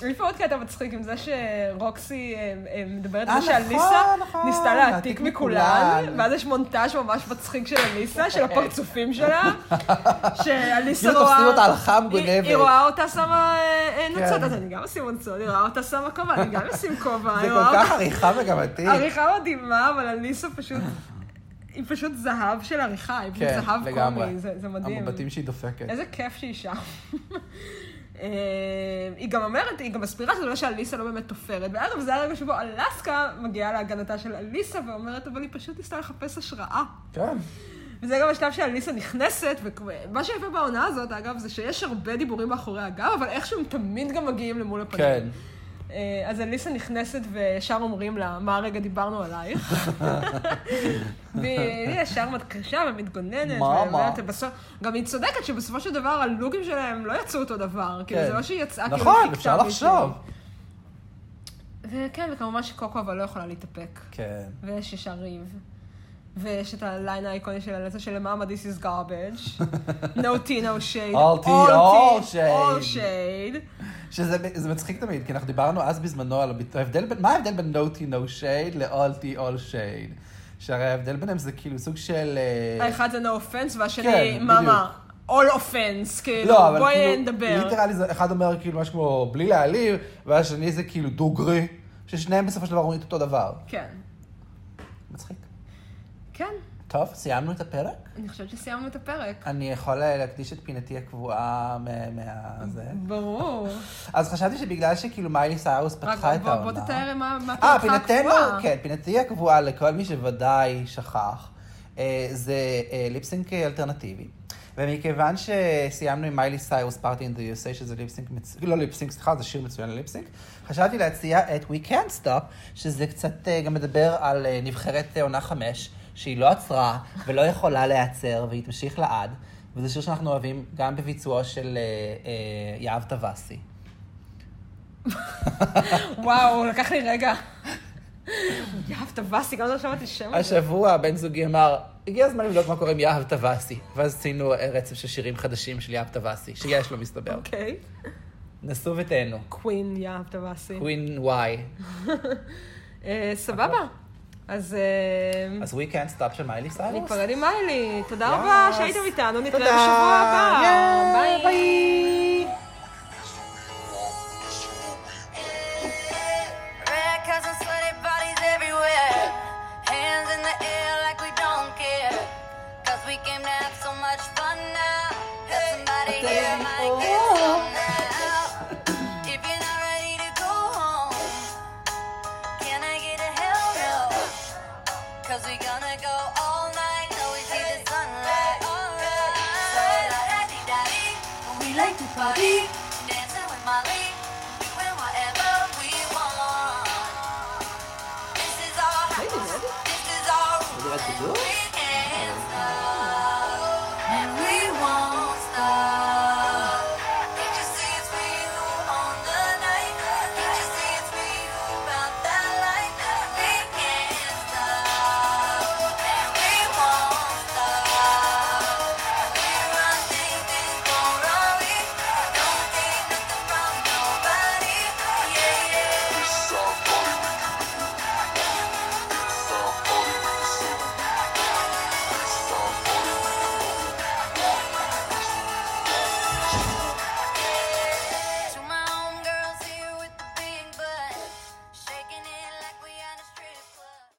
Speaker 1: יש פה עוד קטע מצחיק עם זה שרוקסי אה, אה, מדברת על
Speaker 2: אה,
Speaker 1: זה שאליסה
Speaker 2: נכון, נכון,
Speaker 1: ניסתה להעתיק מכולן,
Speaker 2: מכולן. אוקיי.
Speaker 1: ואז יש מונטאז' ממש מצחיק של אליסה, של הפרצופים שלה, שאליסה
Speaker 2: כאילו
Speaker 1: רואה...
Speaker 2: תופסים אותה על חם
Speaker 1: היא- היא
Speaker 2: גונבת.
Speaker 1: רואה אותה שמה אה, אה, נוצות,
Speaker 2: כן.
Speaker 1: אז אני גם אשים נוצות, היא רואה אותה שמה כובע, אני גם אשים כובע,
Speaker 2: זה
Speaker 1: היא רואה
Speaker 2: כל
Speaker 1: אותה
Speaker 2: כך עריכה מגמתית.
Speaker 1: עריכה מדהימה, אבל אליסה פשוט... היא פשוט זהב של עריכה, היא פשוט
Speaker 2: כן,
Speaker 1: זהב
Speaker 2: לגמרי.
Speaker 1: קומי, זה זה מדהים.
Speaker 2: המבטים שהיא דופקת.
Speaker 1: איזה כיף שהיא שם. אה, היא גם אומרת, היא גם מסבירה שזה אומר שאליסה לא באמת תופרת. ואגב, זה הרגע שבו אלסקה מגיעה להגנתה של אליסה ואומרת, אבל היא פשוט ניסתה לחפש השראה.
Speaker 2: כן.
Speaker 1: וזה גם השלב שאליסה נכנסת, ומה שיפה בעונה הזאת, אגב, זה שיש הרבה דיבורים מאחורי הגב, אבל איכשהו הם תמיד גם מגיעים למול הפנים.
Speaker 2: כן.
Speaker 1: אה, אז אליסה נכנסת וישר אומרים לה, מה הרגע דיברנו עלייך? והיא ישר מתקשה ומתגוננת.
Speaker 2: מה,
Speaker 1: ואומרת,
Speaker 2: מה?
Speaker 1: "בסוף-" גם היא צודקת שבסופו של דבר הלוקים שלהם לא יצאו אותו דבר. כאילו,
Speaker 2: כן.
Speaker 1: זה לא שהיא יצאה כאילו
Speaker 2: נכון,
Speaker 1: חיכתה
Speaker 2: אפשר
Speaker 1: מישהו.
Speaker 2: לחשוב.
Speaker 1: וכן, וכמובן שקוקו אבל לא יכולה להתאפק.
Speaker 2: כן.
Speaker 1: ויש ישר ריב. ויש את הליין האיקוני של הלצה של למאמה, this is garbage. No tea, no shade.
Speaker 2: All tea, all shade.
Speaker 1: All shade.
Speaker 2: שזה זה מצחיק תמיד, כי אנחנו דיברנו אז בזמנו על הביט- ההבדל בין, מה ההבדל בין no tea no shade ל-all tea all shade? שהרי ההבדל ביניהם זה כאילו סוג של... אה,
Speaker 1: האחד זה no offense והשני,
Speaker 2: כן,
Speaker 1: מאמה, all offense, כאילו,
Speaker 2: לא, אבל
Speaker 1: בואי
Speaker 2: כאילו,
Speaker 1: נדבר.
Speaker 2: ליטרלי זה, אחד אומר כאילו משהו כמו בלי להעליב, והשני זה כאילו דוגרי, ששניהם בסופו של דבר אומרים את אותו דבר.
Speaker 1: כן.
Speaker 2: מצחיק.
Speaker 1: כן,
Speaker 2: טוב, סיימנו את הפרק?
Speaker 1: אני חושבת שסיימנו את הפרק.
Speaker 2: אני יכול אה, להקדיש את פינתי הקבועה מה- מה... זה?
Speaker 1: ברור.
Speaker 2: אז חשבתי שבגלל שכאילו מיילי סיירוס
Speaker 1: רק
Speaker 2: פתחה את
Speaker 1: בוא-
Speaker 2: העונה...
Speaker 1: בוא תתאר מה מה
Speaker 2: אה,
Speaker 1: פרקך
Speaker 2: פינתנו,
Speaker 1: הקבועה.
Speaker 2: כן, פינתי הקבועה לכל מי שוודאי שכח, אה, זה אה, ליפסינק אלטרנטיבי. ומכיוון שסיימנו עם מיילי סיירוס פארטי אין דה USA, שזה ליפסינק, מצ- לא ליפסינק, סליחה, זה שיר מצוין לליפסינק, חשבתי להציע את We Can't Stop, שזה קצת אה, גם מדבר על אה, נבחרת אה, עונה חמש, שהיא לא עצרה ולא יכולה להיעצר, והיא תמשיך לעד, וזה שיר שאנחנו אוהבים גם בביצועו של אה, אה, יהב טוואסי.
Speaker 1: וואו, לקח לי רגע. יאב, טבסתי, גם לא שמעתי שם. הזה.
Speaker 2: השבוע הבן זוגי אמר, הגיע הזמן לבדוק מה קורה עם יהב טוואסי. ואז עשינו אה, רצף של שירים חדשים של יהב טוואסי, שיש לו מסתבר.
Speaker 1: אוקיי.
Speaker 2: נסו ותהנו.
Speaker 1: קווין, יאב, טבסתי.
Speaker 2: קווין וואי.
Speaker 1: אה, סבבה. אז אה,
Speaker 2: אז we can't stop של מיילי סיירוס.
Speaker 1: ניפרד עם מיילי. תודה
Speaker 2: יאס.
Speaker 1: רבה שהייתם איתנו, נתראה
Speaker 2: תודה.
Speaker 1: בשבוע הבא.
Speaker 2: יאי,
Speaker 1: ביי.
Speaker 2: ביי.
Speaker 3: Red coats and sweaty bodies everywhere. Hands in the air like we don't care. 'Cause we came to have so much fun now. That somebody here might get some now. If you're not ready to go home, can I get a hell no? 'Cause we gonna go all night till we see the sunlight. Alright. So la-da-dee-da-dee. We like to party. Dancing with Molly. Doing whatever we want. This is our house. This is our
Speaker 2: Would you like to do it?
Speaker 3: we